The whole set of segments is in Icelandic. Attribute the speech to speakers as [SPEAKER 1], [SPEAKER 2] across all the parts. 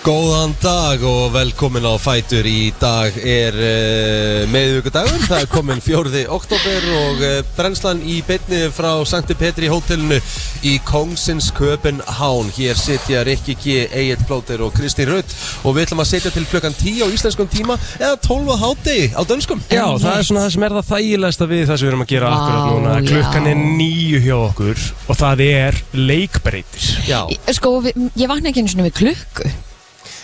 [SPEAKER 1] Góðan dag og velkomin á Fætur Í dag er uh, meðvíkudagur, það er komin 4. oktober og uh, brennslan í beinni frá Sankti Petri hótelinu í Kongsins Köpenhán Hér sitja Rikki G, Egil Plóter og Kristi Rutt og við ætlum að sitja til klukkan 10 á íslenskum tíma eða 12 á hátegi á dönskum
[SPEAKER 2] Já, það er svona það sem er það þægilegsta við það sem við erum að gera
[SPEAKER 3] Vá,
[SPEAKER 2] akkurat núna
[SPEAKER 3] já.
[SPEAKER 2] Klukkan er nýju hjá okkur og það er leikbreytir
[SPEAKER 1] Já,
[SPEAKER 3] Ég- Sko, við, ég vakna ekki einu svona við klukku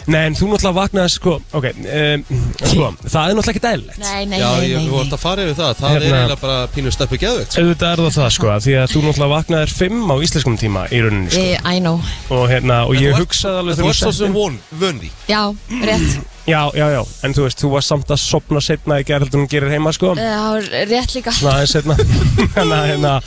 [SPEAKER 2] Nei, en þú náttúrulega vaknaði sko, ok, um, sko, það er náttúrulega ekki dæðilegt
[SPEAKER 3] Nei, nei,
[SPEAKER 1] Já
[SPEAKER 3] nei,
[SPEAKER 1] ég
[SPEAKER 3] nei,
[SPEAKER 1] voru
[SPEAKER 3] nei.
[SPEAKER 1] að fara yfir það, það er
[SPEAKER 2] Hérna-
[SPEAKER 1] eiginlega bara pínu steppu geðveikt
[SPEAKER 2] Auðvitað er það það sko, af því að þú náttúrulega vaknaðir fimm á íslenskum tíma í rauninni sko
[SPEAKER 3] Ég- I know
[SPEAKER 2] Og hérna, og
[SPEAKER 1] En
[SPEAKER 2] ég
[SPEAKER 1] þú ert-
[SPEAKER 2] hugsaði alveg
[SPEAKER 1] Þú
[SPEAKER 2] þegar
[SPEAKER 1] ert svo sem
[SPEAKER 2] settir-
[SPEAKER 1] von, vönni
[SPEAKER 3] Já, rétt
[SPEAKER 2] Já, já, já, en þú veist, þú var samt að sopna setna í gerðaldunum gerir heima sko
[SPEAKER 3] Já, Eh, rétt líka
[SPEAKER 2] Svona aðeins setna Þannig að hérna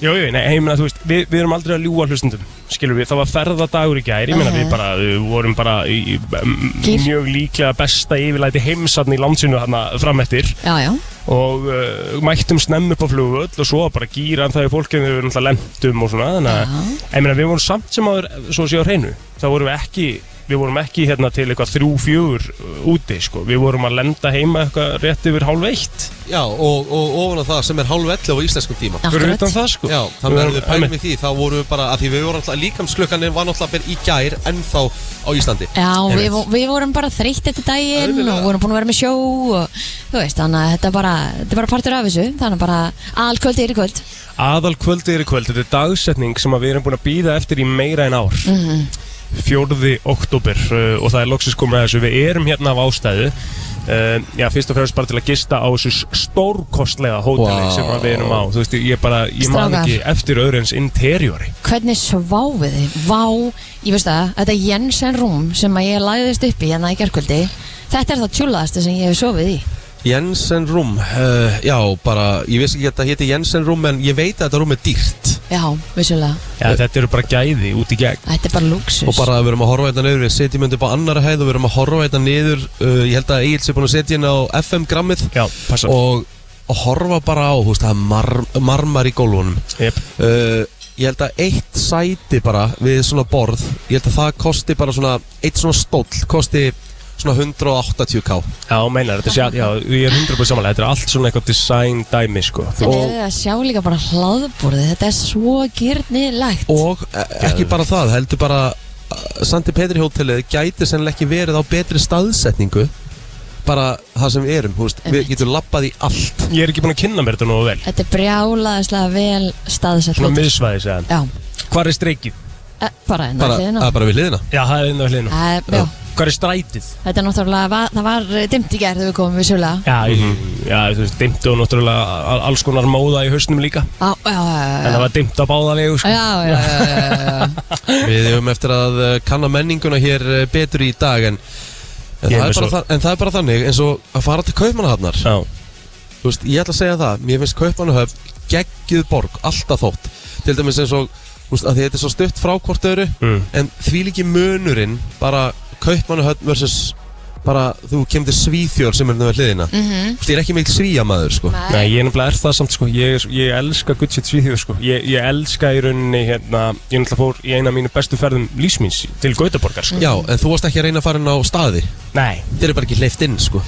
[SPEAKER 2] Jú, jú, nei, heimina, þú veist, við, við erum aldrei að ljúa hlustundum, skilur við, það var ferðadagur í gæri, ég meina við
[SPEAKER 3] Mhm.
[SPEAKER 2] bara, við vorum bara í, um,
[SPEAKER 3] Gír.
[SPEAKER 2] mjög líklega besta yfirlæti heimsatni í landsinu hana framettir
[SPEAKER 3] Já, já,
[SPEAKER 2] og uh, mættum snemm upp á flugvöll og svo bara gýran það í fólkið þegar við náttúrulega lendum og svona, þannig að,
[SPEAKER 3] já.
[SPEAKER 2] ég meina, við vorum samt sem áður, eh, svo séu á hreinu, þá vorum við ekki, við vorum ekki hérna til eitthvað þrjú, fjögur uh, úti, sko, við vorum að lenda heima eitthvað rétt yfir hálf eitt,
[SPEAKER 1] Já, og, og ofan á það sem er hálf 11 á íslenskum tíma
[SPEAKER 2] fyrir
[SPEAKER 3] akkurat
[SPEAKER 2] utan það, sko.
[SPEAKER 1] Já, þannig að
[SPEAKER 2] vorum-
[SPEAKER 1] við pælum í því þá voru við bara, að því við vorum alltaf líkamsklukkanir var náttúrulega bara í gær ennþá á Íslandi
[SPEAKER 3] Já, við,
[SPEAKER 2] Einmitt.
[SPEAKER 3] vo- við vorum bara þreytt eftir daginn
[SPEAKER 1] Auðvitað.
[SPEAKER 3] og vorum búin að vera með sjó og þú veist, þannig að þetta er bara, þetta er bara partur af þessu þannig að bara alkvöld er í kvöld
[SPEAKER 2] Aðal kvöldi er í kvöld, þetta er dagsetning sem að við erum búin að býða eftir í meira en ár mm
[SPEAKER 3] Mhm.
[SPEAKER 2] Fjórði oktober uh, og það er loksins komin að þessu Við erum hérna af ástæðu uh, Já, fyrst og fremst bara til að gista á þessu stórkostlega hóteli
[SPEAKER 1] Vá.
[SPEAKER 2] sem að við erum á Þú veist, ég bara, ég man
[SPEAKER 3] Strákar.
[SPEAKER 2] ekki eftir öðru eins interjóri
[SPEAKER 3] Hvernig sváfið þið? Vá, ég veist það, þetta Jensen Rúm sem að ég lagðist upp í hérna í gerkvöldi Þetta er það tjúlaðasta sem ég hef sofið í
[SPEAKER 1] Jensen Room, uh, já, bara ég veist ekki að þetta héti Jensen Room en ég veit að þetta room er dýrt
[SPEAKER 3] Já, vissulega,
[SPEAKER 2] Já, þetta eru bara gæði út í gegn
[SPEAKER 3] þetta er bara luxus
[SPEAKER 1] og bara við erum að horfa hérna niður, við setjum undir bara annara hæð og við erum að horfa hérna niður uh, ég held að Egil sé búin að setja hérna á FM grammið
[SPEAKER 2] Já, passa
[SPEAKER 1] og, og horfa bara á, þú veist, það er mar marmar í gólfunum
[SPEAKER 2] yep.
[SPEAKER 1] uh, ég held að eitt sæti bara við svona borð, ég held að það kosti bara svona, eitt svona stóll kosti svona 180k
[SPEAKER 2] Já, meinar, þetta sé að, já, ég er 100% samanlega Þetta er allt svona eitthvað design dæmi, sko
[SPEAKER 3] En
[SPEAKER 1] Og-
[SPEAKER 3] eða að sjá líka bara hlaðborðið, þetta er svo gyrnilegt.
[SPEAKER 1] og e- ekki bara það, heldur bara uh, Sandi Petri hótelið gæti sennilega ekki verið á betri staðsetningu bara það sem við erum, þú veist, við
[SPEAKER 3] Einmitt.
[SPEAKER 1] getum lappað í allt
[SPEAKER 2] Ég er ekki búin að kynna mér þetta nógu vel
[SPEAKER 3] Þetta er brjálaðislega vel staðsett.
[SPEAKER 2] Svona
[SPEAKER 3] hótel.
[SPEAKER 2] miðsvæðis eða
[SPEAKER 3] Já,
[SPEAKER 2] Hvar er streikið?
[SPEAKER 3] e, bara enn
[SPEAKER 1] bara,
[SPEAKER 3] að hliðina.
[SPEAKER 1] að bara við liðina
[SPEAKER 2] Já, það er inn á hliðinu
[SPEAKER 3] Æ, Já,
[SPEAKER 2] Hvað er strætið?
[SPEAKER 3] þetta er náttúrulega, va það var eh, dimmt í gerð þegar við komum við sjöla.
[SPEAKER 2] Já,
[SPEAKER 1] Mhm.
[SPEAKER 2] já þú veist, dimmt og náttúrulega al- alls konar móða í hausnum líka
[SPEAKER 3] Já, já, já,
[SPEAKER 2] En
[SPEAKER 3] já,
[SPEAKER 2] það var dimmt á báða vegu, sko
[SPEAKER 3] já, já, já, já, já.
[SPEAKER 1] Við höfum eftir að uh, kanna menninguna hér uh, betur í dag en, en,
[SPEAKER 2] Ég
[SPEAKER 1] það
[SPEAKER 2] er
[SPEAKER 1] er
[SPEAKER 2] með
[SPEAKER 1] bara
[SPEAKER 2] svo-
[SPEAKER 1] það, en það er bara þannig eins og að fara til kaupmannahafnar
[SPEAKER 2] Já,
[SPEAKER 1] Þú veist, ég ætla að segja það, mér finnst Kaupmannahöfn geggjuð borg, alltaf þótt til dæmis eins og, þú veist, að því þetta er svo stutt frá hvort öðru,
[SPEAKER 2] Mm.
[SPEAKER 1] en því líki munurinn, bara Kaupmannahöfn versus bara þú kemur til Svíþjór sem er nú við hliðina mm -hmm. Þú veist, ég er ekki mikil svíjamaður, sko
[SPEAKER 2] Nei, ég er nefnilega er það samt, sko Ég, er- ég elska Gutsjett Svíþjóð, sko ég, ég elska í rauninni, hérna Ég náttúrulega fór í eina af mínu bestu ferðum lífsmins til Gautaborgar, sko
[SPEAKER 1] Já, en þú varst ekki að reyna að fara inn á staði
[SPEAKER 2] Nei,
[SPEAKER 1] Þér er bara ekki hleyft inn, sko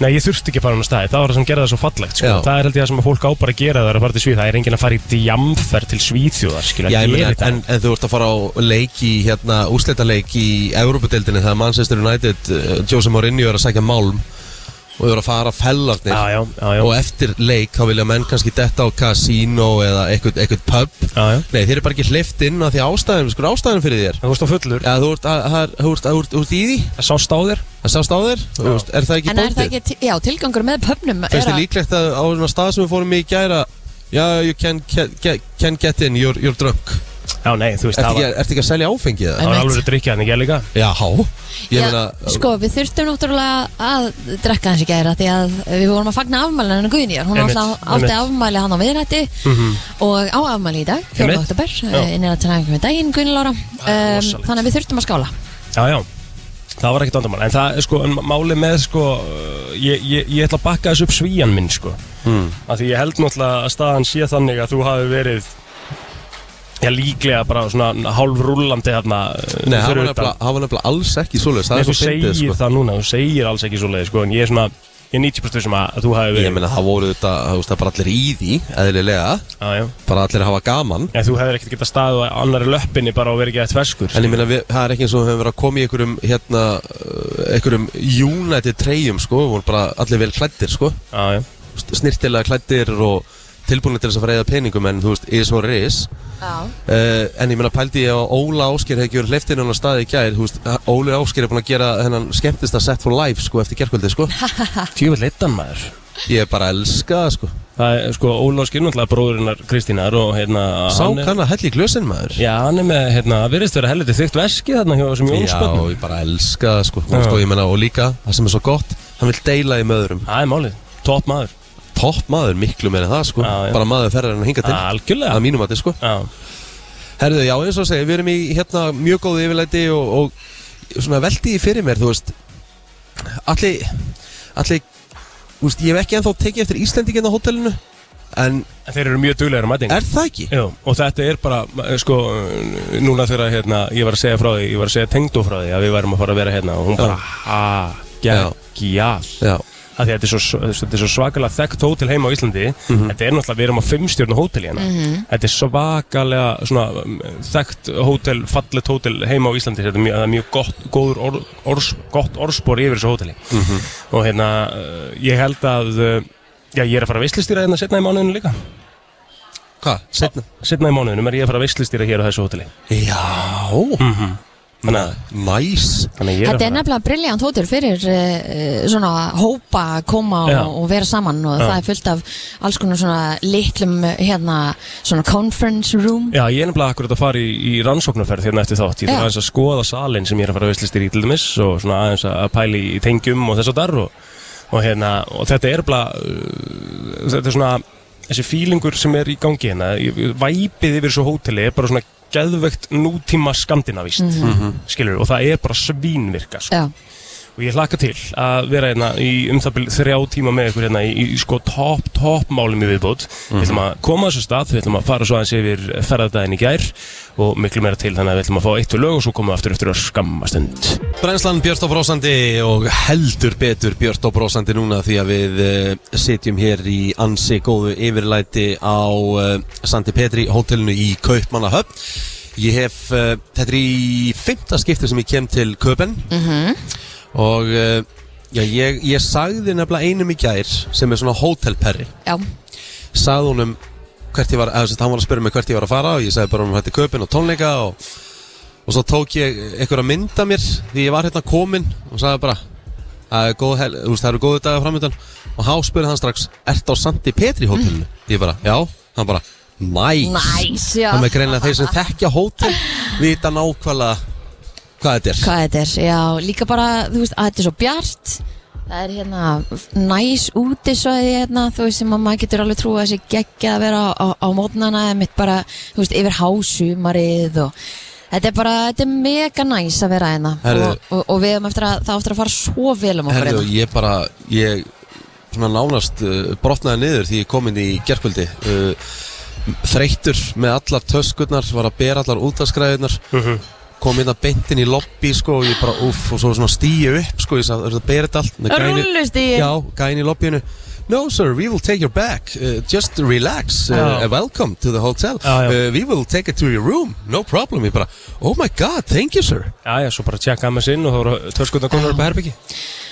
[SPEAKER 2] nei, ég þurfti ekki að fara hann á staði Það var það sem gerði það svo fallegt, sko
[SPEAKER 1] Já.
[SPEAKER 2] Það er held ég það sem að fólk á bara að gera þegar það er að fara til Svíþjóð Það er enginn að fara í djamferð til Svíþjóðar, skilur
[SPEAKER 1] Já, ég
[SPEAKER 2] geri
[SPEAKER 1] meina,
[SPEAKER 2] þetta.
[SPEAKER 1] en, en þú ert að fara á leik í, hérna, úrslitaleik í Európa-deildinni þegar Manchester United, uh, Jose Mourinho er að sækja málm og þú eru að fara að fellarnir
[SPEAKER 2] Já, já, já, já,
[SPEAKER 1] og eftir leik þá vilja menn kannski detta á kasínó eða eitthvað, eitthvað pub
[SPEAKER 2] já, já.
[SPEAKER 1] Nei, þeir eru bara ekki hleyft inn að því ástæðum, skur ástæðum fyrir þér
[SPEAKER 2] En þú stóð fullur,
[SPEAKER 1] Já, þú ert, að, að, þú ert, að, þú ert, þú ert í því,
[SPEAKER 2] það sást á þér
[SPEAKER 1] það sást á þér Þú
[SPEAKER 2] Já.
[SPEAKER 1] veist, Er það ekki
[SPEAKER 3] En er það
[SPEAKER 1] bóndið?
[SPEAKER 3] ekki, til- já, tilgangur með pöfnum er
[SPEAKER 1] Finnst þið líklegt að á svona stað sem við fórum í í gæra Já, you can, can, can- can get in, you're, you're drunk
[SPEAKER 2] Já, nei, þú veist,
[SPEAKER 1] Ertu
[SPEAKER 2] það
[SPEAKER 1] ekki,
[SPEAKER 2] var,
[SPEAKER 1] ertu ekki að selja áfengið
[SPEAKER 3] Nei.
[SPEAKER 1] það?
[SPEAKER 2] það var
[SPEAKER 3] Einmitt.
[SPEAKER 2] alveg að drikja þannig ég líka
[SPEAKER 1] Já, ég
[SPEAKER 3] Já,
[SPEAKER 1] meina
[SPEAKER 3] Sko, við þurftum náttúrulega að drekka hans í gæra því að við vorum að fagna afmæli hennar Guðnýjar, hún
[SPEAKER 2] Einmitt,
[SPEAKER 3] alltaf átti
[SPEAKER 2] einmitt.
[SPEAKER 3] afmæli hann á viðrætti
[SPEAKER 2] Mhm.
[SPEAKER 1] Mm-hmm.
[SPEAKER 3] og á afmæli í dag, eh, 4.
[SPEAKER 2] Einmitt.
[SPEAKER 3] oktober
[SPEAKER 2] Já.
[SPEAKER 3] innir að tæna með daginn Guðnýlara um,
[SPEAKER 2] er rosalegt.
[SPEAKER 3] þannig að við þurftum að skála
[SPEAKER 2] Já, já, það var ekkert vandamál En það er sko, en máli með sko uh, ég, ég, ég ætla að bakka þessu upp svíjan
[SPEAKER 1] mm.
[SPEAKER 2] minn sko mm. Því ég held náttúrulega að staðan sé þannig að þú hafi verið Já, líklega bara svona hálf rúllandi þarna eh,
[SPEAKER 1] Nei, hann
[SPEAKER 2] fyrir
[SPEAKER 1] var
[SPEAKER 2] utan.
[SPEAKER 1] nefnilega- hann var nefnilega alls ekki svoleiðis Það
[SPEAKER 2] Nei,
[SPEAKER 1] er
[SPEAKER 2] þú
[SPEAKER 1] svo
[SPEAKER 2] segir
[SPEAKER 1] fyndið, sko
[SPEAKER 2] það núna, þú segir alls ekki svo sko, en ég er svona, ég er 90% sem um að þú hafi
[SPEAKER 1] Ég
[SPEAKER 2] verið
[SPEAKER 1] meina, það voru þetta, þú veist, það er bara allir í því, eðlilega
[SPEAKER 2] Já, já.
[SPEAKER 1] Bara allir að hafa gaman
[SPEAKER 2] En þú hefur ekkert getað staðið á annari löppinni bara og verið ekki að tverskur
[SPEAKER 1] En ég meina, við, það er ekki eins og við höfum verið að koma í einhverjum, hérna, uh, einhverjum United treyjum, sko Við vorum bara allir vel klættir, sko
[SPEAKER 2] Já, já,
[SPEAKER 1] Snirtilega klættir og tilbúinir til þess að fara eða peningum En, þú veist, is or is
[SPEAKER 3] Já.
[SPEAKER 1] Uh, en ég meina pældi ég að Óla Ásker hefði gjörð hleyftinn hann á staði í gær þú veist, Óli Ásker er búin að gera hennan skemmtista set for life sko eftir gerkvöldi sko
[SPEAKER 2] tjöfell leittan maður
[SPEAKER 1] ég er bara að elska það sko
[SPEAKER 2] Það er sko Ólaf Skirnallega bróðurinnar Kristínar og hérna
[SPEAKER 1] sá
[SPEAKER 2] hann er,
[SPEAKER 1] kann að hella í glösin maður
[SPEAKER 2] Já, hann er með, hérna, virðist vera helviti þykkt veski þarna hjá þessum jónsbönnum
[SPEAKER 1] ég bara elska það sko
[SPEAKER 2] Já.
[SPEAKER 1] og, og, ég meina, og líka það sem er svo gott hann vil deila í möðurum
[SPEAKER 2] Það er málið, topp maður
[SPEAKER 1] topp maður miklu meira en það sko
[SPEAKER 2] Já, já.
[SPEAKER 1] bara maður ferðar hann hinga til
[SPEAKER 2] Algjörlega
[SPEAKER 1] að mínum að sko
[SPEAKER 2] Já,
[SPEAKER 1] Herðu, já, eins og segja, við erum í hérna mjög góðu yfirleiti og, og svona veldi í fyrir mér, þú veist Allir, allir, þú veist, ég hef ekki ennþá tekið eftir Íslendingin á hótelinu En
[SPEAKER 2] en þeir eru mjög duglegur að mætinga
[SPEAKER 1] er það ekki?
[SPEAKER 2] Jú, og þetta er bara, eh, sko, eh, núna þegar hérna, ég var að segja frá því, ég var að segja tengdó frá því að við værum að fara að vera hérna og hún bara, ha, geggjall.
[SPEAKER 1] Já,
[SPEAKER 2] Af því að Þetta er svo, svo- þetta er svo svakalega þekkt hótel heima á Íslandi,
[SPEAKER 1] Mhm.
[SPEAKER 2] þetta er náttúrulega, við erum á fimmstjörnu hótel hérna, þetta er svakalega svona mm, þekkt hótel, fallet hótel heima á Íslandi, þetta er mjög, það er mjög gott, góður or, ors, gott orðspor yfir þessu hóteli
[SPEAKER 1] Mhm.
[SPEAKER 2] og hérna, eh, ég held að, eh, já, ég er að fara að veistlistýra hérna setna í mánuðinu líka
[SPEAKER 1] hvað? Setna?
[SPEAKER 2] setna í mánuðinum er ég að fara að veistlistýra hér á þessu hóteli Mhm. þannig
[SPEAKER 1] Já,
[SPEAKER 2] að,
[SPEAKER 1] næs
[SPEAKER 2] þannig að ég
[SPEAKER 3] Þetta
[SPEAKER 2] er að
[SPEAKER 3] er
[SPEAKER 2] fara
[SPEAKER 3] nefnilega briljant hótel fyrir uh, svona hópa að koma
[SPEAKER 2] Já.
[SPEAKER 3] og, og vera saman og
[SPEAKER 2] Já.
[SPEAKER 3] það er fullt af alls konar svona litlum hérna svona conference room
[SPEAKER 2] Já, ég er nefnilega akkurat að fara í, í rannsóknarferð hérna eftir þátt Ég
[SPEAKER 3] Já.
[SPEAKER 2] þarf aðeins að skoða salin sem ég er að fara að veistlistýra í til dæmis og svona aðeins að að pæli í tengjum og þess að dar og, og hérna, og þetta er bara uh, þetta er svona þessi fílingur sem er í gangi hérna ég- væpið yfir þessu hóteli er bara svona geðvegt nútíma skandinavist mm
[SPEAKER 1] Mhm.
[SPEAKER 2] skilur, og það er bara svínvirka sko.
[SPEAKER 3] Já,
[SPEAKER 2] og ég hlakka til að vera hérna í um það byrju þrjá tíma með ykkur hérna í, í sko topp, topp málum í viðbót
[SPEAKER 1] Mhm.
[SPEAKER 2] við ætlum að koma að þessu stað, við ætlum að fara svo aðeins yfir ferðardaginn í gær og miklu meira til þannig að við ætlum að fá eitt og lög og svo komum við aftur eftir að skamma stund
[SPEAKER 1] Brænslan Björn og Brósandi og heldur betur Björn og Brósandi núna því að við uh, sitjum hér í ansi góðu yfirlæti á uh, Sandi Petri hótelinu í Kaupmannahöfn. Ég hef, uh, þetta er í fymta skipti sem ég kem til Köpen og uh, já, ég, ég sagði nefnilega einum í gær sem er svona hótelperri
[SPEAKER 3] já,
[SPEAKER 1] sagði honum hvert ég var, eða sem sagt, hann var að spyrja mig hvert ég var að fara og ég sagði bara um þetta köpinn og tónleika og, og svo tók ég einhverja mynd af mér því ég var hérna kominn og sagði bara það er góð hel- þú veist, það eru góðu dagar framöndan og há spurði hann strax, ert á Sandi Petri hótelinu? Ég bara, já, hann bara næs,
[SPEAKER 3] Nice, já.
[SPEAKER 1] þannig að greinlega þeir sem þekkja hótel vita nákvæmlega hvað þetta er
[SPEAKER 3] hvað þetta er, já, líka bara þú veist að þetta er svo bjart það er hérna næs útisvæði hérna, þú veist sem að maður getur alveg trúið að þessi geggja að vera á, á mótnana eða mitt bara, þú veist, yfir hásumarið og Þetta er bara, þetta er mega næs að vera hérna
[SPEAKER 1] Herðu.
[SPEAKER 3] og, og, og við hefum eftir að, það áttur að fara svo vel um okkur
[SPEAKER 1] Herðu, ég bara, ég svona nánast uh, brotnaði niður því ég kom inn í gerkvöldi uh, þreyttur með allar töskurnar var að bera allar útaskræðunar
[SPEAKER 2] Mhm.
[SPEAKER 1] kom hérna inn að beintin í lobby sko og ég bara uff og svo svona stíu upp sko ég sagði, "Eru þetta að bera þetta allt Nei, gæinn í-
[SPEAKER 3] Rúllustigi.
[SPEAKER 1] Já, gæin í lobbyinu No sir, we will take your bag uh, Just relax, uh,
[SPEAKER 2] Já.
[SPEAKER 1] welcome to the hotel
[SPEAKER 2] Já, já.
[SPEAKER 1] Uh, We will take it to your room No problem, ég bara Oh my god, thank you sir
[SPEAKER 2] Já, já, svo bara tjekka að maður sinn og þá eru törskutna konar upp að herbyggi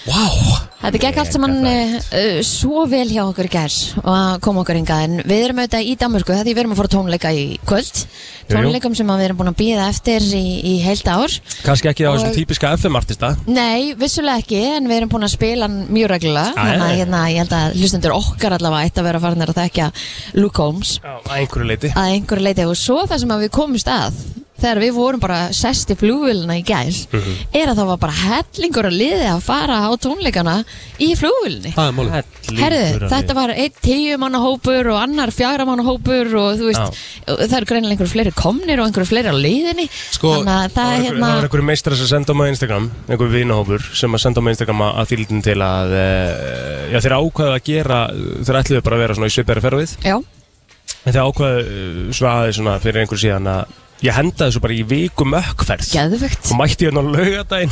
[SPEAKER 1] Wow
[SPEAKER 3] Þetta gekk allt saman uh, uh, svo vel hjá okkur í gær og að koma okkur inga en við erum auðvitað í Danmörku því við erum að fara á tónleika í kvöld
[SPEAKER 2] jú.
[SPEAKER 3] tónleikum sem að við erum búin að býða eftir í, í heilt ár
[SPEAKER 2] Kanski ekki á
[SPEAKER 3] Og-
[SPEAKER 2] þessum típiska FM-artista
[SPEAKER 3] Nei, vissulega ekki, en við erum búin að spila hann mjög reglulega
[SPEAKER 2] Já,
[SPEAKER 3] þannig að
[SPEAKER 2] Ah, já, já.
[SPEAKER 3] hérna, ég held að hlustendur okkar allavega ætti að vera farinir að þekkja Luke Holmes
[SPEAKER 2] Já, að einhverju leiti
[SPEAKER 3] að einhverju leiti og svo það sem að við komumst að þegar við vorum bara sest í flugvöluna í gæl
[SPEAKER 2] Mhm.
[SPEAKER 1] Mhm.
[SPEAKER 3] er að það var bara hellingur að liði að fara á tónleikana í flugvölunni
[SPEAKER 1] Það er málið
[SPEAKER 3] Herðu, þetta var einn tíu manna hópur og annar fjagra manna hópur og þú veist, það eru greinilega einhverju fleiri komnir og einhverju fleiri á leiðinni
[SPEAKER 1] Sko,
[SPEAKER 3] þannig að það er
[SPEAKER 2] Það var
[SPEAKER 3] hérna
[SPEAKER 2] einhver- það var einhver meistrar sem senda á mig á Instagram, einhver vinahópur sem að senda á mig á Instagram að að þýldin til að eh, e, já, þeir ákvaða að gera, þeir ætluðu bara að vera svona í svipæri ferðið
[SPEAKER 3] Já,
[SPEAKER 2] En það ákvaðu uh, svona aðeins svona fyrir einhver síðan að ég henda þessu bara í viku mökkferð
[SPEAKER 3] Geðvögt
[SPEAKER 2] og mætti hérna á laugardaginn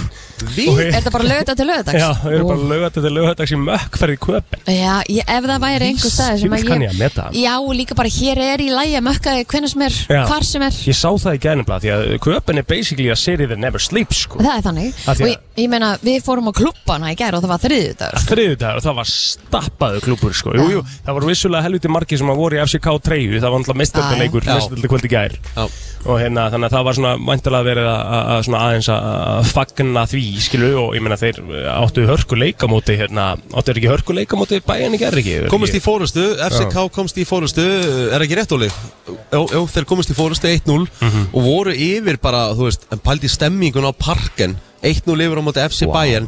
[SPEAKER 1] Við?
[SPEAKER 3] Er þetta bara lögða til lögðags?
[SPEAKER 2] Já, við erum bara laugardaginn til laugardagins í mökkferð í köpinn
[SPEAKER 3] Já, ég, ef það væri einhver staði sem
[SPEAKER 2] Djöfull
[SPEAKER 3] að
[SPEAKER 2] kann
[SPEAKER 3] ég
[SPEAKER 2] ég að meta það.
[SPEAKER 3] Já, líka bara hér er í lægi að mökka þig hvenær sem er,
[SPEAKER 2] Já.
[SPEAKER 3] hvar sem er
[SPEAKER 2] Ég sá það í gænum blað því að köpinn er basically a city that never sleeps sko
[SPEAKER 3] Það er þannig
[SPEAKER 2] Af
[SPEAKER 3] Og
[SPEAKER 2] því að-
[SPEAKER 3] ég, ég meina, við fórum á klubbana í gær og það var þriðjudagur sko.
[SPEAKER 2] þriðudagur og það var stappaðu klubur sko. Jú, jú, það voru vissulega helviti margir sem að voru í FCK 3 það var náttúrulega mistöldaleikur,
[SPEAKER 1] Já, já.
[SPEAKER 2] mistöldarkvöld í gær
[SPEAKER 1] Já.
[SPEAKER 2] og hérna, þannig að það var svona væntalega verið að- að að svona aðeins að- að fagna því, skilu, og ég meina þeir áttu hörku leikamóti, hérna áttu er ekki hörku leikamóti bæjan í gær ekki Er
[SPEAKER 1] Komist í
[SPEAKER 2] ekki-
[SPEAKER 1] fórustu, FCK komst í fórustu Er ekki rétt óli? Jó, jó, þeir komist í fórustu 1-0
[SPEAKER 2] Mhm.
[SPEAKER 1] Og voru yfir bara, þú veist En pældi stemmingun á parken 1-0 yfir á móti FC Bayern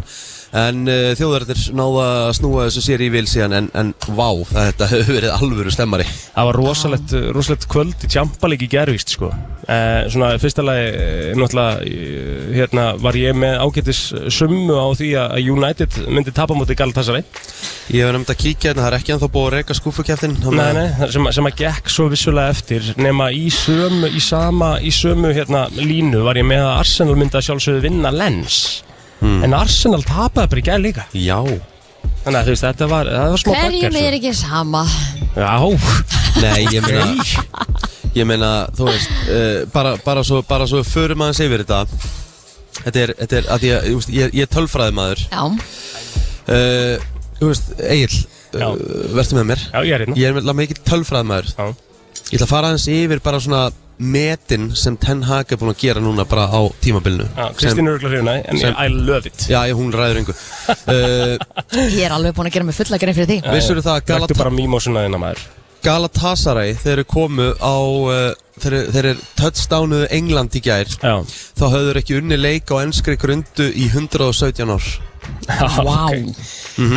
[SPEAKER 1] En uh, þjóðverðir náða að snúa þessu sér í vil síðan En, en vá, þetta hefur verið alvöru stemmari
[SPEAKER 2] Það var rosalegt, rosalegt kvöld í tjampalík í gervist sko. Eh, svona fyrsta lagi eh, náttúrulega eh, hérna, var ég með ágætis summu á því að að United myndi tapa móti Galatasaray
[SPEAKER 1] Ég hef nefnd að kíkja, en það er ekki ennþá búið að reyka skúfukjæftin
[SPEAKER 2] Nei, nei, það sem, að- sem að gekk svo vissulega eftir nema í sömu, í sama, í sömu hérna, línu var ég með að Arsenal myndi að sjálfsögðu vinna Lens en Arsenal tapaði bara í gæð líka
[SPEAKER 1] Hmm. Já
[SPEAKER 2] þannig að þú veist, þetta var, það var smá sko.
[SPEAKER 3] Hverjum er
[SPEAKER 2] bakkar
[SPEAKER 3] ekki sama
[SPEAKER 2] Já,
[SPEAKER 1] Nei, ég meina Ég meina, þú veist uh, bara, bara, svo, bara svo förum aðeins yfir þetta Þetta er, þetta er að því að, ég, veist, ég, ég er tölfræði maður
[SPEAKER 3] Já,
[SPEAKER 1] uh, Þú veist, Egil
[SPEAKER 2] Já.
[SPEAKER 1] uh, Vertu með mér
[SPEAKER 2] já ég er hérna
[SPEAKER 1] Ég er með mikið tölfræði maður
[SPEAKER 2] Já.
[SPEAKER 1] Ég ætla að fara aðeins yfir bara svona metin sem Ten Hag er búin að gera núna bara á tímabilinu
[SPEAKER 2] Já,
[SPEAKER 1] Sem-
[SPEAKER 2] Kristín er örugglega hrifin af því, en
[SPEAKER 1] sem-
[SPEAKER 2] ég- I love it
[SPEAKER 1] Já, ég- hún ræður yngu uh,
[SPEAKER 3] ég er alveg búin að gera mig fulla grein fyrir því
[SPEAKER 1] Vissur það að
[SPEAKER 2] Galata...
[SPEAKER 1] Galata
[SPEAKER 2] Þekktu bara mýmósuna þinna maður
[SPEAKER 1] Galatasaray þeir eru komu á uh, þeir, þeir eru touchdownuðu England í gær
[SPEAKER 2] Já,
[SPEAKER 1] þá höfðu þeir ekki unni leik á ennskri grundu í 117 ár
[SPEAKER 3] Vá.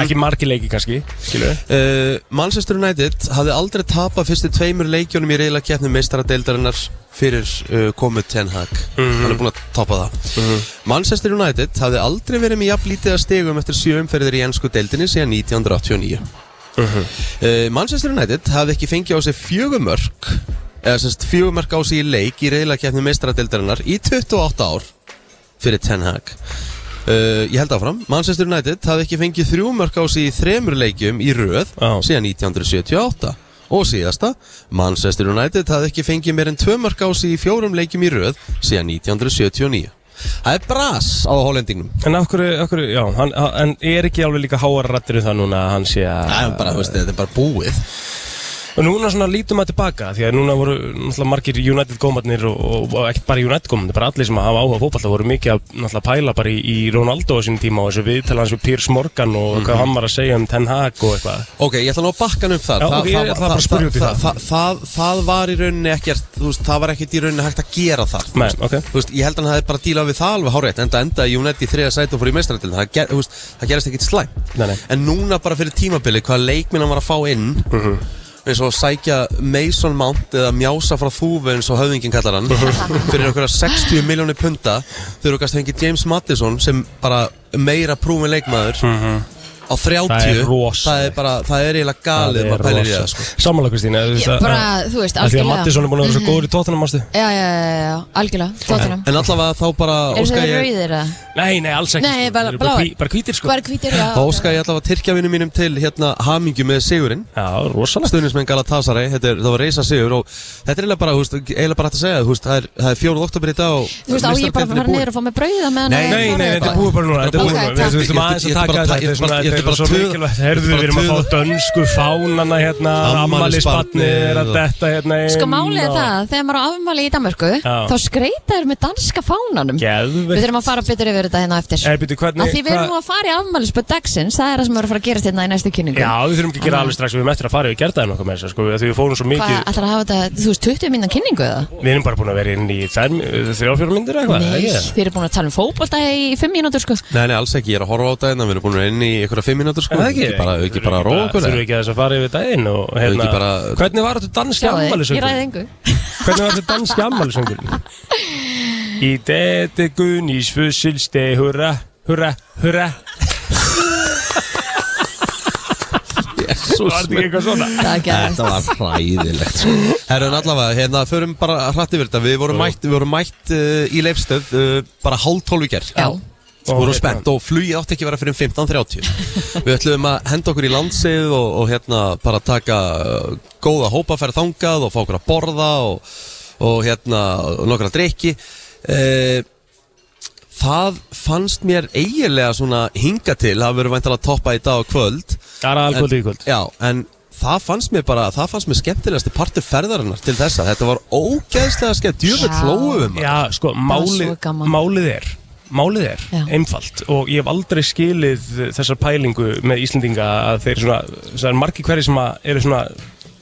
[SPEAKER 2] Ekki margi leiki kannski, skilu
[SPEAKER 1] uh, Manchester United hafði aldrei tapað fyrstu tveimur leikjónum í reyla keppni meistara deildarinnar fyrir uh, komu Ten Hag
[SPEAKER 2] Mhm.
[SPEAKER 1] hann er búin að tapa það Manchester United hafði aldrei verið með jafn lítið að stegum eftir sjö umferðir í ennsku deildinni síðan 1989
[SPEAKER 2] Mhm.
[SPEAKER 1] uh, Manchester United hafði ekki fengið á sig fjögumörk eða semst fjögumörk á sig í leik í reyla keppni meistara deildarinnar í 28 ár fyrir Ten Hag Uh, ég held áfram, Manchester United hafði ekki fengið þrjú mörk á sig í þremur leikjum í röð
[SPEAKER 2] Já.
[SPEAKER 1] síðan 1978 og síðasta, Manchester United hafði ekki fengið meir en tvö mörk á sig í fjórum leikjum í röð síðan 1979 Það er bras á hollendingnum
[SPEAKER 2] En af hverju, af hverju, Eh, já hann, hann- En er ekki alveg líka háar rættir um það núna að Hann sé að
[SPEAKER 1] Það er bara, þú veist, þetta er bara búið
[SPEAKER 2] Og núna svona lítum að tilbaka Því að núna voru náttúrulega margir United gómatnir og, og, og ekkert bara United gómatnir Bara allir sem hafa áhuga á fótballa voru mikið að náttúrulega pæla bara í, í Ronaldo á sínum tíma Og þessu viðtala hans við Piers Morgan og hvað hann var að segja um Ten Hag og eitthvað
[SPEAKER 1] Mhm. Ok, ég ætla nú að bakka hann upp þar
[SPEAKER 2] Já, ok, ég ætla bara að spyrja út í
[SPEAKER 1] það,
[SPEAKER 2] það.
[SPEAKER 1] það, það, það var í rauninni ekkert, þú veist, það var ekkert í rauninni hægt að gera þar þú
[SPEAKER 2] Nei,
[SPEAKER 1] veist.
[SPEAKER 2] ok.
[SPEAKER 1] Þú veist, ég held að hann hefði bara dílað við það alveg hárétt Enda endaði United í þriða sæti og fór í meistaratil það, ger, þú veist, það gerist ekkert slæmt
[SPEAKER 2] Nei, nei.
[SPEAKER 1] En núna bara fyrir tímabilið, hvaða leikminn hann var að fá inn
[SPEAKER 2] Mhm.
[SPEAKER 1] eins og að sækja Mason Mount eða mjása frá þúfu eins og höfðingin kallar hann
[SPEAKER 2] Mhm.
[SPEAKER 1] fyrir einhverja 60 miljónir punta þegar þú gæst fengið James Madison sem bara meira prúfin leikmaður á
[SPEAKER 2] Mhm.
[SPEAKER 1] 30
[SPEAKER 2] Það er rosalegt.
[SPEAKER 1] það er bara, það er eiginlega galið maður pælir í það sko.
[SPEAKER 2] Samanlega Kristín eða þú veist
[SPEAKER 3] Ég
[SPEAKER 2] að-
[SPEAKER 3] bara,
[SPEAKER 2] að-
[SPEAKER 3] þú veist,
[SPEAKER 2] að Því að
[SPEAKER 3] algjörlega. Mhm.
[SPEAKER 2] Mattisson er búin að vera svo góður í tóttunum, mástu
[SPEAKER 3] Já, já, já, já, algjörlega, tóttunum
[SPEAKER 1] en allavega þá bara
[SPEAKER 3] Er
[SPEAKER 1] óska
[SPEAKER 3] það
[SPEAKER 1] ég,
[SPEAKER 3] rauðir það?
[SPEAKER 2] Nei, nei, alls ekki
[SPEAKER 3] Nei,
[SPEAKER 2] sko.
[SPEAKER 3] bara
[SPEAKER 2] Þeir eru
[SPEAKER 3] bláir.
[SPEAKER 2] hví- Bara hvítir sko
[SPEAKER 3] Hvað er hvítir? Já,
[SPEAKER 1] þá óska ég allavega tyrkjavinu mínum til hérna hamingju með sigurinn
[SPEAKER 2] Já, rosalegt
[SPEAKER 1] stuðnismenn Galatasaray, þetta er, það var reysa sigur og þetta er eiginlega bara, húst, eiginlega bara hægt að segja húst, það er, það er fjóruð oktober í dag og
[SPEAKER 3] Þú veist, á ég bara að fara
[SPEAKER 1] meistaradeildin er
[SPEAKER 3] niður og fá mig brauða meðan
[SPEAKER 1] Nei,
[SPEAKER 3] að-
[SPEAKER 2] Nei, nei, þetta er búið bara núna, þetta er
[SPEAKER 3] Ok,
[SPEAKER 2] búið núna
[SPEAKER 3] takk.
[SPEAKER 2] Við við þurfum
[SPEAKER 1] Ég-
[SPEAKER 2] aðeins að
[SPEAKER 1] ég- ég-
[SPEAKER 2] taka
[SPEAKER 1] ég-
[SPEAKER 2] þetta
[SPEAKER 1] ég-
[SPEAKER 2] Þetta er svona,
[SPEAKER 1] ég-
[SPEAKER 2] þetta
[SPEAKER 1] ég- bara
[SPEAKER 2] er svo
[SPEAKER 1] tuð-
[SPEAKER 2] mikilvægt Herðu,
[SPEAKER 1] bara
[SPEAKER 2] við erum að
[SPEAKER 1] tuð-
[SPEAKER 2] fá dönsku fánana hérna
[SPEAKER 1] Afmælisbarnið
[SPEAKER 2] Ammælisbarnir að
[SPEAKER 1] og-
[SPEAKER 2] detta hérna inn
[SPEAKER 3] Sko málið er
[SPEAKER 2] og-
[SPEAKER 3] það, þegar maður á afmæli í Danmörku
[SPEAKER 2] Já.
[SPEAKER 3] þá skreita þér með danska fánanum Við
[SPEAKER 2] Geðveikt.
[SPEAKER 3] þurfum að fara betur yfir þetta hérna á eftir
[SPEAKER 2] Eh, bíddu, hvernig-
[SPEAKER 3] Af Því við erum
[SPEAKER 2] hvað-
[SPEAKER 3] nú að fara í afmælisböð dagsins Það er það sem við erum að fara að gera hérna í næstu kynningu Ah,
[SPEAKER 2] Já, við þurfum ekki að gera alveg strax Við erum eftir að fara yfir gerðaðin okkar með þess sko, Því við fórum svo
[SPEAKER 3] Hvað,
[SPEAKER 2] mikið
[SPEAKER 3] ætlar að hafa þetta, þú veist, 20 mínan kynningu eða?
[SPEAKER 2] Við erum bara búin að vera inn í þrjáfjórum myndir eitthvað
[SPEAKER 3] Nei,
[SPEAKER 2] ekki?
[SPEAKER 3] við erum búin að tala um fótbolta í 5 mínútur sko
[SPEAKER 1] Nei, nei, alls ekki, ég er að horfa á þetta en við erum búin að vera inn í einhverja fimm mínútur sko
[SPEAKER 2] Er það ekki?
[SPEAKER 1] Ekki bara, ekki bara að róa okkur
[SPEAKER 2] Þurfum við
[SPEAKER 1] eða?
[SPEAKER 2] ekki aðeins að fara yfir daginn og
[SPEAKER 1] Þurfum við
[SPEAKER 2] hérna
[SPEAKER 1] ekki bara-
[SPEAKER 2] Hvernig var þetta danski
[SPEAKER 3] Sjáðu, ég ræði
[SPEAKER 2] ammælisöngurinn?
[SPEAKER 3] engu
[SPEAKER 2] Hvernig var þetta danski ammælisöngurinn? Í deti Gunnís fussilsti Hurra, hurra, hurra Var þetta ekki eitthvað svona?
[SPEAKER 3] Það er geðvægt.
[SPEAKER 1] Þetta var hræðilegt sko. Herrun allavega, hérna, förum bara hrætt yfir þetta Við vorum mætt, við vorum mætt uh, í leifstöð uh, bara hálf tólf í gerð
[SPEAKER 3] Já,
[SPEAKER 1] Við vorum spennt og flugið átti ekki að vera fyrir um 15.30 Við ætluðum að henda okkur í landsið og, og hérna bara taka uh, góða hópa, færa þangað og fá okkur að borða og, og hérna og nokkra drikki uh, Það fannst mér eiginlega svona hinga til Það verður væntalega að toppa í dag og kvöld
[SPEAKER 2] Það er aðalkvöldið í kvöld
[SPEAKER 1] Já, en það fannst mér bara, það fannst mér skemmtilegasti partur ferðarinnar til þessa Þetta var ógeðslega skemmt, um djúfur
[SPEAKER 3] Já.
[SPEAKER 1] klóum
[SPEAKER 2] Já, sko, málið,
[SPEAKER 3] svo gaman.
[SPEAKER 2] málið er Málið er
[SPEAKER 3] Já.
[SPEAKER 2] einfalt og ég hef aldrei skilið þessar pælingu með Íslendinga að þeir svona, það er margir hverjir sem að eru svona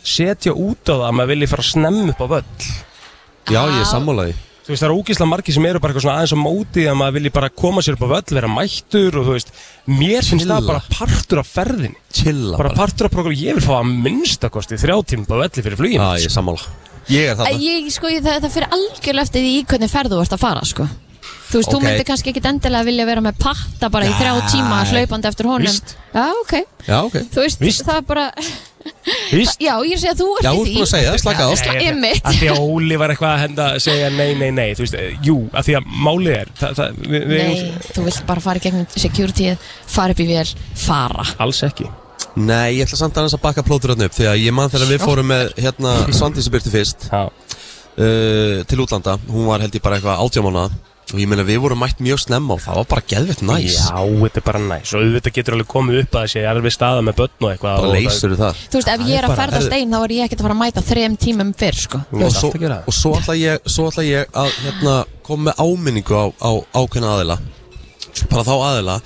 [SPEAKER 2] setja út á það að maður vilji fara snemm upp á völl
[SPEAKER 1] Já, ég er sammálaði
[SPEAKER 2] þú veist, það eru ógeðslega margir sem eru bara eitthvað svona aðeins á móti að maður vilji bara koma sér upp á völl, vera mættur og þú veist, mér finnst það
[SPEAKER 1] Chilla.
[SPEAKER 2] bara partur af ferðinni,
[SPEAKER 1] Chilla
[SPEAKER 2] bara partur af program ég vil fá að minnstakosti þrjá tíma á velli fyrir sko. flugin
[SPEAKER 1] Já, ég er sammála Ég er
[SPEAKER 3] Að
[SPEAKER 1] þarna
[SPEAKER 3] ég, sko, ég, það, það fyrir algjörlega eftir því í hvernig ferð þú ert að fara, sko Þú veist, þú
[SPEAKER 1] Ok.
[SPEAKER 3] myndir kannski ekkit endilega vilja vera með patta bara í
[SPEAKER 1] Nei.
[SPEAKER 3] þrjá tíma hlaupandi eftir honum
[SPEAKER 2] Víst.
[SPEAKER 3] Já, ok,
[SPEAKER 1] Já, ok
[SPEAKER 3] þú veist,
[SPEAKER 2] Víst.
[SPEAKER 3] það er bara
[SPEAKER 2] Víst?
[SPEAKER 3] Já, ég sé að þú ert
[SPEAKER 1] Já,
[SPEAKER 3] í
[SPEAKER 1] þú ert
[SPEAKER 3] því
[SPEAKER 1] búin að segja það, slaka á
[SPEAKER 3] Sla- Sko, einmitt.
[SPEAKER 2] Að því að Óli var eitthvað að henda að segja nei, nei, nei Þú veist, eh, jú, að því að málið er það, það, við, við
[SPEAKER 3] Nei, þú vilt bara fara í gegnum security fara upp í vél, fara
[SPEAKER 2] Alls ekki
[SPEAKER 1] Nei, ég ætla samt aðeins að bakka plótur hann upp Því að ég man þegar við fórum með hérna Svandísi Byrti fyrst
[SPEAKER 2] Já,
[SPEAKER 1] uh, Til útlanda, hún var held ég bara eitthvað átjámána Og ég meina við vorum mætt mjög snemma Og það var bara geðvett næs
[SPEAKER 2] Já, þetta er bara næs Og auðvitað getur alveg komið upp að þessi erfið staða með börn og eitthvað
[SPEAKER 1] Bara
[SPEAKER 2] og
[SPEAKER 1] leysur það
[SPEAKER 3] Þú veist, ef ég
[SPEAKER 2] er
[SPEAKER 3] er að
[SPEAKER 2] bara-
[SPEAKER 3] ferðast einn þá er ég ekkert að fara að mæta þrem tímum fyrr, sko
[SPEAKER 2] Þú
[SPEAKER 1] og
[SPEAKER 2] veist
[SPEAKER 1] svo,
[SPEAKER 2] allt að gera
[SPEAKER 1] og svo ætla ég, svo ætla ég að hérna, koma með áminningu á, á ákveðna aðila bara þá aðila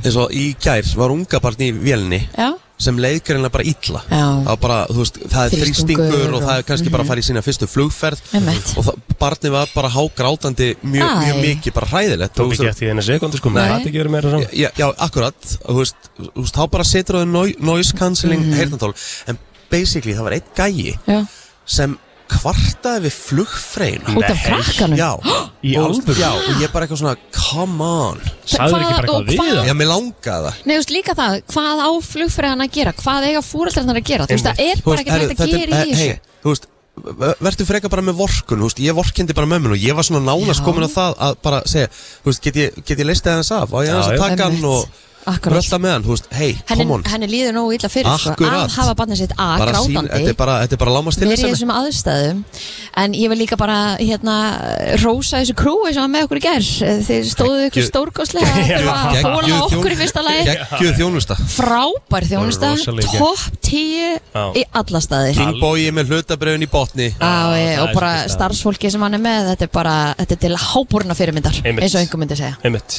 [SPEAKER 1] eins og í gær var unga barn í vélni
[SPEAKER 3] Já,
[SPEAKER 1] sem leiðgrinna bara illa
[SPEAKER 3] Já.
[SPEAKER 1] það, var bara, þú veist, það er
[SPEAKER 3] Þrýstingur
[SPEAKER 1] þrýstingur og
[SPEAKER 3] og-
[SPEAKER 1] það er kannski bara að fara í sína fyrstu flugferð
[SPEAKER 3] Einmitt.
[SPEAKER 1] og það, barnið var bara hágrátandi mjög,
[SPEAKER 3] Æ.
[SPEAKER 1] mjög mikið, bara hræðilegt
[SPEAKER 2] Tók
[SPEAKER 1] Þú veist,
[SPEAKER 2] ekki eftir þennan sekundu sko
[SPEAKER 1] Nei.
[SPEAKER 2] Það ekki verið meira saman
[SPEAKER 1] Já, já akkurat og þú veist, þú veist, þá bara setur það noi- noise cancelling mm en basically það var einn gæi
[SPEAKER 3] Mhm. já,
[SPEAKER 1] sem kvartaði við flugfreina
[SPEAKER 3] út af
[SPEAKER 2] Nei.
[SPEAKER 3] krakkanum
[SPEAKER 1] Já
[SPEAKER 2] Í
[SPEAKER 1] Og-
[SPEAKER 2] alvöru?
[SPEAKER 1] Já, og ég bara eitthvað svona, come on
[SPEAKER 2] Sæður ekki
[SPEAKER 3] Hvað-
[SPEAKER 2] bara
[SPEAKER 3] og
[SPEAKER 2] eitthvað við
[SPEAKER 3] hvað-
[SPEAKER 2] það
[SPEAKER 1] Já, mér langaði það
[SPEAKER 3] Nei, þú veist, líka það, hvað á flugfræðan að gera hvað eiga fúreldrarnar að gera, þú veist, það er
[SPEAKER 1] Þú
[SPEAKER 3] bara
[SPEAKER 1] veist,
[SPEAKER 3] ekkert
[SPEAKER 1] herru,
[SPEAKER 3] hægt að
[SPEAKER 1] þetta
[SPEAKER 3] gera
[SPEAKER 1] er-
[SPEAKER 3] í þessu
[SPEAKER 1] hey, Þú veist, ver- vertu freka bara með vorkun, þú veist, ég vorkindi bara mömmun og ég var svona nánast
[SPEAKER 3] Já.
[SPEAKER 1] komin á það að bara segja, þú veist, get ég, get ég leistið hans af og ég hans að
[SPEAKER 2] Já, já.
[SPEAKER 1] taka hann og
[SPEAKER 3] Akkurat.
[SPEAKER 1] rölda með hann, þú veist, hei, come
[SPEAKER 3] henni,
[SPEAKER 1] on
[SPEAKER 3] henni líður nógu illa fyrir sko,
[SPEAKER 1] Akkurat.
[SPEAKER 3] að hafa barnið sitt að
[SPEAKER 1] Bara sín- Þetta
[SPEAKER 3] grátandi
[SPEAKER 1] er bara, þetta er bara lámast til
[SPEAKER 3] verið í þessum aðstæðum en ég vil líka bara hérna rósa þessu krúi sem var með okkur í ger þeir stóðu ykkur
[SPEAKER 1] Geggju-
[SPEAKER 3] stórkoslega þetta var að fóla okkur í fyrsta lagi
[SPEAKER 1] Gekkjuð þjónusta
[SPEAKER 3] frábær þjónusta,
[SPEAKER 2] rosaleg gegn.
[SPEAKER 3] topp 10 í alla staði Já,
[SPEAKER 1] Kingboyi með hlutabröðin í botni
[SPEAKER 3] ég-
[SPEAKER 2] það
[SPEAKER 3] og
[SPEAKER 2] er
[SPEAKER 3] bara
[SPEAKER 2] svolítið staðar.
[SPEAKER 3] starfsfólki sem hann er með þetta er bara, þetta er til hábúrna fyrirmyndar
[SPEAKER 2] Einmitt.
[SPEAKER 3] eins og einhver myndi segja
[SPEAKER 2] Einmitt.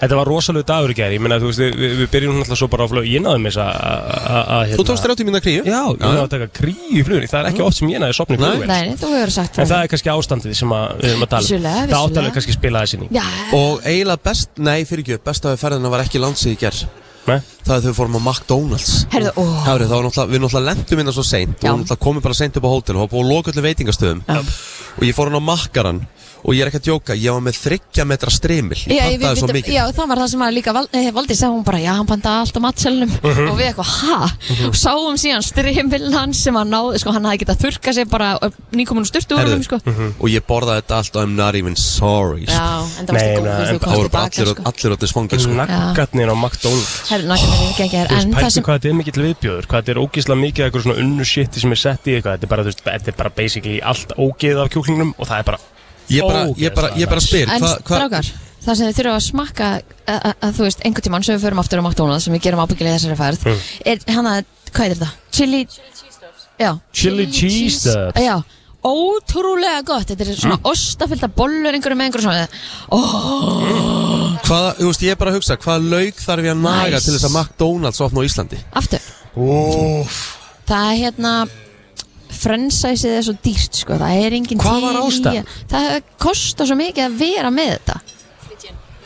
[SPEAKER 2] Þetta var rosalega dagur í gæri, ég meina þú veist, við, við byrjum náttúrulega svo bara á flug, ég náðum þess að, að, að,
[SPEAKER 1] Þú tókst þér átt í minna kríu
[SPEAKER 2] Já, ég náði að taka kríu í flugunni, það er ekki oft sem ég náði sopni í
[SPEAKER 1] Nei.
[SPEAKER 2] flugunni
[SPEAKER 3] Nei, nei, þú hefur sagt
[SPEAKER 2] En
[SPEAKER 3] frá.
[SPEAKER 2] það er kannski ástandið sem að, við erum að tala um
[SPEAKER 3] Vissulega,
[SPEAKER 2] Það áttalega
[SPEAKER 3] vissulega.
[SPEAKER 2] kannski spilaði sinni
[SPEAKER 3] Já,
[SPEAKER 1] Og eiginlega best, nei fyrir ekki, besta við ferðina var ekki landsið í gerð
[SPEAKER 2] Nei?
[SPEAKER 1] Það er þegar við fórum á McDonalds
[SPEAKER 3] Heyrðu, ó.
[SPEAKER 1] Hafri, það var náttúrulega, við náttúrulega lendum innan svo seint og
[SPEAKER 3] Já.
[SPEAKER 1] náttúrulega komum bara seint upp á hótel og var búið að loka öllu veitingastöðum
[SPEAKER 3] Já.
[SPEAKER 1] og ég fór hann á makkaran og ég er ekki að djóka, ég var með þryggja metra stremil
[SPEAKER 3] Já,
[SPEAKER 1] ég
[SPEAKER 3] við,
[SPEAKER 1] pantaði svo
[SPEAKER 3] við,
[SPEAKER 1] mikið
[SPEAKER 3] já, það var það sem að líka val, eh, Valdi sagði hún bara, já, hann pantaði allt á matselnum
[SPEAKER 1] Mhm.
[SPEAKER 3] og við eitthvað, ha? og sáum síðan strimil hans sem hann náði, sko, hann hafði getað þurka sér bara nýkominu styrtu úr þeim,
[SPEAKER 1] Heyrðu,
[SPEAKER 3] sko
[SPEAKER 1] mhm. Og ég borðaði þetta allt og I'm not even sorry sko.
[SPEAKER 3] Já, en það varst
[SPEAKER 2] Nei,
[SPEAKER 3] ekki góð þegar
[SPEAKER 2] nei, en
[SPEAKER 3] þú
[SPEAKER 1] Það
[SPEAKER 3] komst
[SPEAKER 1] voru bara
[SPEAKER 3] tilbaka,
[SPEAKER 1] allir,
[SPEAKER 3] sko
[SPEAKER 1] allir átti svangir sko.
[SPEAKER 2] Naggarnir á McDonalds
[SPEAKER 3] Herru, nákvæmlega við ekki ekki hér,
[SPEAKER 2] Þú
[SPEAKER 3] en
[SPEAKER 2] veist,
[SPEAKER 3] það
[SPEAKER 2] pæltu
[SPEAKER 3] sem
[SPEAKER 2] hvað þetta er mikill viðbjóður, hvað þetta er ógeðslega mikið af eitthvað svona unnu shiti sem er sett í eitthvað Þetta er bara, þú veist, þetta er bara basically allt ógeð af kjúklingnum og það er bara
[SPEAKER 1] ég, bara, ég, bara, ég bara spyr
[SPEAKER 3] En
[SPEAKER 1] hvað- hvað-
[SPEAKER 3] strákar, það sem þið þurfa að smakka að, að, að þú veist, einhvern tímann sem við förum aftur á McDonalds sem við gerum ábyggilega í þessari færð er hann að, hvað er þetta? Chili Já, Ah,
[SPEAKER 2] Chili cheese stuffs.
[SPEAKER 3] Já, ótrúlega gott Þetta er svona mm. ostafylta bollur einhverju með einhverju svona
[SPEAKER 1] Hvaða, þú veist, ég er bara að hugsa, hvaða laug þarf ég að naga
[SPEAKER 3] Nice.
[SPEAKER 1] til þess að McDonalds opna á Íslandi?
[SPEAKER 3] Aftur Óf. Það er hérna fransæsið er svo dýrt sko, það er engin
[SPEAKER 1] Hvað var
[SPEAKER 3] til í að-
[SPEAKER 1] ástæðan?
[SPEAKER 3] Það kostar svo mikið að vera með þetta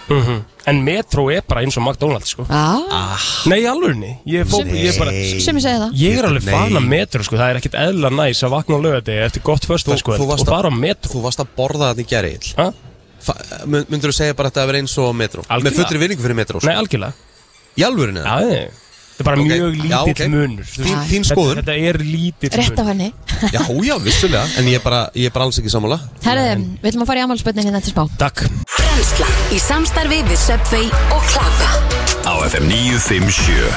[SPEAKER 2] Mhm. En metro er bara eins og McDonalds, sko
[SPEAKER 3] Já,
[SPEAKER 1] Ah.
[SPEAKER 2] Nei, í alvörni, ég, fó, ég bara
[SPEAKER 3] sem ég segi það
[SPEAKER 2] Ég er alveg
[SPEAKER 1] Nei.
[SPEAKER 2] fan af metro, sko, það er ekkit eðla næs að vakna á lögadegi eftir gott
[SPEAKER 1] Þú-
[SPEAKER 2] första, sko,
[SPEAKER 1] þú
[SPEAKER 2] og
[SPEAKER 1] varst að-
[SPEAKER 2] fara á metro
[SPEAKER 1] Þú varst að borða þetta í gerðil
[SPEAKER 2] Ha?
[SPEAKER 1] Myndur þú segja bara að þetta að vera eins og metro
[SPEAKER 2] Algjörlega.
[SPEAKER 1] Með fullri vinningu fyrir metro sko.
[SPEAKER 2] Nei, algjörlega
[SPEAKER 1] Í alvörinu?
[SPEAKER 2] Já, Þetta er bara
[SPEAKER 1] Ok,
[SPEAKER 2] mjög
[SPEAKER 1] já,
[SPEAKER 2] lítill
[SPEAKER 1] ok.
[SPEAKER 2] munur þú
[SPEAKER 1] Þín-
[SPEAKER 2] veist.
[SPEAKER 1] þín
[SPEAKER 2] Þetta-
[SPEAKER 1] skoðun?
[SPEAKER 2] Þetta er lítill
[SPEAKER 3] Rétt af
[SPEAKER 2] munur
[SPEAKER 3] henni
[SPEAKER 1] Já, já, vissulega, en ég er bara, ég er bara alls ekki sammála
[SPEAKER 3] Herðu, við ætlum að fara í ammálspötnin hérna til spá
[SPEAKER 2] Takk
[SPEAKER 4] Brennslan í samstarfi við Subway og Klaka
[SPEAKER 5] á FM 957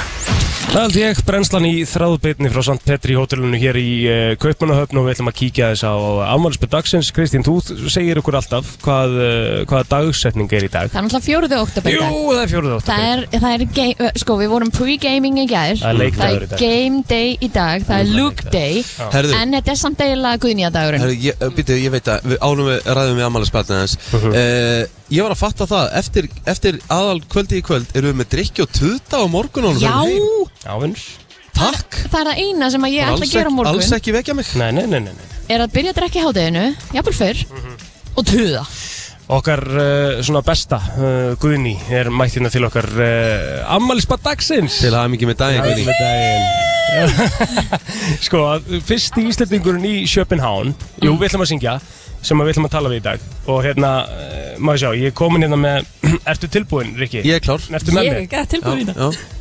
[SPEAKER 2] Það held ég, brennslan í þráðbytni frá St. Petri í hótelunum hér í uh, Kaupmannahöfn og við ætlum að kíkja þess á afmælisbyrð dagsins. Kristín, þú segir okkur alltaf hvað, uh, hvaða dagsetning er í dag.
[SPEAKER 3] Það er náttúrulega fjóruðu oktober í
[SPEAKER 2] Jú,
[SPEAKER 3] dag.
[SPEAKER 2] það er fjóruð ótt.
[SPEAKER 3] Það er, það er game, ö, sko við vorum pre-gaming í gær
[SPEAKER 2] Það er leikdagur í dag.
[SPEAKER 3] game day í dag, það er look day
[SPEAKER 1] Herðu,
[SPEAKER 3] En þetta er samt eiginlega guðnýjadagurinn
[SPEAKER 1] herðu ég, býtu, ég veit að, við ánum við ræðum við ammælisbarnið hans
[SPEAKER 2] Mhm.
[SPEAKER 1] uh, Ég var að fatta það, eftir, eftir aðal kvöldi í kvöld erum við með drikki og tuta á morgun og
[SPEAKER 3] Já,
[SPEAKER 1] heim.
[SPEAKER 2] Já, vinnur.
[SPEAKER 1] Takk
[SPEAKER 3] það er það eina sem að ég ætla
[SPEAKER 1] Alls
[SPEAKER 3] að gera á
[SPEAKER 1] ekki-
[SPEAKER 3] morgun
[SPEAKER 1] Alls ekki vekja mig
[SPEAKER 2] Nei, nei, nei, nei. nei.
[SPEAKER 3] Er að byrja að drekka í hádeginu, jafnvel fyrr
[SPEAKER 2] Mhm.
[SPEAKER 3] Og tuða
[SPEAKER 2] Okkar uh, svona besta uh, Guðni er mættina til okkar uh, afmælisbyrð dagsins.
[SPEAKER 1] Til aðeim ekki með daginn Guðný.
[SPEAKER 2] Afmælisbyrð daginn. sko, fyrsti íslendingurinn í Sjöpenhán, jú, við ætlum að syngja, sem að við ætlum að tala við í dag. Og hérna, uh, maður sjá, ég er komin hérna með, ertu tilbúinn, Rikki?
[SPEAKER 1] Ég er klár
[SPEAKER 2] Ertu með mér?
[SPEAKER 3] gæti tilbúin
[SPEAKER 1] Já, já.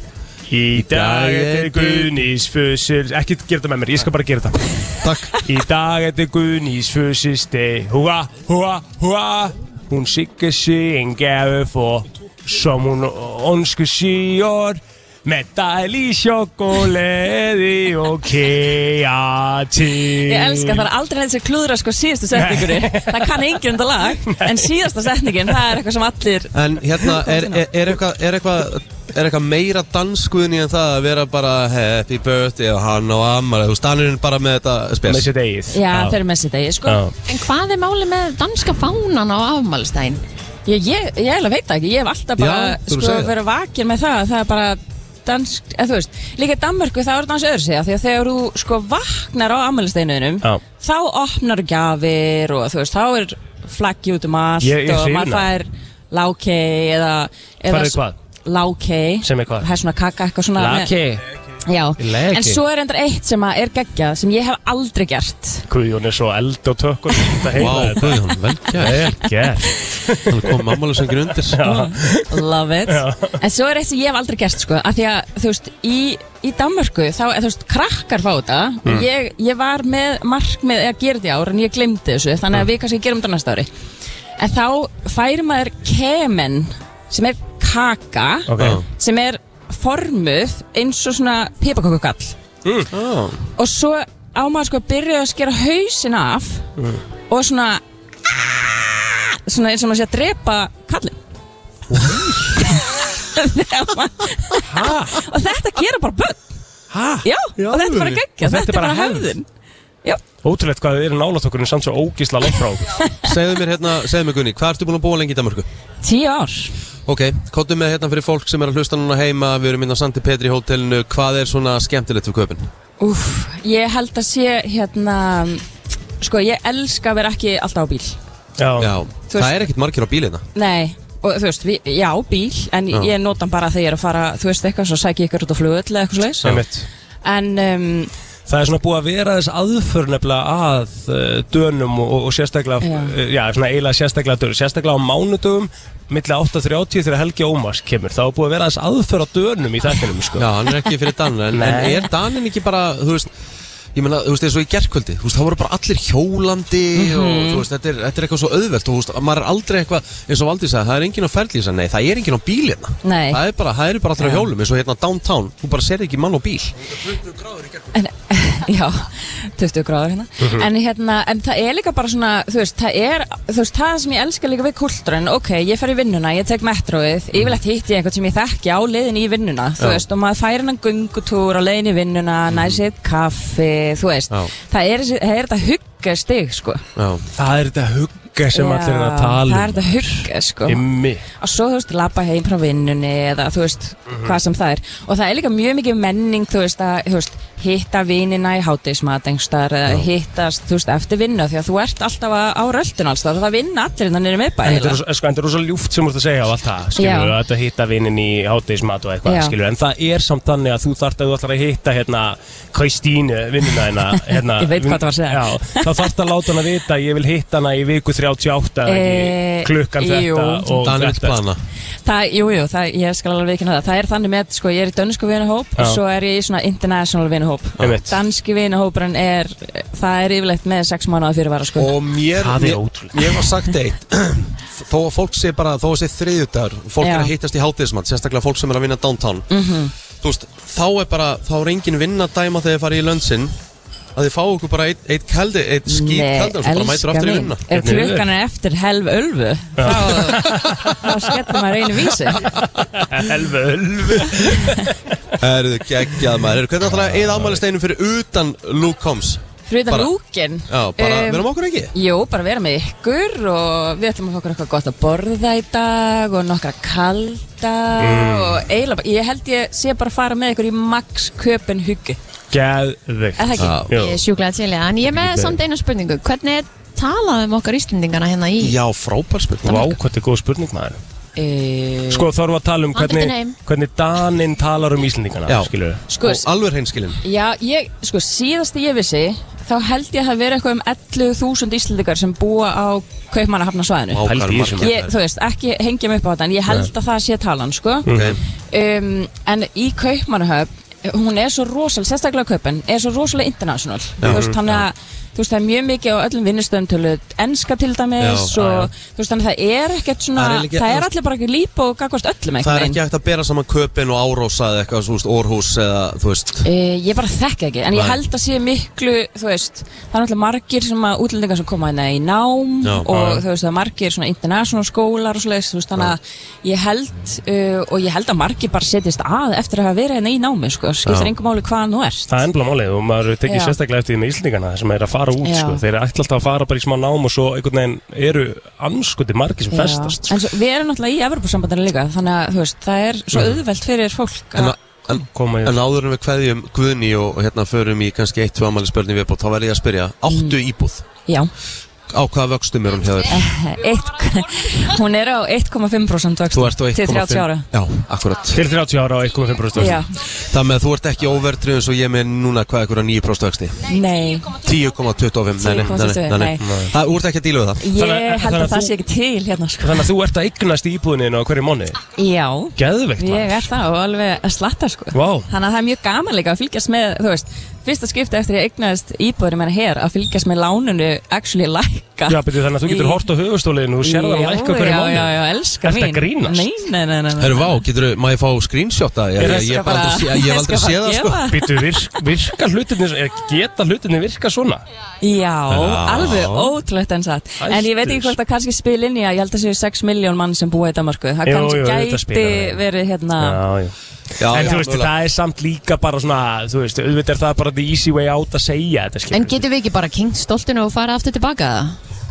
[SPEAKER 2] Í dag er
[SPEAKER 1] er
[SPEAKER 2] Guðnís fusil Ekki gera þetta með mér, ég skal bara gera þetta
[SPEAKER 1] Takk
[SPEAKER 2] Í dag er þetta Guðnís fusilsteg Húa, húa, húa Hún sigger sig en gefur få Som hún önsku sígur Með dæli sjokkóleði og kejati
[SPEAKER 6] Ég elska, það er aldrei neitt sem klúðra sko síðustu setningunni Það kann enginn um þetta lag En síðasta setningin, það er eitthvað sem allir
[SPEAKER 1] En hérna, er, er, er eitthvað er eitthvað er eitthvað meira danskuðni en það að vera bara happy birthday og hann og ammar þú stannirinn bara með þetta
[SPEAKER 2] Með
[SPEAKER 1] spes
[SPEAKER 2] sér degið
[SPEAKER 6] Já, þeir eru með sér degi sko
[SPEAKER 2] Já.
[SPEAKER 3] En hvað er máli með danska fánan á afmælstæðin?
[SPEAKER 6] Ég, ég, ég eiginlega veit það ekki, ég hef alltaf bara
[SPEAKER 1] Já, þú
[SPEAKER 6] sko,
[SPEAKER 1] segir það.
[SPEAKER 6] verið vakir með það Það er bara dansk, eða þú veist Líka í Danmörku það er dans öðru sig af Því að þegar þú sko vaknar á ammælisteinuðinum
[SPEAKER 2] Já.
[SPEAKER 6] Þá opnar þú gjafir og þú veist, þá er flaggi út um allt
[SPEAKER 2] Ég- ég
[SPEAKER 6] Og
[SPEAKER 2] hrifin af.
[SPEAKER 6] maður fær lákei eða, eða
[SPEAKER 2] Færðu hvað?
[SPEAKER 6] Lákei
[SPEAKER 2] Sem er hvað?
[SPEAKER 6] Það er svona kaka eitthvað svona með-
[SPEAKER 2] Laki
[SPEAKER 6] Já,
[SPEAKER 2] Leki.
[SPEAKER 6] en svo er endur eitt sem að er geggjað sem ég hef aldrei gert
[SPEAKER 2] Guðjón er svo eld á tökkunum Það heila
[SPEAKER 1] Vá,
[SPEAKER 2] þetta
[SPEAKER 1] Guðjón, vel gert
[SPEAKER 2] Vel gert
[SPEAKER 1] Hann kom ammælisöngin undir
[SPEAKER 6] Love it En svo er eitt sem ég hef aldrei gert sko að Því að þú veist, í, í Danmörku þá, eða, þú veist, krakkar fá þetta ég, ég var með markmið að gera þetta í ár en ég glemdi þessu, þannig að við kannski gerum þetta á næsta ári En þá fær maður kemen sem er kaka
[SPEAKER 2] Ok
[SPEAKER 1] Já.
[SPEAKER 6] sem er formuð eins og svona pipakokkukall
[SPEAKER 1] Já.
[SPEAKER 6] og svo á maður sko að byrja að skera hausin af og svona svona eins og maður sé að drepa kallin Þegar maður- og þetta gera bara börn
[SPEAKER 2] Hæ?
[SPEAKER 6] já, og þetta er bara geggja, þetta er bara hefðin
[SPEAKER 2] Ótrúlegt hvað þið eru nálat okkur en samt svo ógísla langt frá okkur.
[SPEAKER 1] Segðu mér hérna, segðu mér Guðni, hvað ertu búin að búa lengi í Danmarku?
[SPEAKER 6] tíu ár
[SPEAKER 1] Ok, kóttu með hérna fyrir fólk sem er að hlusta núna heima Við erum inn á Sandi Petri hótelinu Hvað er svona skemmtilegt við kaupin?
[SPEAKER 6] Úf, ég held að sé hérna sko ég elska að vera ekki alltaf á bíl
[SPEAKER 1] Já,
[SPEAKER 6] Þú
[SPEAKER 1] það
[SPEAKER 6] veist-
[SPEAKER 1] er ekkert margir á hérna. bílina
[SPEAKER 6] Nei, og þú veist, við, já, bíl en
[SPEAKER 1] Já.
[SPEAKER 6] ég nota hann bara þegar ég er að fara þú veist eitthvað, svo sæk ég ykkur út á flugöll eða eitthvað slags
[SPEAKER 2] Einmitt.
[SPEAKER 6] en um,
[SPEAKER 2] Það er svona búið að vera þess aðför nefnilega að uh, dönum og, og sérstaklega,
[SPEAKER 6] Já.
[SPEAKER 2] já. já, svona eiginlega sérstaklega dönum, sérstaklega á mánudögum milli 8.30 þegar Helgi Ómars kemur. Það er búið að vera þess aðför á dönum í þættinum, sko.
[SPEAKER 1] Já, hann er ekki fyrir Danin en, en
[SPEAKER 2] Nei.
[SPEAKER 1] er Danin ekki bara, þú veist Ég meina, þú veist, eins og í gerkvöldi, þú veist, þá voru bara allir hjólandi og
[SPEAKER 6] Mhm.
[SPEAKER 1] þú veist, þetta er, þetta er eitthvað svo auðvelt og þú veist, maður er aldrei eitthvað, eins og Valdi sagði, það er enginn á ferli, ég sagði, nei, það er enginn á bíl hérna.
[SPEAKER 6] Nei.
[SPEAKER 1] Það er bara, það eru bara allir á hjólum, eins og hérna downtown, þú bara ser ekki mann á bíl.
[SPEAKER 6] en já, 20 gráður hérna
[SPEAKER 2] Mhm.
[SPEAKER 6] en hérna, en það er líka bara svona þú veist, það er, þú veist, það sem ég elska líka við kultúrin, ok, ég fer í vinnuna ég tek metróið,
[SPEAKER 2] Mhm.
[SPEAKER 6] yfirleitt hitt ég einhvern sem ég þekki á leiðin í vinnuna, þú
[SPEAKER 1] Já.
[SPEAKER 6] veist og maður fær hennan göngutúr á leiðin í
[SPEAKER 2] Mhm.
[SPEAKER 6] vinnuna næ sér kaffi, þú veist
[SPEAKER 1] Já.
[SPEAKER 6] það er, þessi- það er þetta hugga stig, sko
[SPEAKER 1] Já,
[SPEAKER 2] Það er þetta hugga sem
[SPEAKER 6] Já,
[SPEAKER 2] allir er að tala um.
[SPEAKER 6] það er þetta hugga, sko
[SPEAKER 2] Immi.
[SPEAKER 6] og svo þú veist, labba heim frá vinnunni eða þú veist,
[SPEAKER 2] Mhm.
[SPEAKER 6] hvað sem það er og það er líka mjög mikið menning þú veist, að, þú veist hitta vinnina í hátismatengstar eða hittast, þú veist, eftir vinnu því að þú ert alltaf að- á röldun alls þar og það vinna allir innan niður
[SPEAKER 2] En þetta er
[SPEAKER 6] miðbæðila
[SPEAKER 2] svo- sko, en þetta er rosa ljúft sem þú ert að segja á allt það
[SPEAKER 6] Já.
[SPEAKER 2] skilur, að hitta vinnin í hátegismat og eitthvað
[SPEAKER 6] Já.
[SPEAKER 2] skilur, en það er samt þannig að þú þarft að þú ætlar að hitta hérna Kristínu vinnina hérna, hérna
[SPEAKER 6] Ég veit hvað það var að segja.
[SPEAKER 2] já, þá þarft að láta hana vita að ég vil hitta hana í viku 30 38 eða
[SPEAKER 6] Eh,
[SPEAKER 2] ekki, klukkan
[SPEAKER 6] jú.
[SPEAKER 2] þetta og
[SPEAKER 1] Danir vill
[SPEAKER 2] þetta
[SPEAKER 1] plana
[SPEAKER 6] Það, jú, jú, það, ég skal alveg ekki hana það Það er þannig með, sko, ég er í dönsku vinuhóp
[SPEAKER 2] Já.
[SPEAKER 6] og svo er ég í svona international vinuhóp
[SPEAKER 2] Einmitt.
[SPEAKER 6] Danski vinuhópurinn er það er yfirleitt með sex mánuða fyrirvara, sko
[SPEAKER 1] Og mér,
[SPEAKER 2] Það er
[SPEAKER 1] mér,
[SPEAKER 2] ótrúlegt.
[SPEAKER 1] mér var sagt eitt Þó að fólk sé bara, þó að sé þriðjudagur Fólk er
[SPEAKER 6] Já.
[SPEAKER 1] að hittast í hátíðismann Sérstaklega fólk sem er að vinna downtown -hmm.
[SPEAKER 2] Mm-hmm.
[SPEAKER 1] Þú veist, þá er bara, þá er engin vinna dæma Þegar þið farið í lönnsinn Að þið fá okkur bara eitt, eitt kaldi, eitt skýt kaldi Og svo bara mætur aftur í vinna
[SPEAKER 6] Ef klukkan er eftir helv ölfu þá, þá skellum maður einu vísi
[SPEAKER 2] Elfu, elfu
[SPEAKER 1] Erðu geggjað maður Heyrðu, Hvernig ætlar að eða afmælisteginum fyrir utan Luke Combs?
[SPEAKER 6] Fruðan
[SPEAKER 1] Bara-
[SPEAKER 6] lúkin
[SPEAKER 1] Já, bara, um, verðum okkur ekki?
[SPEAKER 6] Jú, bara vera með ykkur og við ætlum að fá okkur eitthvað gott að borða í dag og nokkra kalda
[SPEAKER 1] Mm.
[SPEAKER 6] og eiginlega, bara- ég held ég sé bara að fara með ykkur í Max Köpen huggu,
[SPEAKER 2] Geðvikt
[SPEAKER 6] er það ekki?
[SPEAKER 1] Já.
[SPEAKER 3] Ég er sjúklega til ég, en ég er með samt eina spurningu Hvernig er talað um okkar Íslendingana hérna í
[SPEAKER 1] Já, frábær
[SPEAKER 2] Vá,
[SPEAKER 1] spurning
[SPEAKER 2] hvað þetta er góð spurning maður
[SPEAKER 6] E,
[SPEAKER 2] Sko þarf að tala um
[SPEAKER 3] Handritin heim.
[SPEAKER 2] hvernig, hvernig Danin talar um Íslendingana
[SPEAKER 1] Já.
[SPEAKER 2] skilur við.
[SPEAKER 6] sko,
[SPEAKER 1] Og alveg hreinskilin
[SPEAKER 6] já, ég, sko, síðast ég vissi, þá held ég að það vera eitthvað um 11.000 íslendingar sem búa á Kaupmannahafna svæðinu.
[SPEAKER 1] Vá, hvað
[SPEAKER 2] Pældi
[SPEAKER 1] eru
[SPEAKER 2] í
[SPEAKER 1] margir.
[SPEAKER 2] þessu.
[SPEAKER 6] Ég, þú veist, ekki hengja mig upp á þetta, en ég held að það sé talan, sko.
[SPEAKER 1] Ok.
[SPEAKER 6] Um, en í Kaupmannahöfn, hún er svo rosalega, sérstaklega Kaupan, er svo rosalega international. Þú
[SPEAKER 1] Mm-hmm.
[SPEAKER 6] veist, þannig að, þú veist, það er mjög mikið á öllum vinnustöðum tölu, enska til dæmis
[SPEAKER 1] Já,
[SPEAKER 6] og, þú veist, þannig að það er ekkert svona,
[SPEAKER 1] Það er
[SPEAKER 6] það er,
[SPEAKER 1] eiginlega-
[SPEAKER 6] allir bara ekki líp og gagvast öllum
[SPEAKER 1] Það
[SPEAKER 6] einhvern
[SPEAKER 1] er ekki hægt að bera saman köpinn og árósa eða eitthvað, þú veist, orhús eða, þú veist
[SPEAKER 6] Uh, ég bara þekki ekki, en ég
[SPEAKER 1] Nei.
[SPEAKER 6] held að sé miklu, þú veist, það er náttúrulega margir sem að útlendingar sem koma hérna í nám
[SPEAKER 1] Já,
[SPEAKER 6] og þú veist, það er margir svona international skólar og svoleiðis, þú veist, þannig að ég held, uh, og ég held að margir bara setjast að eftir að hafa verið hérna í námi, sko, skiptir engum máli hvaðan þú ert.
[SPEAKER 2] Það er ennblá málið og maður tekið
[SPEAKER 6] Já.
[SPEAKER 2] sérstaklega eftir því með Íslendingana sem er að fara út
[SPEAKER 6] Já.
[SPEAKER 2] sko. Þeir eru alltaf að fara bara í smá nám og svo einhvern veginn eru anskoti margir sem festast
[SPEAKER 6] Já. En svo, við erum náttúrulega í Evropasambandinu líka, þannig að, þú veist, það er svo auðvelt fyrir fólk
[SPEAKER 1] En,
[SPEAKER 6] að,
[SPEAKER 1] en,
[SPEAKER 2] Koma í
[SPEAKER 1] en áður en við kveðjum Guðni og hérna förum í kannski eitt, tvö amæli spörni viðbót, þá verð ég að spyrja Áttu íbúð?
[SPEAKER 6] já,
[SPEAKER 1] Á hvaða vöxtum er hún hjá þér?
[SPEAKER 6] eitt, hún er á 1,5% vöxt
[SPEAKER 1] Þú ert á 1,5
[SPEAKER 6] til 30 ára.
[SPEAKER 1] Já, akkurat
[SPEAKER 2] til 30 ára á 1,5 brúst
[SPEAKER 6] Já,
[SPEAKER 1] Það með að þú ert ekki overtrið eins og ég er með núna hvað ekkur að 9% vöxti
[SPEAKER 6] nei. 10,25,
[SPEAKER 1] 10,25 nei, nei, nei, nei, nei, nei. Það, Þú ert ekki að díla við það
[SPEAKER 6] Ég
[SPEAKER 2] Þannig að-
[SPEAKER 6] held
[SPEAKER 2] þannig
[SPEAKER 6] að
[SPEAKER 2] að
[SPEAKER 6] það
[SPEAKER 2] þú-
[SPEAKER 6] sé ekki til hérna sko
[SPEAKER 2] Þannig að þú ert að eignast í íbúðinu á hverju mánu
[SPEAKER 6] Já,
[SPEAKER 2] Geðvikt
[SPEAKER 6] ég er það og alveg að slatta sko
[SPEAKER 2] Vá.
[SPEAKER 6] Þannig að það er mjög gaman líka að fylgjast með, þú veist Fyrsta skipti eftir ég eignaðist íbúðurinn menna hér Að fylgjast með lánunu actually lækka
[SPEAKER 2] Já, beti, þannig að þú getur
[SPEAKER 6] Í-
[SPEAKER 2] hort á höfustólinu og sér það
[SPEAKER 6] Já,
[SPEAKER 2] lækka á hverju mánu
[SPEAKER 6] Já, já, já, elska
[SPEAKER 2] Ertu
[SPEAKER 6] mín
[SPEAKER 2] að grínast?
[SPEAKER 6] Nei, nei, nei, nei, nei.
[SPEAKER 1] Herru, vá, getur, má ég fá screenshot að ég,
[SPEAKER 2] Ég
[SPEAKER 1] ég, ég,
[SPEAKER 6] skal
[SPEAKER 1] hef bara
[SPEAKER 6] bara-
[SPEAKER 1] aldrei sé- ég hef aldrei
[SPEAKER 6] skal
[SPEAKER 1] séð
[SPEAKER 6] bara
[SPEAKER 1] það sko
[SPEAKER 6] gefa-
[SPEAKER 2] Býtu, virk, virka hlutinni, geta hlutinni virka svona?
[SPEAKER 6] Já, alveg ótrúlegt en satt En ég veit ekki
[SPEAKER 2] Æstis.
[SPEAKER 6] hvort það kannski spil inn í að Ég held að séu 6 miljón mann sem búa í Danmarku Það
[SPEAKER 2] Jú,
[SPEAKER 6] kannski
[SPEAKER 2] jú, auðvitað spilar
[SPEAKER 6] gæti
[SPEAKER 2] það.
[SPEAKER 6] verið hérna
[SPEAKER 2] Já, já.
[SPEAKER 1] Já,
[SPEAKER 2] en
[SPEAKER 1] já,
[SPEAKER 2] þú veist,
[SPEAKER 1] mögulega.
[SPEAKER 2] það er samt líka bara svona, þú veist, auðvitað er það bara the easy way out að segja þetta, skilur.
[SPEAKER 3] En getum við ekki bara kynnt stoltinu og fara aftur tilbaka það?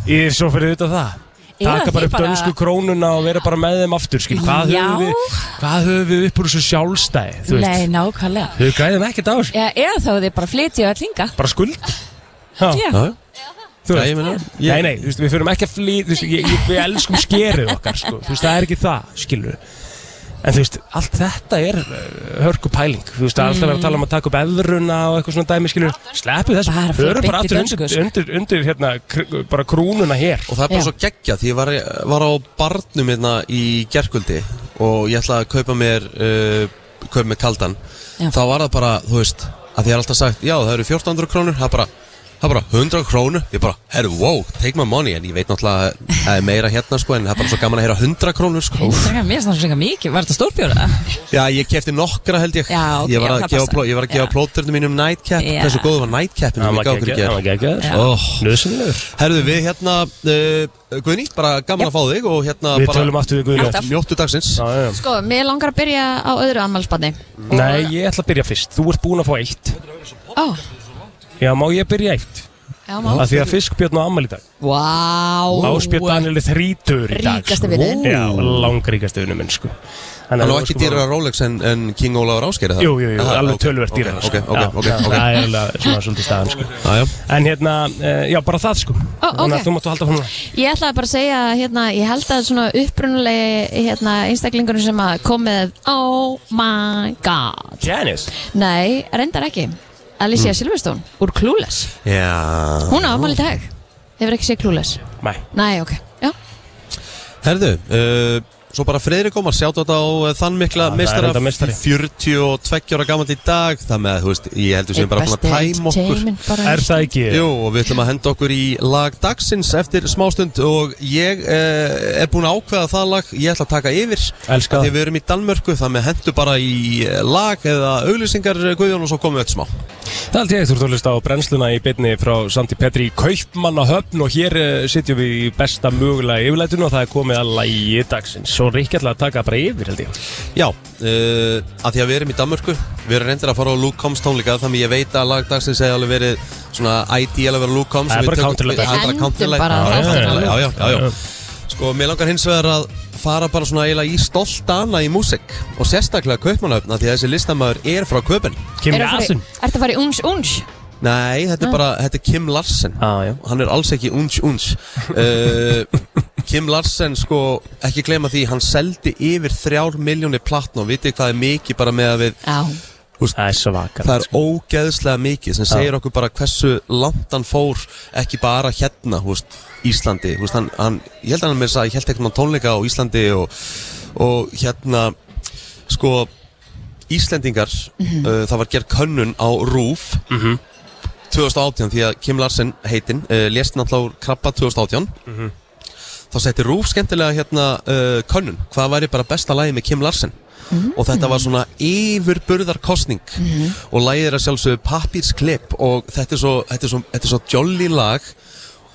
[SPEAKER 2] Ég er svo fyrir auðvitað það.
[SPEAKER 6] Já,
[SPEAKER 2] Taka
[SPEAKER 6] þið
[SPEAKER 2] bara upp
[SPEAKER 6] bara-
[SPEAKER 2] dönsku krónuna og vera bara með þeim aftur, skilur. Hvað
[SPEAKER 6] Já.
[SPEAKER 2] höfum við, hvað höfum við upp úr þessu sjálfstæði,
[SPEAKER 6] Nei,
[SPEAKER 2] þú veist?
[SPEAKER 6] nákvæmlega
[SPEAKER 2] Þau græðum ekkert á þessu.
[SPEAKER 6] Já, eða þá þið bara flytja að hlinga
[SPEAKER 2] Bara skuld. Já,
[SPEAKER 6] Já,
[SPEAKER 1] Já,
[SPEAKER 2] þú
[SPEAKER 1] já, ég
[SPEAKER 2] veist.
[SPEAKER 1] meina
[SPEAKER 2] Nei, nei, þú veist, við fyrirum ekki að flýta, þú veist, ég, ég, við elskum skerið okkar, sko, þú veist, það er ekki það, skilur. En þú veist, allt þetta er uh, hörku pæling, þú veist, alltaf verður að tala um að taka upp eðruna og eitthvað svona dæmi, skilur, sleppu þessu,
[SPEAKER 6] Bara fara
[SPEAKER 2] hörum bara
[SPEAKER 6] beint í
[SPEAKER 2] aftur
[SPEAKER 6] dönsku,
[SPEAKER 2] undir, undir, undir, hérna, kr bara krúnuna hér.
[SPEAKER 1] Og það er bara
[SPEAKER 6] Já.
[SPEAKER 1] svo geggja því ég var, var á barnum hérna í gerkvöldi og ég ætlaði að kaupa mér uh, kaupa mér kaldan
[SPEAKER 6] Já.
[SPEAKER 1] þá var það bara, þú veist, að ég er alltaf sagt já, það eru 1400 krónur, það er bara það er bara 100 krónur, ég bara, herru, wow take my money, en ég veit náttúrulega að það er meira hérna sko, en það er bara svo gaman að heyra 100 krónur sko.
[SPEAKER 6] Þetta er mér svona svona mikið, var þetta stórbjóra?
[SPEAKER 1] Já, ég kefti nokkra held ég
[SPEAKER 6] Já, ok,
[SPEAKER 1] ég, var
[SPEAKER 6] já,
[SPEAKER 1] að
[SPEAKER 6] það
[SPEAKER 1] gefa,
[SPEAKER 6] passar.
[SPEAKER 1] pló- ég var að gefa
[SPEAKER 6] Já.
[SPEAKER 1] plóturinu mínum nightcap,
[SPEAKER 6] Já.
[SPEAKER 1] hversu góð var nightcapinu
[SPEAKER 2] Það
[SPEAKER 1] mér
[SPEAKER 2] var
[SPEAKER 1] gaf okkur í
[SPEAKER 2] geggjaður, það var
[SPEAKER 1] gær?
[SPEAKER 2] geggjaður,
[SPEAKER 1] Oh.
[SPEAKER 2] nöðsynlegur.
[SPEAKER 1] Herðu, við hérna, uh, Guðni, bara gaman að fá þig og hérna
[SPEAKER 2] Við
[SPEAKER 1] bara
[SPEAKER 2] tölum aftur við Guðljóð.
[SPEAKER 1] njóttu dagsins
[SPEAKER 2] Já, já, já.
[SPEAKER 3] Sko, mér langar að byrja á öðru ammálspanni
[SPEAKER 2] Nei, ég ætla að byrja fyrst, þú ert búin að fá eitt.
[SPEAKER 3] Ó,
[SPEAKER 2] Já, má ég byrja eitt?
[SPEAKER 3] já má
[SPEAKER 2] Af því að fiskbjörn á ammali í dag.
[SPEAKER 3] Vá
[SPEAKER 2] Ásbjörn Daniel er þrítur í dag
[SPEAKER 3] Ríkasti
[SPEAKER 2] sko.
[SPEAKER 3] vinurinn.
[SPEAKER 2] Já, langríkasti vinnum minn sko. Hann
[SPEAKER 1] Hann á ekki dýrar Rolex en, en King Ólafur Ásgeir er það?
[SPEAKER 2] Jú, jú, jú,
[SPEAKER 1] Aha,
[SPEAKER 2] alveg
[SPEAKER 1] ok,
[SPEAKER 2] tölvert dýrar
[SPEAKER 1] Ok, ok,
[SPEAKER 2] Já,
[SPEAKER 1] ok,
[SPEAKER 2] já,
[SPEAKER 1] ok,
[SPEAKER 2] Það er alveg svona svolítið staðan sko.
[SPEAKER 1] Já, já.
[SPEAKER 2] En hérna, eh, já, bara það sko Þannig
[SPEAKER 3] ok.
[SPEAKER 2] að þú máttu halda frá núna
[SPEAKER 3] Ég ætlaði bara að segja, hérna, ég held að svona upprunulegi hérna, einstaklingur sem að kom með Oh my god
[SPEAKER 2] Janice
[SPEAKER 3] Nei, reyndar ekki Alicia Silverstone úr Clueless
[SPEAKER 1] Já
[SPEAKER 3] Hún á afmæli í dag Hefur ekki séð klúles?
[SPEAKER 2] Nei.
[SPEAKER 3] Nei, ok, já
[SPEAKER 1] Herðu, uh, svo bara Freyðrik Ómar sjátt á þetta á eh, þann mikla
[SPEAKER 2] það er
[SPEAKER 1] meistara
[SPEAKER 2] enda meistari.
[SPEAKER 1] 42 ára gamall í dag Það með að, þú veist, ég heldur sem bara búin að tæma okkur
[SPEAKER 3] entertainment bara.
[SPEAKER 2] Er það ekki?
[SPEAKER 1] Jú, og við ætlum að henda okkur í lag dagsins eftir smástund og ég uh, er búin að ákveða það lag, ég ætla að taka yfir
[SPEAKER 2] Elska
[SPEAKER 1] Þegar við erum í Danmörku, það með hendu bara í eh, lag eða auglýsingar eh, Guðjón og svo komum við öll smá
[SPEAKER 2] Það held ég, þú ert að hlusta á brennsluna í byrni frá Sandi Petri í Kaupmannahöfn og hér uh, sitjum við í besta mögulega yfirlætun og það er komið að lægi dagsins. Svo er ekki alltaf að taka bara yfir held ég.
[SPEAKER 1] Já, uh, að því að við erum í Danmörku Við erum reyndir að fara á Luke Combs tónleika Þannig ég veit að lagdagsins hefði alveg verið Svona ideal að vera Luke Combs
[SPEAKER 2] Það er
[SPEAKER 1] Við
[SPEAKER 2] bara
[SPEAKER 1] tökum-
[SPEAKER 2] counterlag.
[SPEAKER 1] Það er
[SPEAKER 3] Við
[SPEAKER 1] bara
[SPEAKER 3] endum
[SPEAKER 1] counterlag.
[SPEAKER 3] bara
[SPEAKER 1] Já,
[SPEAKER 3] þáttinn
[SPEAKER 1] já,
[SPEAKER 3] á Luke.
[SPEAKER 1] Já, já, já, já Sko, mér langar hins vegar að fara bara svona eiginlega í stolt dana í músik og sérstaklega kaupmannöfna því að þessi listamæður er frá kaupin
[SPEAKER 2] Kim
[SPEAKER 3] Eru að fara í-
[SPEAKER 2] Jansson.
[SPEAKER 3] Ertu að fara í uns, uns?
[SPEAKER 1] Nei, þetta er bara, þetta er Kim Larsen
[SPEAKER 2] Á, já.
[SPEAKER 1] og hann er alls ekki uns uns uh, Kim Larsen sko, ekki gleyma því, hann seldi yfir þrjár miljónir platn og vitið hvað er mikið bara með að við
[SPEAKER 3] Já,
[SPEAKER 2] Það er svakar.
[SPEAKER 1] það er ógeðslega mikið sem segir okkur bara hversu langt hann fór ekki bara hérna húst, Íslandi, húst, hann, hann, ég held að hann með þess að ég held eitthvað tónleika á Íslandi og, og hérna sko Íslendingar, uh, það var gerð könnun á RÚF 2018 því að Kim Larsen heitinn uh, lést náttúrulega úr krabba 2018 þá setti Rúf skemmtilega hérna uh, könnun, hvað væri bara besta lagi með Kim Larsen og þetta var svona yfirburðarkostning
[SPEAKER 7] Mhm.
[SPEAKER 1] og lagið er að sjálfsögðu pappírsklipp og þetta er svo, þetta er svo, þetta er svo jolly lag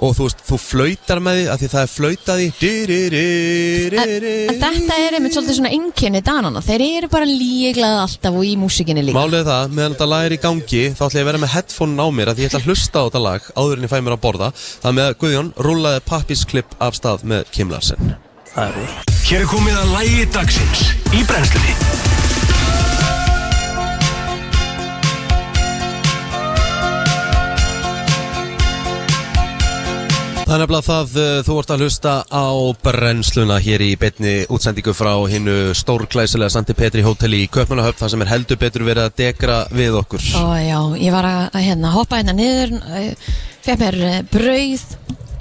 [SPEAKER 1] og þú veist, þú flautar með því að því það er flautaði
[SPEAKER 3] en, en þetta er einmitt svolítið svona einkenni danana Þeir eru bara líglega alltaf og í músikinni líka
[SPEAKER 1] Málið er það, meðan þetta lag er í gangi þá ætla ég að vera með headphone á mér að því ég ætla að hlusta á þetta lag áður en ég fæ mér að borða það með að Guðjón rúlaði pappisklipp af stað með Kim Larsen
[SPEAKER 5] Hér er komið að lægi dagsins í brennslunni
[SPEAKER 1] Það er nefnilega það, uh, þú ert að hlusta á brennsluna hér í betni útsendingu frá hinnu stórglæsilega Sandi Petri Hotel í Köpmanahöfn þar sem er heldur betur verið að degra við okkur
[SPEAKER 3] Ó já, ég var að, að hérna, hoppa hérna niður Fekk mér eh, brauð,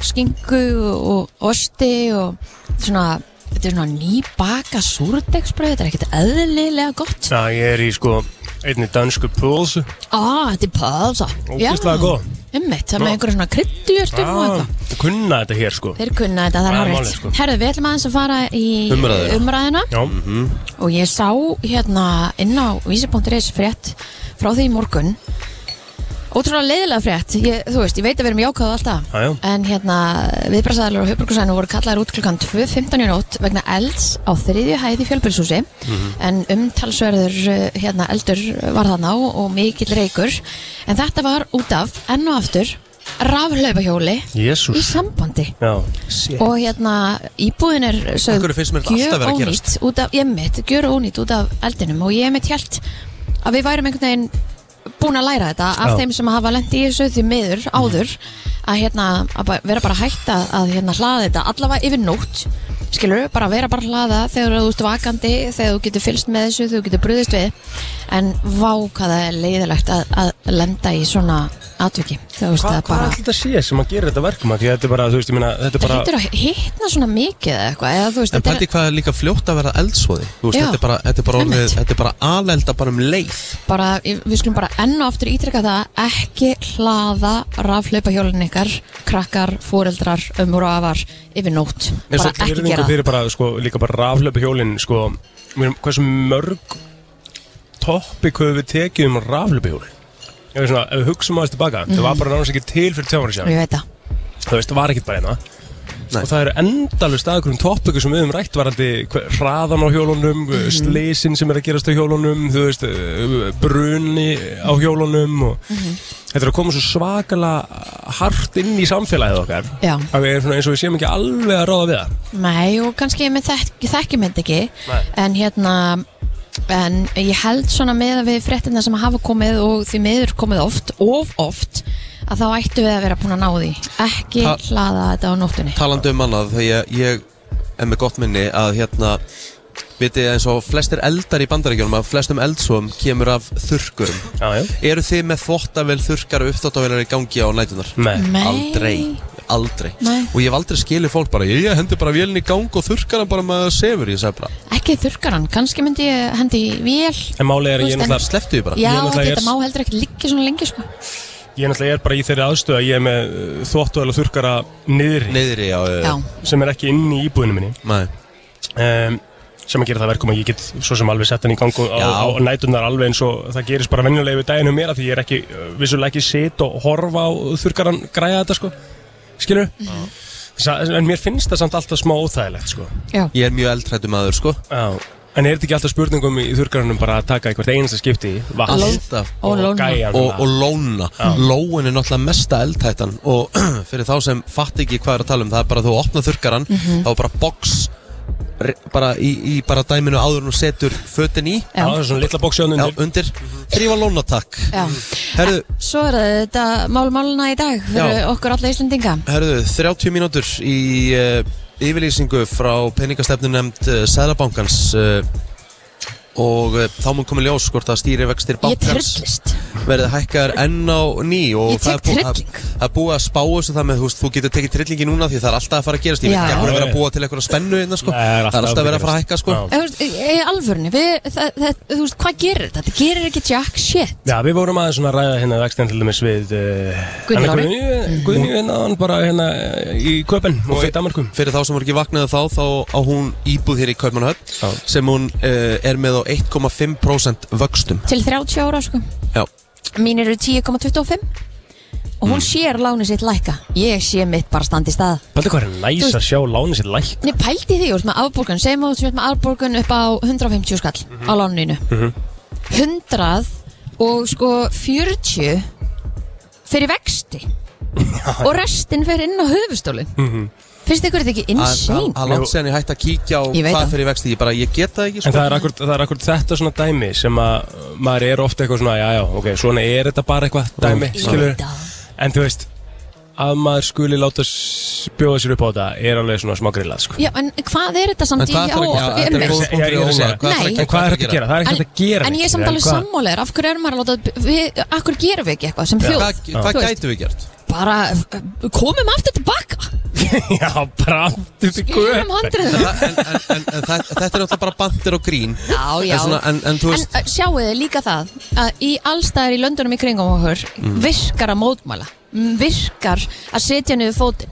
[SPEAKER 3] skingu og osti og svona Þetta er svona nýbaka súrdegsbrauð, þetta er ekkert eðlilega gott.
[SPEAKER 2] Já, ég er í sko einni dansku púls.
[SPEAKER 3] Á, þetta er pölsa.
[SPEAKER 2] Ógeðslega góð.
[SPEAKER 3] Ummitt, það er með einhverja svona kryddjörtum og eitthvað.
[SPEAKER 2] Ah, kunna þetta hér sko.
[SPEAKER 3] Þeir kunna þetta, það er
[SPEAKER 2] Það er
[SPEAKER 3] hárið
[SPEAKER 2] málið, sko.
[SPEAKER 3] Herðu, við ætlum aðeins að fara í
[SPEAKER 1] Umræðuna.
[SPEAKER 3] umræðina
[SPEAKER 2] Já,
[SPEAKER 3] og ég sá hérna inn á vísi.is frétt frá því í morgun Ótrúlega leiðilega frétt, ég, þú veist, ég veit að við erum jákvæðu alltaf
[SPEAKER 2] Já, já.
[SPEAKER 3] En hérna, viðbrasaðalar og höfbrukursæðinu voru kallaðar út klukkan 2.15 í nótt vegna elds á þriðju hæði fjölbyrðshúsi
[SPEAKER 2] Mhm.
[SPEAKER 3] En umtalsverður uh, hérna, eldur var þarna og, og mikill reykur En þetta var út af, enn og aftur, rafhlaupahjóli í
[SPEAKER 2] jésús.
[SPEAKER 3] sambandi
[SPEAKER 2] Já.
[SPEAKER 3] og hérna íbúðin er
[SPEAKER 1] Af hverju finnst mér þetta alltaf vera að
[SPEAKER 3] ónýtt
[SPEAKER 1] gerast?
[SPEAKER 3] út af, ég mitt, gjör ónýtt út af eldinum og ég mitt hjælt að við værum einhvern veginn búin að læra þetta af
[SPEAKER 2] Já.
[SPEAKER 3] þeim sem hafa lent í þessu því miður áður að hérna að ba- vera bara hægt að, að hérna hlaða þetta allavega yfir nótt skilur, bara vera bara að hlaða þegar þú ert vakandi, þegar þú getur fylst með þessu þú getur brúðist við en vá hvað það er leiðilegt að, að lenda í svona atviki þú veist
[SPEAKER 2] Hva,
[SPEAKER 3] það
[SPEAKER 2] hvað
[SPEAKER 3] bara
[SPEAKER 2] er þetta sé sem að gera þetta verkum að því að þetta er bara, þú veist, ég meina, þetta er
[SPEAKER 3] Það
[SPEAKER 2] bara
[SPEAKER 3] hittur að hitna svona mikið eða eitthvað eða þú veist,
[SPEAKER 1] En
[SPEAKER 3] þetta
[SPEAKER 1] pældi hvað er líka fljótt að vera eldsvoði Þú veist,
[SPEAKER 3] Já.
[SPEAKER 1] þetta er bara, þetta er bara, orðið,
[SPEAKER 3] Einmitt.
[SPEAKER 1] þetta er bara alelda bara um leið
[SPEAKER 3] er bara, við skulum bara enn og aftur ítreka það ekki hlaða rafhlaupahjólinn ykkar, krakkar, fóreldrar, ömur og afar yfir nótt
[SPEAKER 2] En
[SPEAKER 3] bara
[SPEAKER 2] svo
[SPEAKER 3] ekki
[SPEAKER 2] virðingu
[SPEAKER 3] gera það
[SPEAKER 2] fyrir bara, sko, líka bara raflöpu hjólinn, sko, mér, hversu mörg toppik höfum við tekið um raflöpu hjólinn? Ég veist svona, ef við hugsaum aðeins tilbaka, það var bara náttúrulega ekki til fyrir tjáfari sér,
[SPEAKER 3] Ég veit það,
[SPEAKER 2] þú veist, það var ekkert bara einna.
[SPEAKER 1] Nei.
[SPEAKER 2] Og það eru endalust að einhverjum toppiku sem við höfum rætt varandi hver- hraðan á hjólunum, mm
[SPEAKER 3] Mhm.
[SPEAKER 2] slisin sem er að gerast á hjólunum, þú veist, eh, bruni á hjólunum og
[SPEAKER 3] Mhm.
[SPEAKER 2] þetta er að koma svo svakalega hart inn í samfélagið okkar
[SPEAKER 3] Já.
[SPEAKER 2] að við erum svona eins og við séum ekki alveg að ráða við það.
[SPEAKER 3] nei og kannski ég þekki, þekki mynd ekki
[SPEAKER 2] Nei.
[SPEAKER 3] en hérna en ég held svona með að við fréttina sem hafa komið og því miður komið oft of oft að þá ættu við að vera búin að ná því ekki
[SPEAKER 1] Ta-
[SPEAKER 3] hlaða þetta á nóttunni
[SPEAKER 1] Talandi um annað, þegar ég, ég er með gott minni að hérna Vitið þið, eins og flestir eldar í bandaríkjónum að flestum eldsvoðum kemur af þurrkurum
[SPEAKER 2] Já, já.
[SPEAKER 1] Eru þið með þvottavél, þurrkar og uppþvottavélar í gangi á nætunar?
[SPEAKER 2] Nei.
[SPEAKER 3] Nei.
[SPEAKER 1] Aldrei aldrei
[SPEAKER 3] Nei.
[SPEAKER 1] Og ég hef aldrei skilið fólk bara Ég hendi bara vélinn í gang og þurrkar hann bara með að sefur Ég sagði bara,
[SPEAKER 3] Ekki þurrkar hann, kannski myndi ég hendi í vél
[SPEAKER 2] En málið er að ég
[SPEAKER 3] Þú veist,
[SPEAKER 2] náttúrulega
[SPEAKER 1] sleftu því bara
[SPEAKER 3] Já,
[SPEAKER 2] ég náttúrulega
[SPEAKER 3] þetta
[SPEAKER 2] er-
[SPEAKER 3] má heldur ekki liggja svona lengi sko.
[SPEAKER 2] Ég náttúrulega er bara í þeirri aðstöð að ég er með þvóttuvel og þurrkara niðri
[SPEAKER 1] Niðri á
[SPEAKER 3] Já,
[SPEAKER 2] sem er ekki inn í íbúðinu minni
[SPEAKER 1] Nei.
[SPEAKER 2] um, sem að gera það verkum að ég get svo sem alveg sett hann í gang og-
[SPEAKER 1] Já.
[SPEAKER 2] á, á nætunar alveg eins og það gerist bara venjulega við daginu mér að því ég er ekki uh, vissulega ekki sit og horfa á þurrkaran græja þetta sko skilur en mér finnst það samt alltaf smá óþægilegt sko
[SPEAKER 3] já,
[SPEAKER 1] Ég er mjög eldrættu maður sko
[SPEAKER 2] Já. en er þetta ekki alltaf spurningum í þurrkaranum bara að taka eitthvað einasta skipti vatn
[SPEAKER 1] Alltaf
[SPEAKER 3] og lóna.
[SPEAKER 2] gæjan
[SPEAKER 1] og, og
[SPEAKER 2] og,
[SPEAKER 1] lóna lóin er náttúrulega mesta eldhættan og fyrir þá sem fatt ekki hvað er að tala um það er bara að þú opna þurrkaran þá er bara box re- bara í, í bara dæminu áður en þú setur fötin í
[SPEAKER 2] Já, það er svona litla bóksjóðan
[SPEAKER 1] já,
[SPEAKER 2] undir
[SPEAKER 1] undir, þrýfa lóna takk
[SPEAKER 3] já
[SPEAKER 1] herðu,
[SPEAKER 3] Svo er það þetta málmáluna í dag fyrir okkur alla Íslendinga
[SPEAKER 1] herðu, 30 mínútur í uh, yfirlýsingu frá peningastefnu nefnd uh, Sæðabankans uh, og uh, þá mun komið ljós hvort að stýri vextir
[SPEAKER 3] Ég
[SPEAKER 1] bankans
[SPEAKER 3] trillist
[SPEAKER 1] verði hækkar enn á ný og
[SPEAKER 3] Ég
[SPEAKER 1] það er
[SPEAKER 3] tek
[SPEAKER 1] bú- að,
[SPEAKER 3] trilling.
[SPEAKER 1] að búið að spá þessu það með þú veist, þú getur tekið trillingi núna því það er alltaf að fara að gerast ég veit
[SPEAKER 3] Já.
[SPEAKER 1] ekki að vera að búa til eitthvað spennu innan, sko.
[SPEAKER 2] Nei, það er alltaf
[SPEAKER 1] það er alltaf að vera að fara að hækka sko.
[SPEAKER 2] Já.
[SPEAKER 3] Þú veist, í- í alvörni, við, það, það, þú veist, hvað gerir þetta? Þetta gerir ekki jack shit
[SPEAKER 2] Já, við vorum aðeins svona að ræða hérna vextin til dæmis við uh,
[SPEAKER 3] Guðni Mhm. Lári.
[SPEAKER 2] Guðni hérna, hann bara hérna eh, í Köpen og í Danmarkum
[SPEAKER 1] fyrir þá sem voru ekki vaknaði þá þá á hún íbúð hér í
[SPEAKER 2] Já.
[SPEAKER 1] Kaupmannahöfn sem hún uh, er með á 1,5% vöxtum
[SPEAKER 3] Til 30 ára, sko
[SPEAKER 1] Já.
[SPEAKER 3] Mín eru 10,25 Og hún
[SPEAKER 2] Mm.
[SPEAKER 3] sér láni sitt lækka Ég sé mitt bara standi í stað
[SPEAKER 2] Paldi hvað er næs
[SPEAKER 3] Þú-
[SPEAKER 2] að sjá láni sér læk
[SPEAKER 3] Nei, pældi því, þú veist, með afborgun Segjum að þú veist, með afborgun upp á 150 skall
[SPEAKER 2] Mhm.
[SPEAKER 3] Á láninu 100 og sko 40 Fyrir vexti Og restin fyrir inn á höfustólin
[SPEAKER 2] Mhm.
[SPEAKER 3] Finnst ykkur þetta ekki insane?
[SPEAKER 1] að langt séðan ég hætti að kíkja á
[SPEAKER 3] Ég veit
[SPEAKER 1] hvað
[SPEAKER 3] það.
[SPEAKER 1] fyrir vexti ég bara ég get það ekki
[SPEAKER 2] En
[SPEAKER 1] sko.
[SPEAKER 2] það er, akkur, það er akkur þetta svona dæmi sem að uh, maður er ofta eitthvað svona, já, já, ok, svona er þetta bara eitthvað
[SPEAKER 1] Mhm.
[SPEAKER 2] dæmi,
[SPEAKER 3] Ég
[SPEAKER 2] skilur
[SPEAKER 3] veit það.
[SPEAKER 2] En þú veist, að maður skuli láta s- bjóða sér upp á þetta er alveg svona smá grillað, sko
[SPEAKER 3] Já, en hvað er þetta samt
[SPEAKER 1] en hvað
[SPEAKER 3] í
[SPEAKER 1] þarf að
[SPEAKER 3] já,
[SPEAKER 1] gera þetta er
[SPEAKER 3] einmitt.
[SPEAKER 1] góð punktur
[SPEAKER 2] Ég
[SPEAKER 1] í
[SPEAKER 2] er að segja-
[SPEAKER 1] Óla. Hvað
[SPEAKER 3] Nei.
[SPEAKER 1] þarf
[SPEAKER 2] En hvað er þetta að gera? Það er ekki
[SPEAKER 3] En,
[SPEAKER 2] hægt að gera
[SPEAKER 3] en ég er
[SPEAKER 2] neitt,
[SPEAKER 3] samt
[SPEAKER 2] en
[SPEAKER 3] alveg
[SPEAKER 2] hvað-
[SPEAKER 3] sammálegar, af hverju er maður að láta, við, af hverju gerum við ekki eitthvað sem þjóð?
[SPEAKER 1] Hvað-
[SPEAKER 3] Þú
[SPEAKER 1] hvað
[SPEAKER 3] veist,
[SPEAKER 1] gætu við gert?
[SPEAKER 3] Bara uh, komum aftur tilbaka,
[SPEAKER 2] Já, bara, þú veist,
[SPEAKER 3] gerum handriðu.
[SPEAKER 1] en, en, en, en, en þa- þetta er náttúrulega bara bandir og grín
[SPEAKER 3] Já, já.
[SPEAKER 1] en, svona, en, en þú veist
[SPEAKER 3] uh, sjáu þið líka það að í allstæðar í löndunum í kringum okkur
[SPEAKER 1] Mm.
[SPEAKER 3] virkar að mótmæla, mm, virkar að setja niður fótinn.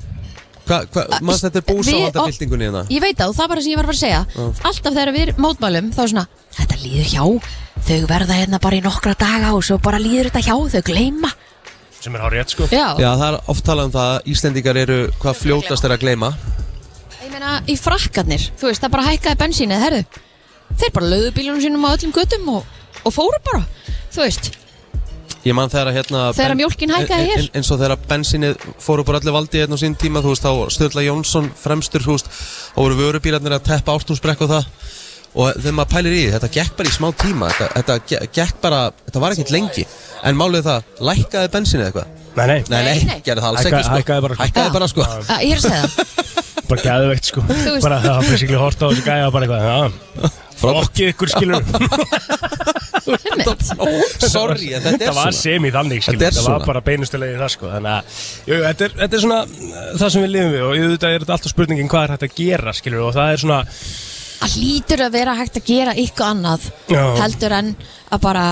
[SPEAKER 1] Hva, hva, maður þetta er búsáhanda byltingunni hérna
[SPEAKER 3] Ég veit það og það bara sem ég var að fara að segja Alltaf þegar við mótmælum þá er svona Þetta líður hjá, þau verða hérna bara í nokkra daga og svo bara líður þetta hjá, þau gleyma
[SPEAKER 2] Sem er hár rétt, sko
[SPEAKER 3] Já,
[SPEAKER 1] Já, það er oft talað um það að Íslendingar eru hvað fljótast er að gleyma
[SPEAKER 3] ég meina í frakkarnir, þú veist það bara hækkaði bensínið, herðu Þeir bara löðu bílunum sínum á öllum göttum og, og fóru bara, þú veist
[SPEAKER 1] Ég man þegar að hérna
[SPEAKER 3] Þegar
[SPEAKER 1] ben-
[SPEAKER 3] mjólkin hækkaði
[SPEAKER 1] en- en-
[SPEAKER 3] hér.
[SPEAKER 1] en- Eins og þegar að bensinið fór upp úr allir valdi hérna á sín tíma Þú veist, þá Sturla Jónsson fremstur Þú veist, þá voru vörubílarnir að teppa ástúnsbrekk og það Og þegar maður pælir í því, þetta gekk bara í smá tíma Þetta, þetta ge- gekk bara, þetta var ekkert lengi En málið er það, lækkaði bensinið eitthvað?
[SPEAKER 2] Nei, nei,
[SPEAKER 1] Nei, nei,
[SPEAKER 3] Nei, nei.
[SPEAKER 1] gerði það alls
[SPEAKER 2] Hækkaði-
[SPEAKER 1] ekki sko.
[SPEAKER 2] hækkaði bara, sko.
[SPEAKER 1] Hækkaði bara, sko.
[SPEAKER 3] að, Ég er að segja það,
[SPEAKER 2] bara gæðveikt, sko
[SPEAKER 3] veist-
[SPEAKER 2] Bara það var basically hort á þessu gæja og bara eitthvað, já
[SPEAKER 1] Frábært.
[SPEAKER 2] Okkið ykkur, skilur
[SPEAKER 3] hemmið
[SPEAKER 1] Sorry, en þetta er
[SPEAKER 2] það var
[SPEAKER 1] svona
[SPEAKER 2] sem í þannig skilur,
[SPEAKER 1] Þetta er
[SPEAKER 2] þetta var
[SPEAKER 1] svona.
[SPEAKER 2] bara beinustilegið það sko þannig að jú, þetta, er, þetta er svona uh, það sem við lifum við og auðvitað er þetta alltaf spurningin hvað er hægt að gera skilur og það er svona
[SPEAKER 3] Að hlýtur að vera hægt að gera eitthvað annað
[SPEAKER 2] Já.
[SPEAKER 3] heldur en að bara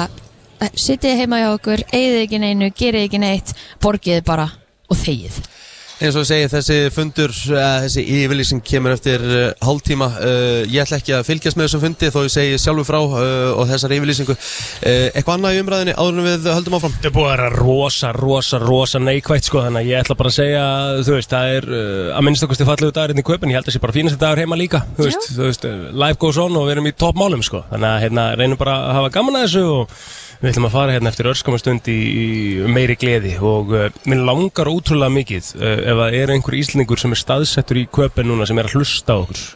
[SPEAKER 3] eh, sitið heima hjá okkur, eigið ekki neinu, gerið ekki neitt borgið bara og þegið
[SPEAKER 1] eins og ég segi þessi fundur eða þessi yfirlýsing kemur eftir uh, hálftíma, uh, ég ætla ekki að fylgjast með þessum fundi þó ég segi sjálfur frá uh, og þessar yfirlýsingu uh, eitthvað annað í umræðinni áður en við höldum áfram
[SPEAKER 2] þetta er búið að vera rosa, rosa, rosa neikvægt sko þannig að ég ætla bara að segja þú veist, það er uh, að minnst okkur fallegu dagur inn í köpun, ég held að sé bara fínast dagur heima líka þú veist, þú veist, uh, life goes on og við erum í toppmálum sko þannig að hérna, reynum bara að hafa gaman að þessu og við ætlum að fara hérna eftir örskama stund í, í meiri gleði og uh, mér langar ótrúlega eh, mikið uh, ef það er einhver íslendingur sem er staðsettur í köpun núna sem er að hlusta á okkur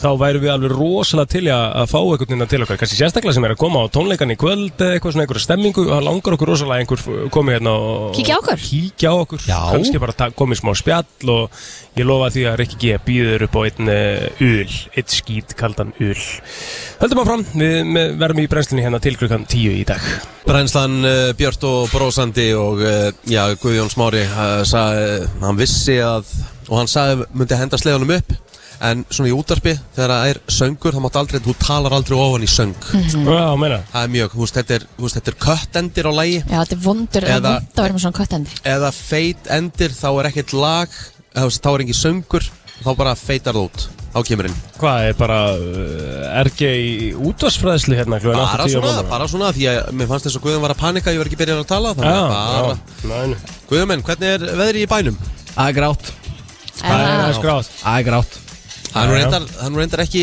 [SPEAKER 2] þá værum við alveg rosalega til í að, að fá einhvern veginn til okkar, kannski sérstaklega sem er að koma á tónleikan í kvöld eða eitthvað svona einhverja stemmingu og það langar okkur rosalega að einhver komið hérna og
[SPEAKER 3] Kíkja á okkur.
[SPEAKER 2] kíkja á okkur,
[SPEAKER 1] Já.
[SPEAKER 2] kannski bara ta- komið smá spjall og ég lofa því að Rikki G býður upp á einn eh, ul, einn skýt kaldan ul höldum áfram, við með- verðum í brennslunni hérna til klukkan 10 í dag
[SPEAKER 1] Brænslan uh, Björn og brósandi og uh, já, Guðjón Smári uh, sa, uh, hann vissi að og hann sagði myndi henda sleðunum upp en svona í útarpi þegar það er söngur þá máttu aldrei, þú talar aldrei ofan í söng
[SPEAKER 2] Mhm.
[SPEAKER 1] Sko.
[SPEAKER 2] Já, meina
[SPEAKER 1] það er mjög, þú veist, þetta er, þú veist, þetta er köttendir á lægi
[SPEAKER 3] Já, þetta er vondur, það er
[SPEAKER 1] Eða-
[SPEAKER 3] vond að vera með svona köttendi
[SPEAKER 1] eða feit endir þá er ekkert lag eða, þú veist, þá er engin söngur þá bara feitar það út á kemurinn
[SPEAKER 2] Hvað er bara uh, RG í útvarsfræðslu hérna klukkan 8:10
[SPEAKER 1] bara
[SPEAKER 2] á
[SPEAKER 1] svona,
[SPEAKER 2] morgnana?
[SPEAKER 1] bara svona því að mér fannst þess að Guðjón var að panika ég var ekki byrjað að tala þannig að bara
[SPEAKER 2] Já, já, næ, næ.
[SPEAKER 1] Guðjón minn, hvernig er veðri í bænum?
[SPEAKER 8] Það er grátt
[SPEAKER 2] Það er aðeins grátt
[SPEAKER 8] Það er grátt
[SPEAKER 1] Það er nú
[SPEAKER 2] Já, já.
[SPEAKER 1] reyndar, það er nú reyndar ekki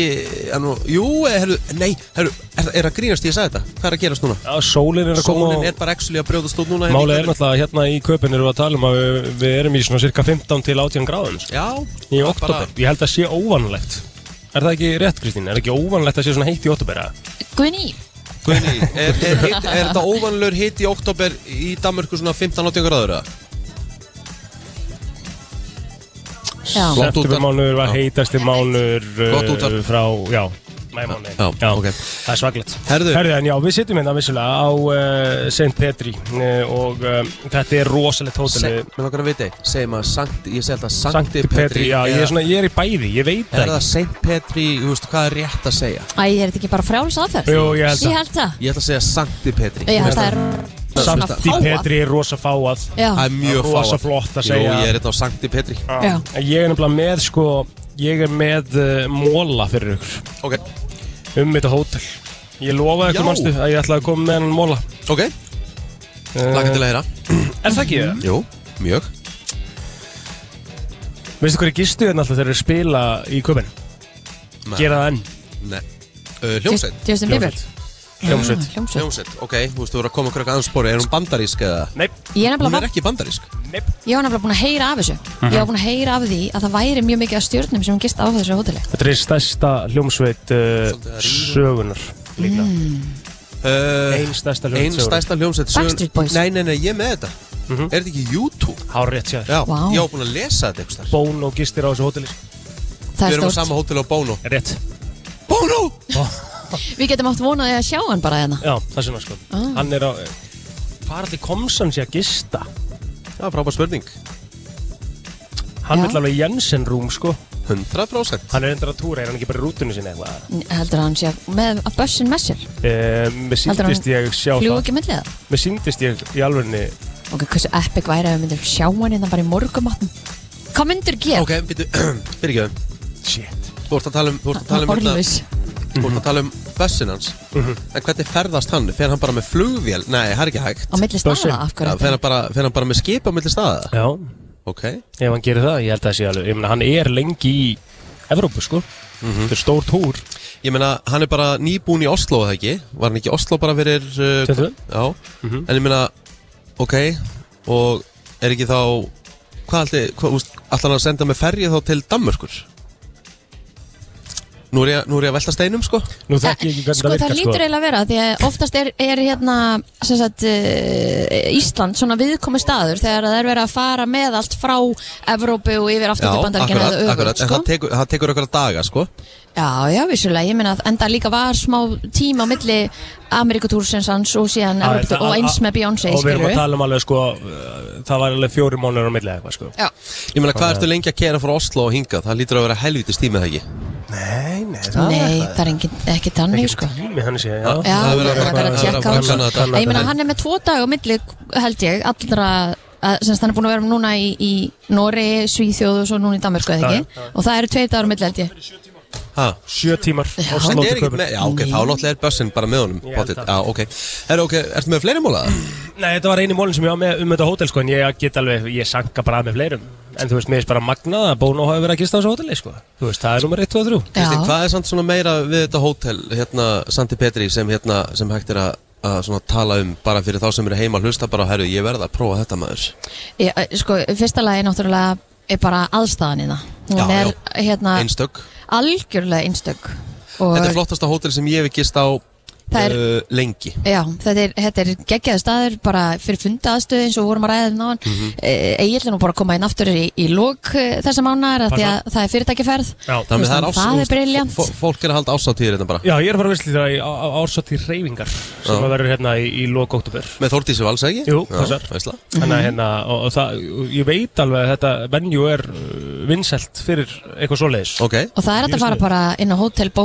[SPEAKER 1] hann nú, Jú, herru, nei, herru, er, er að grínast ég að segja þetta? Hvað er að gerast núna?
[SPEAKER 2] Já, sólin er að koma
[SPEAKER 1] Sólinn
[SPEAKER 2] og
[SPEAKER 1] er bara actually að brjóðast út núna hérna í
[SPEAKER 2] Málið er
[SPEAKER 1] kvöld.
[SPEAKER 2] náttúrulega að hérna í köpinn erum við að tala um að við, við erum í svona cirka 15 til 18 gráðum sko,
[SPEAKER 1] Já,
[SPEAKER 2] í
[SPEAKER 1] það er
[SPEAKER 2] oktober Ég held að sé óvanlegt Er það ekki rétt Kristín? Er ekki óvanlegt að sé svona heitt í oktober? eða?
[SPEAKER 3] Guðni,
[SPEAKER 1] bara- Guðný, er, er, er, er þetta óvanlur hitt í oktober í Danmörku svona 15-18 gráður? eða?
[SPEAKER 3] já,
[SPEAKER 1] Flott útvarp.
[SPEAKER 2] Septembermánur var
[SPEAKER 1] Já.
[SPEAKER 2] heitasti uh, mánur
[SPEAKER 1] Gott útvarp.
[SPEAKER 2] frá, já Mæmánu,
[SPEAKER 1] Já, ok.
[SPEAKER 2] það er svaglegt
[SPEAKER 1] Herðu.
[SPEAKER 2] en já, við sittum hérna vissulega á uh, St. Petri uh, og uh, þetta er rosalegt
[SPEAKER 1] Se,
[SPEAKER 2] hótel
[SPEAKER 1] Mér langar að vita, segjum að Sankt, ég segi alltaf
[SPEAKER 2] Sankti
[SPEAKER 1] Sankti
[SPEAKER 2] Petri, já, ég er svona, ég er í bæði, ég veit
[SPEAKER 1] Er
[SPEAKER 2] það
[SPEAKER 1] það Sankt Petri, þú veist, hvað er rétt að segja?
[SPEAKER 3] æ, er þetta ekki bara frjáls aðferð?
[SPEAKER 2] Jú, ég held það.
[SPEAKER 3] Ég held það,
[SPEAKER 1] Ég ætla að segja Sankti Petri
[SPEAKER 3] ég held það er
[SPEAKER 2] ekki Sankti
[SPEAKER 3] Fáað.
[SPEAKER 2] Petri er rosa fáað
[SPEAKER 3] Já,
[SPEAKER 1] Það er mjög
[SPEAKER 2] Það er rosa flott að segja.
[SPEAKER 1] Jú, ég er þetta á Sankti Petri
[SPEAKER 3] já,
[SPEAKER 2] En Ég er nefnilega með, sko, ég er með uh, móla fyrir ykkur
[SPEAKER 1] Ok,
[SPEAKER 2] um þetta hótel Ég lofaði
[SPEAKER 1] Já.
[SPEAKER 2] ykkur mannstu að ég ætlaði að koma með hennan móla
[SPEAKER 1] ok, lakka til að heyra Mhm.
[SPEAKER 2] Er það ekki það?
[SPEAKER 1] Jú, mjög
[SPEAKER 2] Veistu hverju gistu hérna alltaf þegar þeir spila í köpinn?
[SPEAKER 1] Nei.
[SPEAKER 2] Gera það enn
[SPEAKER 1] Nei, uh, hljómsveit
[SPEAKER 3] Just- Justin Bieber
[SPEAKER 2] Hljómsveit
[SPEAKER 3] Já, Hljómsveit
[SPEAKER 1] Hljómsveit, ok, þú veist, þú voru að koma okkur eitthvað anspori, er hún bandarísk eða?
[SPEAKER 2] Nei,
[SPEAKER 3] Ég er
[SPEAKER 1] Hún
[SPEAKER 3] nefnilega
[SPEAKER 1] er ekki bandarísk
[SPEAKER 3] Ég var nefnilega búin að heyra af þessu
[SPEAKER 2] Mhm.
[SPEAKER 3] Ég var búin að heyra af því að það væri mjög mikið af stjórnum sem gist á þessu hóteli
[SPEAKER 2] þetta er stærsta hljómsveit uh, sögunar líka
[SPEAKER 3] Mm.
[SPEAKER 1] uh,
[SPEAKER 2] Einn stærsta
[SPEAKER 1] Einn
[SPEAKER 2] hljómsveit sögunar
[SPEAKER 1] stærsta hljómsveit sögun-
[SPEAKER 3] Backstreet Boys.
[SPEAKER 1] Nei, nei, nei, ég er með þetta
[SPEAKER 2] Mhm.
[SPEAKER 1] Er þetta ekki YouTube?
[SPEAKER 2] Hár rétt sér
[SPEAKER 1] Já,
[SPEAKER 3] Vá.
[SPEAKER 1] ég var búin að lesa þetta einhvers þar
[SPEAKER 2] Bón og gistir á þessu hóteli
[SPEAKER 3] Það
[SPEAKER 1] Við
[SPEAKER 3] er
[SPEAKER 1] erum á
[SPEAKER 3] stórt
[SPEAKER 1] sama hótel á Bono
[SPEAKER 2] Rétt
[SPEAKER 1] Bono!
[SPEAKER 3] Við getum átt vonaði að sjá hann bara hérna
[SPEAKER 2] Já, það sem að sko
[SPEAKER 3] Ah.
[SPEAKER 2] Hann er á Hvað er allir komsan sér að gista?
[SPEAKER 1] Það er frábær spurning
[SPEAKER 2] Hann
[SPEAKER 3] Já.
[SPEAKER 2] vil alveg í Jensen rúm sko
[SPEAKER 1] 100%
[SPEAKER 2] Hann er endur að túra, er hann ekki bara í rútunni sinni eitthvað?
[SPEAKER 3] Heldur hann sé með að bössin með sér
[SPEAKER 2] Eh, Mér
[SPEAKER 3] Heldur
[SPEAKER 2] síndist ég sjá
[SPEAKER 3] Fljú
[SPEAKER 2] það
[SPEAKER 3] ekki millið það
[SPEAKER 2] Mér síndist ég í alvegni
[SPEAKER 3] Ok, hversu epic væri að við myndum sjá hann hérna bara í morgumatn Hvað myndur gera?
[SPEAKER 1] Ok, býttu, fyrirgjöðum
[SPEAKER 2] Shit
[SPEAKER 1] Þú ert að tala um, þú ert að tala um hérna-
[SPEAKER 3] Orlaus
[SPEAKER 1] Þú ert að tala um bussin hans
[SPEAKER 2] Mhm.
[SPEAKER 1] En hvernig ferðast hann? Fer hann bara með flugvél? Nei, það er ekki hægt
[SPEAKER 3] Á milli
[SPEAKER 2] Bössin.
[SPEAKER 3] staða, af hverju
[SPEAKER 1] Ja, Fer
[SPEAKER 3] þetta?
[SPEAKER 1] hann bara, fer hann bara með skip á milli staða?
[SPEAKER 2] Já,
[SPEAKER 1] Ok,
[SPEAKER 2] ef hann gerir það, ég held að það sé alveg Ég meina, hann er lengi í Evrópu sko Þetta er stór túr
[SPEAKER 1] Mhm. ég meina, hann er bara nýbúin í Oslo, eða ekki? Var hann ekki í Oslo bara fyrir... Uh,
[SPEAKER 2] Sjöttu?
[SPEAKER 1] Já,
[SPEAKER 2] Mhm.
[SPEAKER 1] en ég meina, ok, og er ekki þá, hvað alltaf, hvað, úst, alltaf hann að senda með ferju þá til Danmörkur? Nú er ég, nú er ég að velta steinum, sko.
[SPEAKER 2] Nú þekki ég ekki hvernig
[SPEAKER 3] Sko
[SPEAKER 2] það
[SPEAKER 3] það
[SPEAKER 2] virkar sko
[SPEAKER 3] lítur eiginlega að vera því að oftast er, er hérna sem sagt, uh, Ísland svona viðkomi staður þegar það er verið að fara með allt frá Evrópu og yfir aftur til bandaríkina
[SPEAKER 1] akkurat, akkurat, en
[SPEAKER 3] sko.
[SPEAKER 1] það tekur, það tekur okkur daga, sko.
[SPEAKER 3] Já, já, vissulega, ég meina að enda líka var smá tíma á milli Amerikatúrsins hans og síðan
[SPEAKER 2] Það er
[SPEAKER 3] Evrópu
[SPEAKER 2] það-
[SPEAKER 3] og eins með Beyoncé
[SPEAKER 2] Og við erum
[SPEAKER 3] skilurðu.
[SPEAKER 2] að tala um alveg sko uh, Það var alveg fjóri mánuður á milli eða eitthvað sko
[SPEAKER 3] Já,
[SPEAKER 1] Ég meina, hvað ertu lengi að kera frá Oslo og hinga? Það lítur að vera helvítist tímið, ekki?
[SPEAKER 2] Nei, nei,
[SPEAKER 3] nei, það er engin, ekki tannig sko
[SPEAKER 2] Tími hann sé, já
[SPEAKER 3] Já,
[SPEAKER 1] Það er
[SPEAKER 3] það
[SPEAKER 1] verið að-
[SPEAKER 3] er verið að
[SPEAKER 1] það er verið að
[SPEAKER 3] tjekka á
[SPEAKER 1] kanna
[SPEAKER 3] þessu.
[SPEAKER 1] þetta.
[SPEAKER 3] Ég meina, hann er með tvo dag á milli, held ég, allra að- sem sagt, hann er búin að vera núna í, í Nóri, Svíþjóð og svo núna í Danmarku eða
[SPEAKER 2] Já,
[SPEAKER 3] ekki, og það eru tveir dagar á milli held ég
[SPEAKER 1] Ha?
[SPEAKER 2] Sjö tímar
[SPEAKER 1] Hann
[SPEAKER 2] Oslo til
[SPEAKER 1] er ekki
[SPEAKER 2] Köpen.
[SPEAKER 1] með, já ok, þá náttúrulega er bussin bara með honum
[SPEAKER 2] Ég held
[SPEAKER 1] pottit,
[SPEAKER 2] það.
[SPEAKER 1] já ok Herra ok, ertu með fleiri mólaða?
[SPEAKER 2] Nei, þetta var eini mólin sem ég var með um þetta hótel sko, en ég get alveg, ég sanka bara að með fleirum en þú veist, mér er bara magnað að Bóno hafi verið að gista á þessu hóteli sko. þú veist, það er nummer 1, 2 og 3
[SPEAKER 1] Kristín,
[SPEAKER 3] Já,
[SPEAKER 1] hvað er samt svona meira við þetta hótel, hérna, Santi Petri sem hérna, sem hægt er að, að svona tala um bara
[SPEAKER 3] eh,
[SPEAKER 1] fyrir þá sem eru heima að hlusta bara, herru, ég verða að prófa þetta maður
[SPEAKER 3] ég, sko, fyrsta lagi náttúrulega er bara aðstæðan í það. Hún
[SPEAKER 1] Já,
[SPEAKER 3] er hérna
[SPEAKER 1] einstök
[SPEAKER 3] algjörlega einstök. Og
[SPEAKER 1] Þetta er flottasta hótel sem ég hef gist á
[SPEAKER 3] Það er-
[SPEAKER 1] uh, lengi
[SPEAKER 3] Já, þetta er, þetta er geggjaði staður bara fyrir fundaaðstöð eins og við vorum að ræða um náðan mm
[SPEAKER 1] Mhm.
[SPEAKER 3] -hmm. Egil er nú bara að koma inn aftur í, í lók þessa mánar að því að það er fyrirtækifærð
[SPEAKER 2] Já.
[SPEAKER 3] Þú veist, þannig það er briljant
[SPEAKER 1] fó- Fólk er að halda ásáttíðir þetta bara
[SPEAKER 2] Já, ég er að fara að vissla þetta í á- á- árshátíð hreyfingar sem
[SPEAKER 1] Já.
[SPEAKER 2] að verður hérna í, í lok oktober
[SPEAKER 1] Með Þórdísi Vals, ekki?
[SPEAKER 2] Jú,
[SPEAKER 1] Já,
[SPEAKER 2] passar.
[SPEAKER 1] veistla.
[SPEAKER 2] Þannig að hérna, og, og það, og ég veit alveg að þetta venju er uh, vinsælt fyrir eitthvað svoleiðis
[SPEAKER 1] Ok,
[SPEAKER 3] og það er hægt að fara bara inn á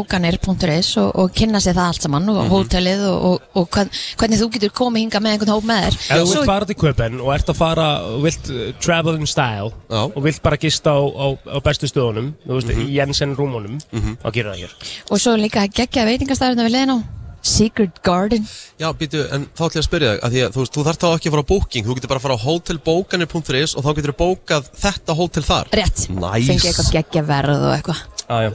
[SPEAKER 3] hotelbókanir.is og, og kynna sér það allt saman
[SPEAKER 2] Mhm.
[SPEAKER 3] og hótelið og, og, og hvern, hvernig þú getur komið hingað með einhvern hóp með þér
[SPEAKER 2] Ef þú
[SPEAKER 3] Svo-
[SPEAKER 2] vilt fara til Köpen og ert að fara og vilt uh, travel in style
[SPEAKER 1] Já. Mhm.
[SPEAKER 2] og vilt bara gista á, á, á bestu stöðunum þú veist, í Jensen rúmunum þá gerir það hér
[SPEAKER 3] og svo er líka geggjaði veitingastæðurna við leiðin á Secret Garden
[SPEAKER 1] já, býtu, en þá ætlum ég að spyrja þig að því að þú, veist, þú þarf þá ekki að fara á booking þú getur bara að fara á hotelbókanir.is og þá getur þú bókað þetta hótel þar
[SPEAKER 3] rétt,
[SPEAKER 1] Nice.
[SPEAKER 3] fengi eitthvað geggja verð og eitthvað
[SPEAKER 2] ah,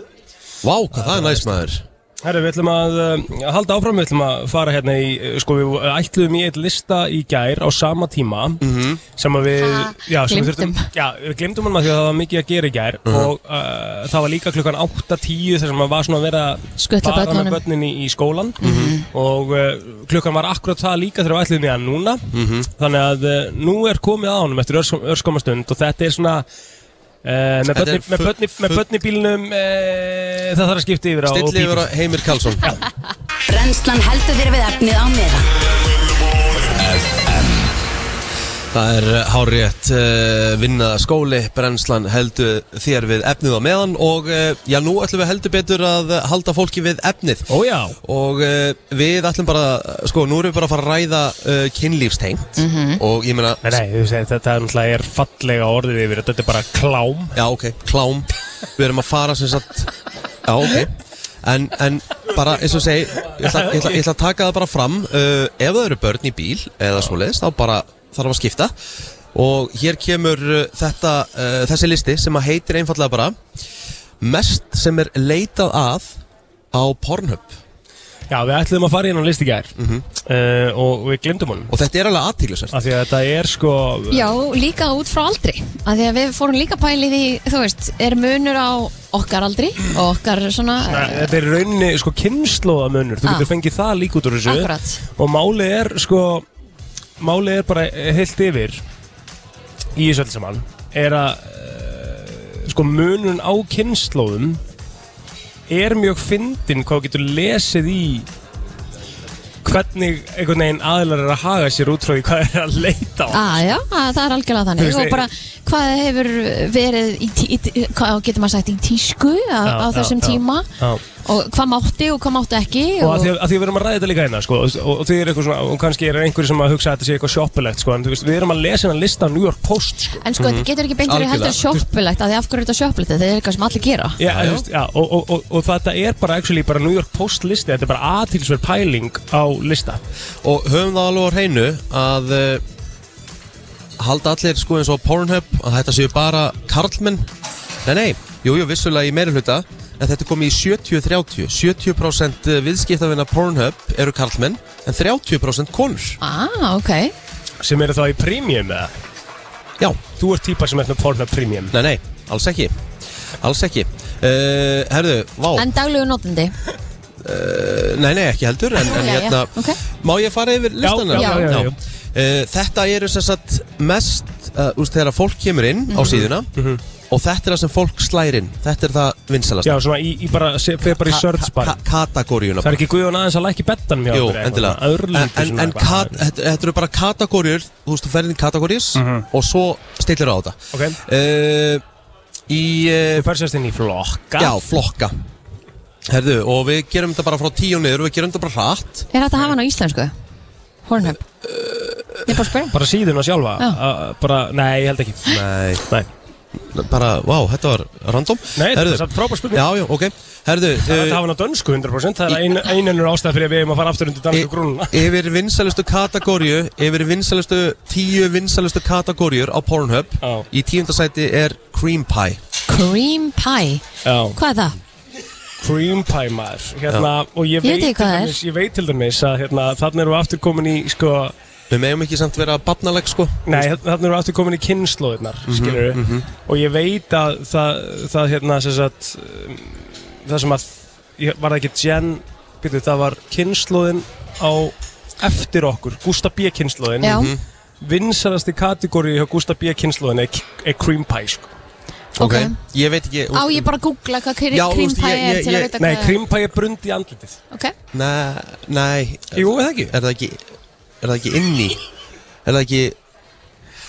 [SPEAKER 1] Vá, hvað það er næs maður
[SPEAKER 2] Herru, við ætlum að uh, halda áfram, við ætlum að fara hérna í, uh, sko við uh, ætluðum í eitt lista í gær á sama tíma
[SPEAKER 1] Mhm.
[SPEAKER 2] sem að við,
[SPEAKER 3] Ha,
[SPEAKER 2] já, sem
[SPEAKER 3] gleymdum.
[SPEAKER 2] við þurftum, já, við glemdum hann að því að það var mikið að gera í gær
[SPEAKER 1] Mhm.
[SPEAKER 2] og uh, það var líka klukkan 8.10 þar sem að var svona að vera að
[SPEAKER 3] Skutla
[SPEAKER 2] fara með
[SPEAKER 3] börnunum.
[SPEAKER 2] börnin í, í skólan
[SPEAKER 1] Mhm.
[SPEAKER 2] og uh, klukkan var akkurat það líka þegar við ætluðum í hann núna
[SPEAKER 1] Mhm.
[SPEAKER 2] þannig að uh, nú er komið á honum eftir örskom- örskommastund og þetta er svona Uh, með
[SPEAKER 1] Þetta er
[SPEAKER 2] börni- með
[SPEAKER 1] full-
[SPEAKER 2] börni- með
[SPEAKER 1] full-
[SPEAKER 2] börnibílnum uh, það þarf að skipta yfir á
[SPEAKER 1] Stilli
[SPEAKER 2] bíbí.
[SPEAKER 1] yfir að Heimir Karlsson
[SPEAKER 4] Brennslan heldur þér við efnið á meðan
[SPEAKER 1] Það er uh, hárétt uh, vinna skóli, brennslan heldur þér við efnið á meðan og uh, já, nú ætlum við heldur betur að uh, halda fólki við efnið
[SPEAKER 2] Ó já
[SPEAKER 1] og uh, við ætlum bara, sko, nú erum við bara að fara að ræða uh, kynlífstengt og ég meina,
[SPEAKER 2] Nei, nei, þú segir þetta er náttúrulega er fallega orðið yfir þetta er bara klám
[SPEAKER 1] já, ok, klám, við erum að fara sem sagt, já, ok, en, en bara, eins og segi, ég ætla, ég ætla, ég ætla að taka það bara fram, uh, ef það eru börn í bíl eða svoleiðis, þá bara þarf að skipta og hér kemur uh, þetta, uh, þessi listi sem að heitir einfallega bara mest sem er leitað að á Pornhub
[SPEAKER 2] Já, við ætlum að fara inn á listi gær mm og við glemdum honum
[SPEAKER 1] Mhm. og þetta er alveg aðtíklusvært
[SPEAKER 2] af því að þetta er sko
[SPEAKER 3] Já, líka út frá aldri að því að við fórum líka pælið í, þú veist er munur á okkar aldri og okkar svona
[SPEAKER 2] Nei, Þetta er í rauninni sko kynnslóðamunur Þú
[SPEAKER 3] Ah.
[SPEAKER 2] getur fengið það líka út úr þessu
[SPEAKER 3] Akkurat.
[SPEAKER 2] Og málið er sko Málið er bara heilt yfir Í þessu öll saman Er að eh, Sko munun á kynnslóðum Er mjög fyndin Hvað þú getur lesið í Hvernig einhvern veginn aðlar er að haga sér út frá því hvað er að leita á
[SPEAKER 3] Á, Ah, já, að, það er algjörlega
[SPEAKER 2] Þú
[SPEAKER 3] þannig
[SPEAKER 2] veist,
[SPEAKER 3] og bara hvað hefur verið í, tí- í, tí- hvað getur maður sagt í tísku á,
[SPEAKER 2] Já,
[SPEAKER 3] á
[SPEAKER 2] já,
[SPEAKER 3] þessum
[SPEAKER 2] já,
[SPEAKER 3] tíma
[SPEAKER 2] já.
[SPEAKER 3] og hvað mátti og hvað mátti ekki
[SPEAKER 2] og að því að, að því að við erum að ræða þetta líka hérna sko, og, og, og því er eitthvað svona, og kannski er einhverju sem að hugsa að þetta sé eitthvað shoppilegt sko, en þú veist, við erum að lesa hennan lista á New York Post sko.
[SPEAKER 3] en sko, þetta getur ekki beint verið
[SPEAKER 1] Mhm. Algjörlega.
[SPEAKER 3] heldur sjoppilegt að því af hverju er þetta sjoppilegt, þetta er eitthvað sem allir gera
[SPEAKER 2] Já, þú veist, já, og, og, og, og þetta er bara, actually, bara New York Post listi, þetta er bara aðtilsverð pæling á lista
[SPEAKER 1] og höfum það alveg á hreinu að uh, halda allir sko eins og Pornhub að þetta séu bara karlmenn nei nei, jú, jú, vissulega í meiri hluta en þetta er komið í 70-30 70% uh, viðskiptavina Pornhub eru karlmenn en 30% konur
[SPEAKER 3] Ah, ok,
[SPEAKER 2] sem eru þá í premium eða
[SPEAKER 1] já,
[SPEAKER 2] þú ert típa sem ert með porna premium
[SPEAKER 1] nei nei, alls ekki alls ekki uh, herðu, vá, Uh,
[SPEAKER 3] en daglegu notandi
[SPEAKER 1] nei nei, ekki heldur en, en
[SPEAKER 3] Já, já,
[SPEAKER 1] hérna,
[SPEAKER 3] ok.
[SPEAKER 1] má ég fara yfir listana?
[SPEAKER 2] já, já, já, já.
[SPEAKER 1] Eh, þetta eru sem sagt mest uh, úst, þegar fólk kemur inn á
[SPEAKER 3] Mhm.
[SPEAKER 1] síðuna og þetta er það sem fólk slærir inn þetta er það vinsalast
[SPEAKER 2] Mhm. já, svona, í, í bara, se- fer bara í search bar
[SPEAKER 1] kategóriuna
[SPEAKER 2] það er ekki guðun aðeins að lækki bettan mjög
[SPEAKER 1] Jú, endilega En, en, en kat, þetta, þetta eru bara kategóriur Þú veist, þú ferðin kategórís Og svo stillir á þetta
[SPEAKER 2] Mhm. Ok.
[SPEAKER 1] Eh, Í uh,
[SPEAKER 2] þú fær sérst inn í flokka
[SPEAKER 1] Já, flokka Herðu, og við gerum þetta bara frá tíu niður Við gerum þetta bara hratt
[SPEAKER 3] er þetta að hafa hann á íslensku? Hornhub
[SPEAKER 1] Eh,
[SPEAKER 3] Ég er bara að spyrja
[SPEAKER 2] bara síðuna sjálfa
[SPEAKER 3] Já.
[SPEAKER 2] uh, bara, nei, ég held ekki
[SPEAKER 1] Nei
[SPEAKER 2] nei.
[SPEAKER 1] Bara, vá, þetta var random
[SPEAKER 2] Nei, þetta
[SPEAKER 1] Herðu,
[SPEAKER 2] er samt frábær spurning.
[SPEAKER 1] Já, já, ok Herðu
[SPEAKER 2] Það er
[SPEAKER 1] eh,
[SPEAKER 2] hægt að hafa hann á dönsku 100% Það er ein, einanur ástæð fyrir að við hefum að fara aftur undir
[SPEAKER 1] Y-
[SPEAKER 2] dansku grúnuna
[SPEAKER 1] Yfir vinsælustu kategóriu Yfir vinsælustu Tíu vinsælustu kategóriur á Pornhub
[SPEAKER 2] Já.
[SPEAKER 1] Í tíundasæti er Cream Pie
[SPEAKER 3] Cream pie,
[SPEAKER 2] Já,
[SPEAKER 3] hvað er það?
[SPEAKER 2] cream pie maður hérna, Og ég
[SPEAKER 3] Ég veit
[SPEAKER 2] veit,
[SPEAKER 3] ekki
[SPEAKER 2] til
[SPEAKER 3] hvað það er.
[SPEAKER 2] dæmis, ég veit til dæmis að hérna, þannig erum við aftur komin í sko,
[SPEAKER 1] Við megum ekki samt vera barnaleg sko Mhm,
[SPEAKER 2] Nei, þa- þarna erum við aftur komin í kynnslóðirnar, mm skilur við Og ég veit að það, það hérna, sem sagt um, Það sem að, ég- var það ekki Gen, byrju, það var kynnslóðin á eftir okkur, Gústa B. kynnslóðin
[SPEAKER 3] Já,
[SPEAKER 1] Mhm.
[SPEAKER 2] Vinsalasti kategóri hjá Gústa B. kynnslóðin er, er cream pie, sko
[SPEAKER 3] ok
[SPEAKER 1] Ég veit ekki
[SPEAKER 3] Á ég bara að googla hvað
[SPEAKER 1] Já,
[SPEAKER 3] krim-
[SPEAKER 1] þú veist,
[SPEAKER 3] krimpæ
[SPEAKER 1] ég-
[SPEAKER 3] er
[SPEAKER 1] ég-
[SPEAKER 3] til að
[SPEAKER 1] ég-
[SPEAKER 3] vita
[SPEAKER 2] Nei,
[SPEAKER 3] hvað
[SPEAKER 2] cream pie er brund í andlitið
[SPEAKER 3] Ok,
[SPEAKER 1] Nei, nei
[SPEAKER 2] Jú, er það ekki?
[SPEAKER 1] Er það ekki Er það ekki inni? Er það ekki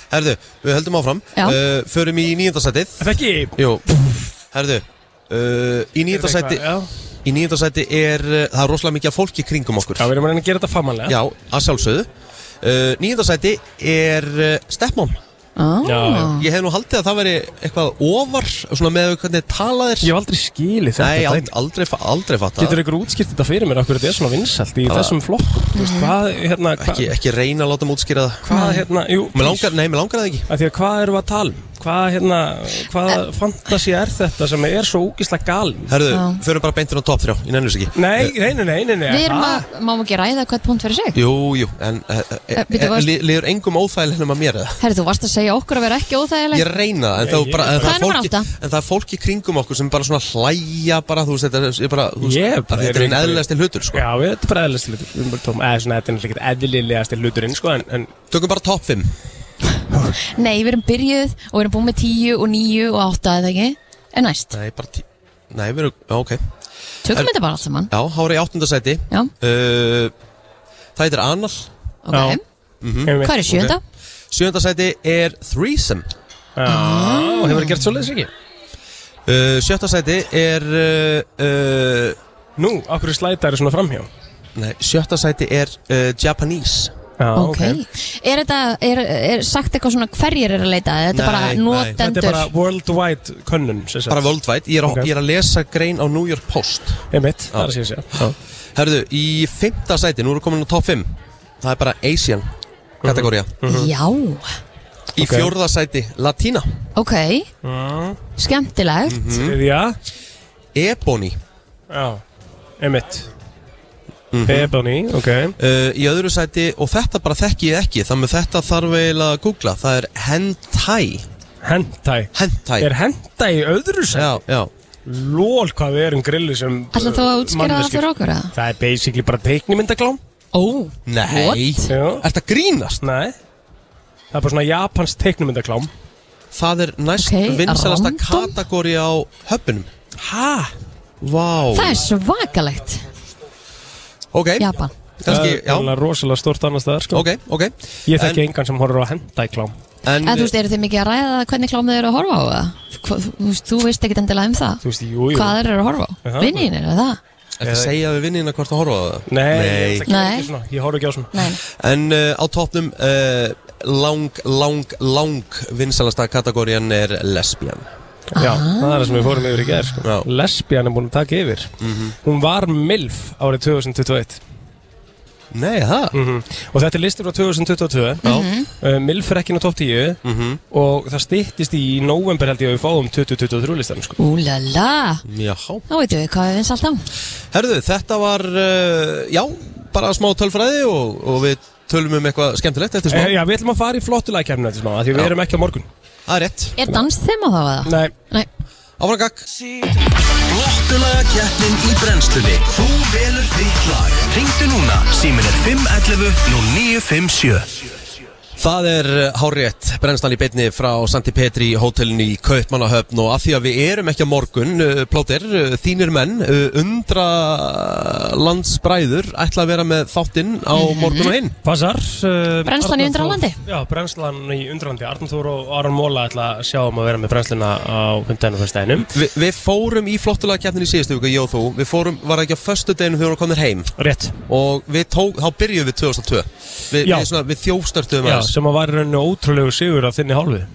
[SPEAKER 1] Herðu, við höldum áfram
[SPEAKER 3] Já.
[SPEAKER 1] uh, Förum í nýjöndasætið
[SPEAKER 2] Er það ekki?
[SPEAKER 1] Jú Herðu uh, Í
[SPEAKER 2] Er það
[SPEAKER 1] nýjöndasæti
[SPEAKER 2] eitthvað- Já,
[SPEAKER 1] Í nýjöndasæti er uh, Það er rosalega mikið af fólki kringum okkur
[SPEAKER 2] Já, við erum að reyna að gera þetta famanlega
[SPEAKER 1] Já, að sjálfsögðu uh, Nýjöndasæti er uh, Stepmom
[SPEAKER 2] Já.
[SPEAKER 3] ah,
[SPEAKER 1] Ég hef nú haldið að það veri eitthvað ofar Svona með hvernig talaðir
[SPEAKER 2] Ég hef aldrei skilið þetta
[SPEAKER 1] Nei,
[SPEAKER 2] dæmi.
[SPEAKER 1] aldrei, aldrei, fa- aldrei fatta
[SPEAKER 2] Getur ykkur útskýrt þetta fyrir mér, okkur þetta er svona vinsalt í þessum flokk, þú veist, hvað, hérna, hvað,
[SPEAKER 1] ekki, ekki reyna að láta mig útskýra það
[SPEAKER 2] hvað, hérna, jú,
[SPEAKER 1] Mér langar, nei, mér langar það ekki
[SPEAKER 2] að því að hvað erum við að tala um, hvað, hérna, hvað
[SPEAKER 3] Eh.
[SPEAKER 2] fantasi er þetta sem er svo úkislega galin?
[SPEAKER 1] Herðu,
[SPEAKER 3] Já.
[SPEAKER 1] förum bara beintin á top 3 Ég nefnir þess ekki Eh,
[SPEAKER 2] Nei, nei, nei, nei, nei, nei,
[SPEAKER 3] Við erum
[SPEAKER 2] ha?
[SPEAKER 3] að, má ekki ræða hvert punkt fyrir sig
[SPEAKER 1] Jú, jú, en eh, eh,
[SPEAKER 3] Eh, bíddu,
[SPEAKER 1] eh,
[SPEAKER 3] varst-
[SPEAKER 1] li- Liður engum óþægilegnum að mér eða
[SPEAKER 3] Herri, þú varst að segja okkur að vera ekki óþægileg
[SPEAKER 1] Ég reyna það, en, það
[SPEAKER 2] ég-
[SPEAKER 1] bara,
[SPEAKER 3] Það er
[SPEAKER 1] en, það er
[SPEAKER 3] númer
[SPEAKER 1] fólki,
[SPEAKER 3] átta.
[SPEAKER 1] en það er fólki kringum okkur sem bara svona hlæja bara, þú veist, þetta er ég bara, þú veist,
[SPEAKER 2] Ég
[SPEAKER 1] að
[SPEAKER 2] bara-
[SPEAKER 1] þetta
[SPEAKER 2] er
[SPEAKER 1] er einn
[SPEAKER 2] einhver-
[SPEAKER 1] eðlægasti hlutur, sko.
[SPEAKER 2] Já, við þetta er bara eðlilegasti hlutur, við erum bara tóma, eða svona, þetta er náttúrulega ekkert eðlilegasti hluturinn, sko, en, en,
[SPEAKER 1] Tökum bara top 5.
[SPEAKER 3] Nei, við erum byrjuð og við erum búin með 10 og 9 og 8 eða ekki En næst,
[SPEAKER 1] Nei, bara tí... Nei, við erum, já, ok.
[SPEAKER 3] tökum þetta bara allt saman
[SPEAKER 1] Já, hára í áttundasæti.
[SPEAKER 3] Já,
[SPEAKER 1] Uh, það heitir Anal.
[SPEAKER 3] ok
[SPEAKER 2] Já. mm.
[SPEAKER 3] Hvað er sjönda?
[SPEAKER 1] Sjöndasæti er Threesome.
[SPEAKER 2] Já,
[SPEAKER 3] Ah.
[SPEAKER 2] hefur það gert svoleiðis ekki?
[SPEAKER 1] Uh, sjöttasæti er, uh, uh,
[SPEAKER 2] Nú, okkur slæta eru svona framhjá?
[SPEAKER 1] nei, sjöttasæti er uh, Japanese.
[SPEAKER 2] Já,
[SPEAKER 3] Ok, Er þetta, er, er sagt eitthvað svona hverjir er að leita? Eða Þetta er bara
[SPEAKER 1] Nei, nei.
[SPEAKER 2] Þetta er
[SPEAKER 3] notendur
[SPEAKER 2] bara worldwide könnun, sem sagt.
[SPEAKER 1] Bara worldwide. Ég er,
[SPEAKER 2] Ok.
[SPEAKER 1] okay. ég er að lesa grein á New York Post.
[SPEAKER 2] Einmitt, það er að segja sér.
[SPEAKER 1] Herðu, í fimmtasæti, nú erum við komin á top 5. Það er bara Asian kategória.
[SPEAKER 3] Já,
[SPEAKER 1] Mhm. Í
[SPEAKER 2] Mhm. Ok.
[SPEAKER 1] okay. fjórðasæti, Latina
[SPEAKER 3] ok Skemmtilegt
[SPEAKER 2] Þriðja,
[SPEAKER 1] Mhm. Ebony
[SPEAKER 2] já, einmitt. Ebony, ok.
[SPEAKER 1] uh, Mhm. Í öðru sæti, og þetta bara þekki ég ekki Þannig að þetta þarf eiginlega að googla Það er hentai
[SPEAKER 2] Hentai.
[SPEAKER 1] Hentai
[SPEAKER 2] Er hentai í öðru sem?
[SPEAKER 1] Já, já
[SPEAKER 2] Lól hvað við erum grillu sem
[SPEAKER 3] Ætla þú að
[SPEAKER 2] uh,
[SPEAKER 3] útskýra það
[SPEAKER 2] manneskjur.
[SPEAKER 3] fyrir okkur eða?
[SPEAKER 2] Það er basically bara teiknimyndaglám
[SPEAKER 3] Ó,
[SPEAKER 1] Nei
[SPEAKER 2] Já.
[SPEAKER 1] Ert að grínast?
[SPEAKER 2] Nei Það er bara svona japans teiknimyndaglám
[SPEAKER 1] Það er næst
[SPEAKER 3] Ok,
[SPEAKER 1] okay, vinsalasta
[SPEAKER 3] random.
[SPEAKER 1] kategóri á höfnum
[SPEAKER 2] Hæ?
[SPEAKER 1] Vá
[SPEAKER 3] það er svakalegt
[SPEAKER 1] Ok,
[SPEAKER 3] Japan
[SPEAKER 1] kannski, já
[SPEAKER 2] Það er rosalega stort annars staðar sko
[SPEAKER 1] Ok, ok
[SPEAKER 2] Ég þekki engan sem horfir á hentai-klám
[SPEAKER 1] En,
[SPEAKER 3] Eða þú veist, eru þið mikið að ræða það hvernig klám þið eru að horfa á það? Þú veist, þú veist ekkit endilega um það
[SPEAKER 2] Þú veist, jú, jú
[SPEAKER 3] Hvað þeir eru að horfa á?
[SPEAKER 2] Já.
[SPEAKER 3] Vinnin eru það?
[SPEAKER 1] Ekki að segja við vinnina hvort að horfa á það
[SPEAKER 2] Nei, Ég, ætla ekki að
[SPEAKER 3] Nei.
[SPEAKER 2] gera svona, ég horf ekki á svona
[SPEAKER 3] Nei,
[SPEAKER 1] En uh, á topnum uh, Lang, lang, lang Vinsalasta kategórian er lesbian
[SPEAKER 2] Já,
[SPEAKER 3] Ah.
[SPEAKER 2] það er það sem við fórum yfir í gerð sko.
[SPEAKER 1] Já. Mhm.
[SPEAKER 2] Lesbían er búin að taka yfir Hún var MILF árið 2021
[SPEAKER 1] Nei, það
[SPEAKER 2] Mhm. Og þetta er listur frá 2022 uh, MILF er ekki inn á topp 10
[SPEAKER 1] Mhm.
[SPEAKER 2] Og það styttist í november held ég að við fáum 2023 listan sko.
[SPEAKER 3] úlala
[SPEAKER 1] Jáhá
[SPEAKER 3] Þá veitum við hvað við vins allt á
[SPEAKER 1] Herðu, þetta var, uh, já, bara smá tölfræði og, og við tölum um eitthvað skemmtilegt eftir smá
[SPEAKER 2] Eh, Já, við ætlum að fara í flottulækjæmna þetta smá af Því við
[SPEAKER 1] Já.
[SPEAKER 2] erum ekki á morgun
[SPEAKER 1] Það er rétt
[SPEAKER 3] Er dans þeim á þá að það?
[SPEAKER 2] Nei,
[SPEAKER 3] Nei,
[SPEAKER 1] Áfram gakk
[SPEAKER 5] Flottulaga keppnin í brennstunni Þú velur þitt lag Ringdu núna, símin er 511 0957
[SPEAKER 1] Það er hárétt, brennstan í beinni frá Santi Petri hótelinu í Kaupmannahöfn og að því að við erum ekki á morgun, uh, plóter, uh, þínir menn, uh, undra landsbræður ætla að vera með þáttinn á morgun og hinn.
[SPEAKER 2] Passar uh,
[SPEAKER 3] Brennslan í
[SPEAKER 2] Arnar Þór-
[SPEAKER 3] Undralandi.
[SPEAKER 2] Já, brennslan í undralandi Arnum Þór og Aron Móla ætla að sjá um að vera með brennsluna á 15. fyrstæðinum
[SPEAKER 1] Vi, við fórum í flottulega keppnin í síðustu viku, ég og þú, við fórum, var það ekki á föstu deginu þegar við komum heim
[SPEAKER 2] Rétt
[SPEAKER 1] og við tók, þá byrjuðum við 2002 við,
[SPEAKER 2] Já.
[SPEAKER 1] við, svona, við þjófstörtum
[SPEAKER 2] Já, sem að var í rauninu ótrúlegu sigur af þinni hálfu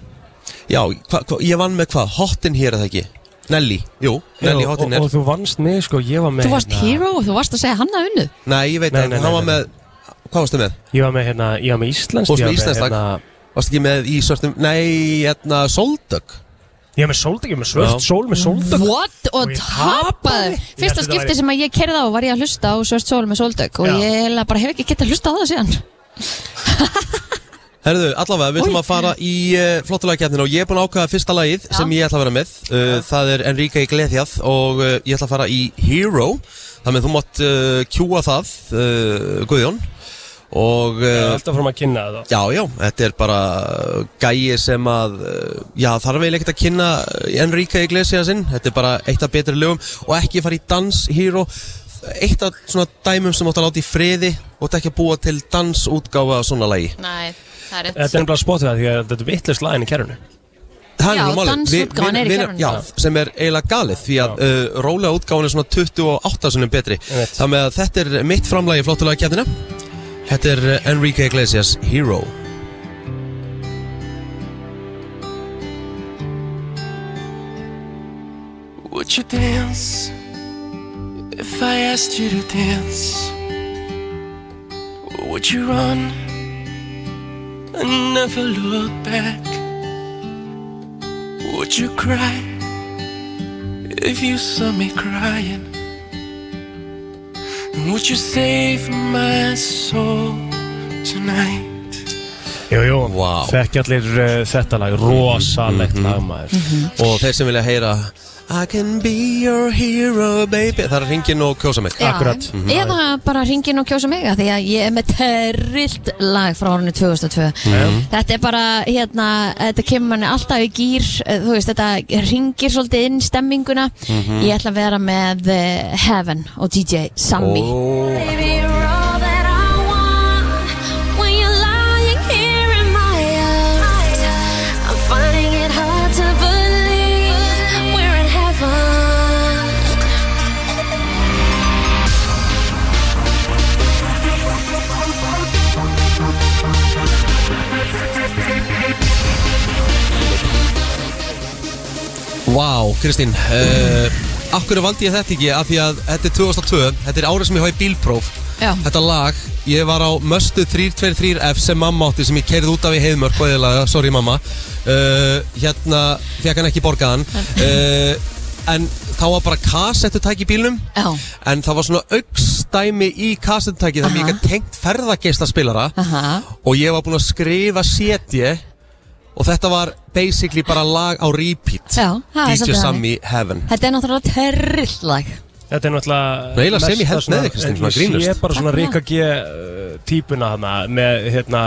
[SPEAKER 1] Já, hva, hva, ég vann með hvað? Hottin hér eða ekki? Nelly, jú, Nelly
[SPEAKER 2] Já, og,
[SPEAKER 1] Hottin
[SPEAKER 2] og,
[SPEAKER 1] er
[SPEAKER 2] og þú vannst mig, sko, ég var með
[SPEAKER 3] þú varst
[SPEAKER 2] hérna-
[SPEAKER 3] hero og þú varst að segja hann að unnu
[SPEAKER 1] Nei, ég veit
[SPEAKER 2] Nei,
[SPEAKER 1] að
[SPEAKER 2] nei, nei,
[SPEAKER 1] hann var
[SPEAKER 2] nei,
[SPEAKER 1] með Hvað varstu með?
[SPEAKER 2] Ég var með, hérna, ég var með hérna- Íslands
[SPEAKER 1] Þú varst með íslenskt lag. Varstu ekki með í svörtum Nei, hérna, Soldug
[SPEAKER 2] Ég var með sóldögg, ég var með svört
[SPEAKER 1] Já.
[SPEAKER 2] sól með sóldögg
[SPEAKER 3] What? Og
[SPEAKER 2] Og ég tapaði.
[SPEAKER 3] tapaði Fyrsta
[SPEAKER 2] Ég held þetta væri-
[SPEAKER 3] skipti sem að ég kerði á var ég að hlusta á Svört Sól með Sóldök og
[SPEAKER 2] Já.
[SPEAKER 3] ég eiginlega bara hef ekki getað hlusta á það síðan
[SPEAKER 1] Herðu, allavega, við ætlum að fara í uh, flottulagakefnin og ég er búin að ákvaða fyrsta lagið sem ég ætla að vera með uh, Það er Enrique Iglesias og uh, ég ætla að fara í Hero Þannig að þú mátt uh, kjúa það, uh, Guðjón Og
[SPEAKER 2] Það er
[SPEAKER 1] uh,
[SPEAKER 2] alltaf fórum að kynna það
[SPEAKER 1] já, já, þetta er bara uh, gæi sem að, uh, já, þarf eiginlega ekkert að kynna eh, Enrique Iglesiasinn Þetta er bara eitt af betri lögum og ekki fara í dans Hero Eitt af svona dæmum sem átt að láta í friði og þetta ekki að búa til dansútgáfa af svona lagi
[SPEAKER 3] Nei, það er
[SPEAKER 2] Þetta er nefnilega spottið það því að þetta er vittlust lægin í kerfinu
[SPEAKER 3] Já,
[SPEAKER 1] nú málið.
[SPEAKER 3] dansútgáfan er
[SPEAKER 1] Við-
[SPEAKER 3] í
[SPEAKER 1] við-
[SPEAKER 3] kerfinu.
[SPEAKER 1] Já, sem er eiginlega galið Því að uh, rólega útgáfan er svona 28 sinum betri
[SPEAKER 2] Einmitt.
[SPEAKER 1] Þannig að þetta er mitt framlagi flottulega kjæftina Þetta er uh, Enrique Iglesias Hero
[SPEAKER 8] Would you dance if I asked you to dance? Or would you run and never look back? Would you cry if you saw me crying? And would you save my soul tonight?
[SPEAKER 2] Jú, jú,
[SPEAKER 1] Vá. Mhm.
[SPEAKER 2] þekki allir uh, þetta lag, rosalegt lagmaður
[SPEAKER 3] Mhm.
[SPEAKER 1] Og þeir sem vilja heyra I can be your hero baby Það er hringin og kjósa mig
[SPEAKER 3] Já,
[SPEAKER 2] Akkurat. Mhm.
[SPEAKER 3] Eða bara ringin og kjósa mig að Því að ég er með terrilt lag frá árunni 2002 Þetta er bara, hérna, þetta kemur manni alltaf í gýr eh, Þú veist, þetta ringir svolítið inn stemminguna
[SPEAKER 2] Mhm.
[SPEAKER 3] Ég ætla að vera með eh, Heaven og DJ Sammy
[SPEAKER 1] Ó, Vá, Kristín uh, Akkur valdi ég þetta ekki af því að þetta er 2002 Þetta er árið sem ég hafi bílpróf
[SPEAKER 3] Já.
[SPEAKER 1] Þetta lag, ég var á Möstu 323F sem mamma átti sem ég keirði út af í heiðmörk bæðilega, sorry mamma uh, Hérna, fekk hann ekki borgaðan uh, En þá var bara kassettutæk í bílnum
[SPEAKER 3] Já.
[SPEAKER 1] En það var svona augstæmi í kassettutæki Þannig
[SPEAKER 3] Aha.
[SPEAKER 1] ég gætt tengt ferðageista spilara
[SPEAKER 3] Aha.
[SPEAKER 1] og ég var búinn að skrifa setje og þetta var basically bara lag á repeat
[SPEAKER 3] Já, það er
[SPEAKER 1] DJ
[SPEAKER 3] svolítið
[SPEAKER 1] Sammy Heaven
[SPEAKER 3] Þetta er náttúrulega terrill lag
[SPEAKER 2] Þetta er náttúrulega
[SPEAKER 1] Nei, eiginlega sem ég held
[SPEAKER 2] mesta
[SPEAKER 1] með þig, Kristín, svona
[SPEAKER 2] en Ég sé
[SPEAKER 1] grínlaust.
[SPEAKER 2] bara svona Rika G uh, típuna hana með, hérna,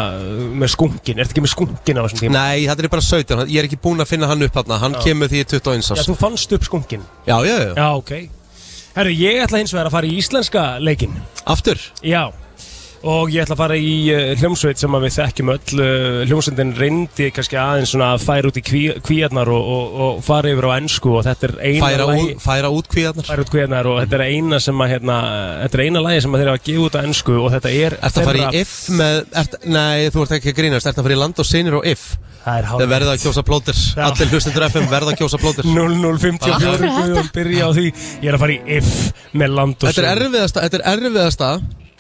[SPEAKER 2] með skunkin Ertu ekki með skunkin á þessum tíma?
[SPEAKER 1] Nei, þetta er bara 17, ég er ekki búinn að finna hann upp hann hann kemur því ég er 21
[SPEAKER 2] Já,
[SPEAKER 1] árs
[SPEAKER 2] þú fannst upp skunkin
[SPEAKER 1] Já, já, já,
[SPEAKER 2] Já, ok Herru, ég ætla hins vegar að fara í íslenska leikinn
[SPEAKER 1] aftur
[SPEAKER 2] Já Og ég ætla að fara í uh, hljómsveit sem að við þekkjum öll uh, Hljómsveitin reyndi kannski aðeins svona að færa út í kví, kvíarnar og, og, og fara yfir á ennsku og þetta er eina
[SPEAKER 1] færa,
[SPEAKER 2] lagi-
[SPEAKER 1] út, færa út kvíðarnar
[SPEAKER 2] færa út kvíarnar og þetta er eina sem að hérna, þetta er eina lagi sem að þeir hafa gefið út á ennsku og þetta er
[SPEAKER 1] Ert að fara
[SPEAKER 2] þeirra-
[SPEAKER 1] í if með, ert, nei, þú ert ekki að grínast Ert að fara í land og sinir og if
[SPEAKER 2] Það er
[SPEAKER 1] Það
[SPEAKER 2] hálf
[SPEAKER 1] verða að kjósa plóter,
[SPEAKER 2] Já.
[SPEAKER 1] allir hlustendur FM verða að kjósa plóter
[SPEAKER 2] 0054
[SPEAKER 3] Af hverju
[SPEAKER 2] Guðjón byrja á því Ég er að fara í if með land og
[SPEAKER 1] Þetta er
[SPEAKER 2] sund.
[SPEAKER 1] erfiðasta, þetta er erfiðasta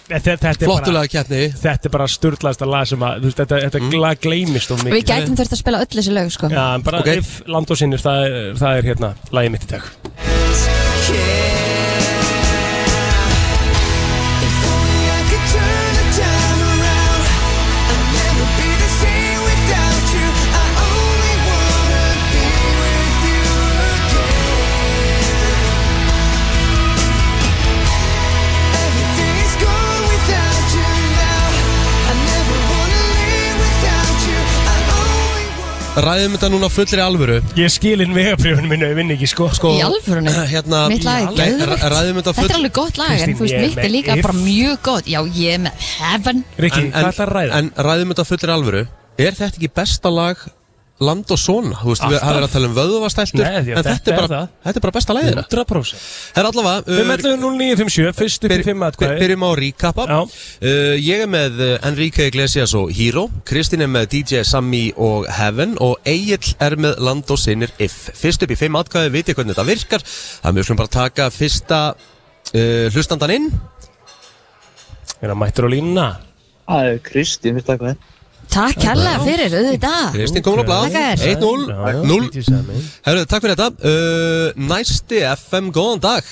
[SPEAKER 2] Þetta, þetta er bara
[SPEAKER 1] flottulega keppni
[SPEAKER 2] Þetta er bara sturlaðasta lag sem að þú veist, Þetta, þetta mm. lag gleymist of
[SPEAKER 3] Við
[SPEAKER 2] mikið
[SPEAKER 3] gætum þurft að spila öll þessi lög sko
[SPEAKER 2] Já, en bara
[SPEAKER 1] Ok.
[SPEAKER 2] if land og sinnir það, er- það er hérna lagið mitt í dag
[SPEAKER 1] Ræðum þetta núna á fullri alvöru
[SPEAKER 2] Ég skil inn vegabrjöfunum minni, ég vinn ekki sko Sko,
[SPEAKER 3] Í alvörunni
[SPEAKER 1] Hérna,
[SPEAKER 2] uh,
[SPEAKER 3] Mitt lag er
[SPEAKER 1] í alvöru?
[SPEAKER 3] geðveikt.
[SPEAKER 1] Ra- ræðum þetta full-
[SPEAKER 3] Þetta er alveg gott lag
[SPEAKER 2] Kristín,
[SPEAKER 3] En þú veist,
[SPEAKER 2] ég er
[SPEAKER 3] mitt er
[SPEAKER 2] með
[SPEAKER 3] líka
[SPEAKER 2] if.
[SPEAKER 3] bara mjög gott Já, ég er með Heaven
[SPEAKER 2] Rikki,
[SPEAKER 1] En-
[SPEAKER 2] hvað ætlar að ræða?
[SPEAKER 1] En ræðum þetta fullir alvöru Er þetta ekki besta lag land og svona? Þú veist, við
[SPEAKER 2] Alltaf.
[SPEAKER 1] hafum verið að tala um vöðuvastæltur
[SPEAKER 2] Nei, því að
[SPEAKER 1] En þetta er
[SPEAKER 2] þetta er
[SPEAKER 1] bara,
[SPEAKER 2] það.
[SPEAKER 1] þetta er bara besta lagið þeirra
[SPEAKER 2] 100%
[SPEAKER 1] Það er allavega uh,
[SPEAKER 2] 5.11.09.57, fyrst upp í
[SPEAKER 1] byr-
[SPEAKER 2] 5
[SPEAKER 1] byr-
[SPEAKER 2] atkvæði
[SPEAKER 1] Byrjum á recap up
[SPEAKER 2] Já.
[SPEAKER 1] uh, Ég er með uh, Enrique Iglesias og Hero Kristín er með DJ Sammy og Heaven Og Egil er með Land og Sinir If Fyrst upp í fimm atkvæði, viti hvernig þetta virkar Það mjög slum bara taka fyrsta uh, hlustandan inn
[SPEAKER 2] Hérna mættur á línuna
[SPEAKER 9] Það er Kristín, veistu það hvað er?
[SPEAKER 3] Takk hérlega fyrir, auðvitað
[SPEAKER 1] Kristín komin á blað
[SPEAKER 3] Þakka þér.
[SPEAKER 1] 1-0 0 Herru, takk fyrir þetta uh, Næsti FM, góðan dag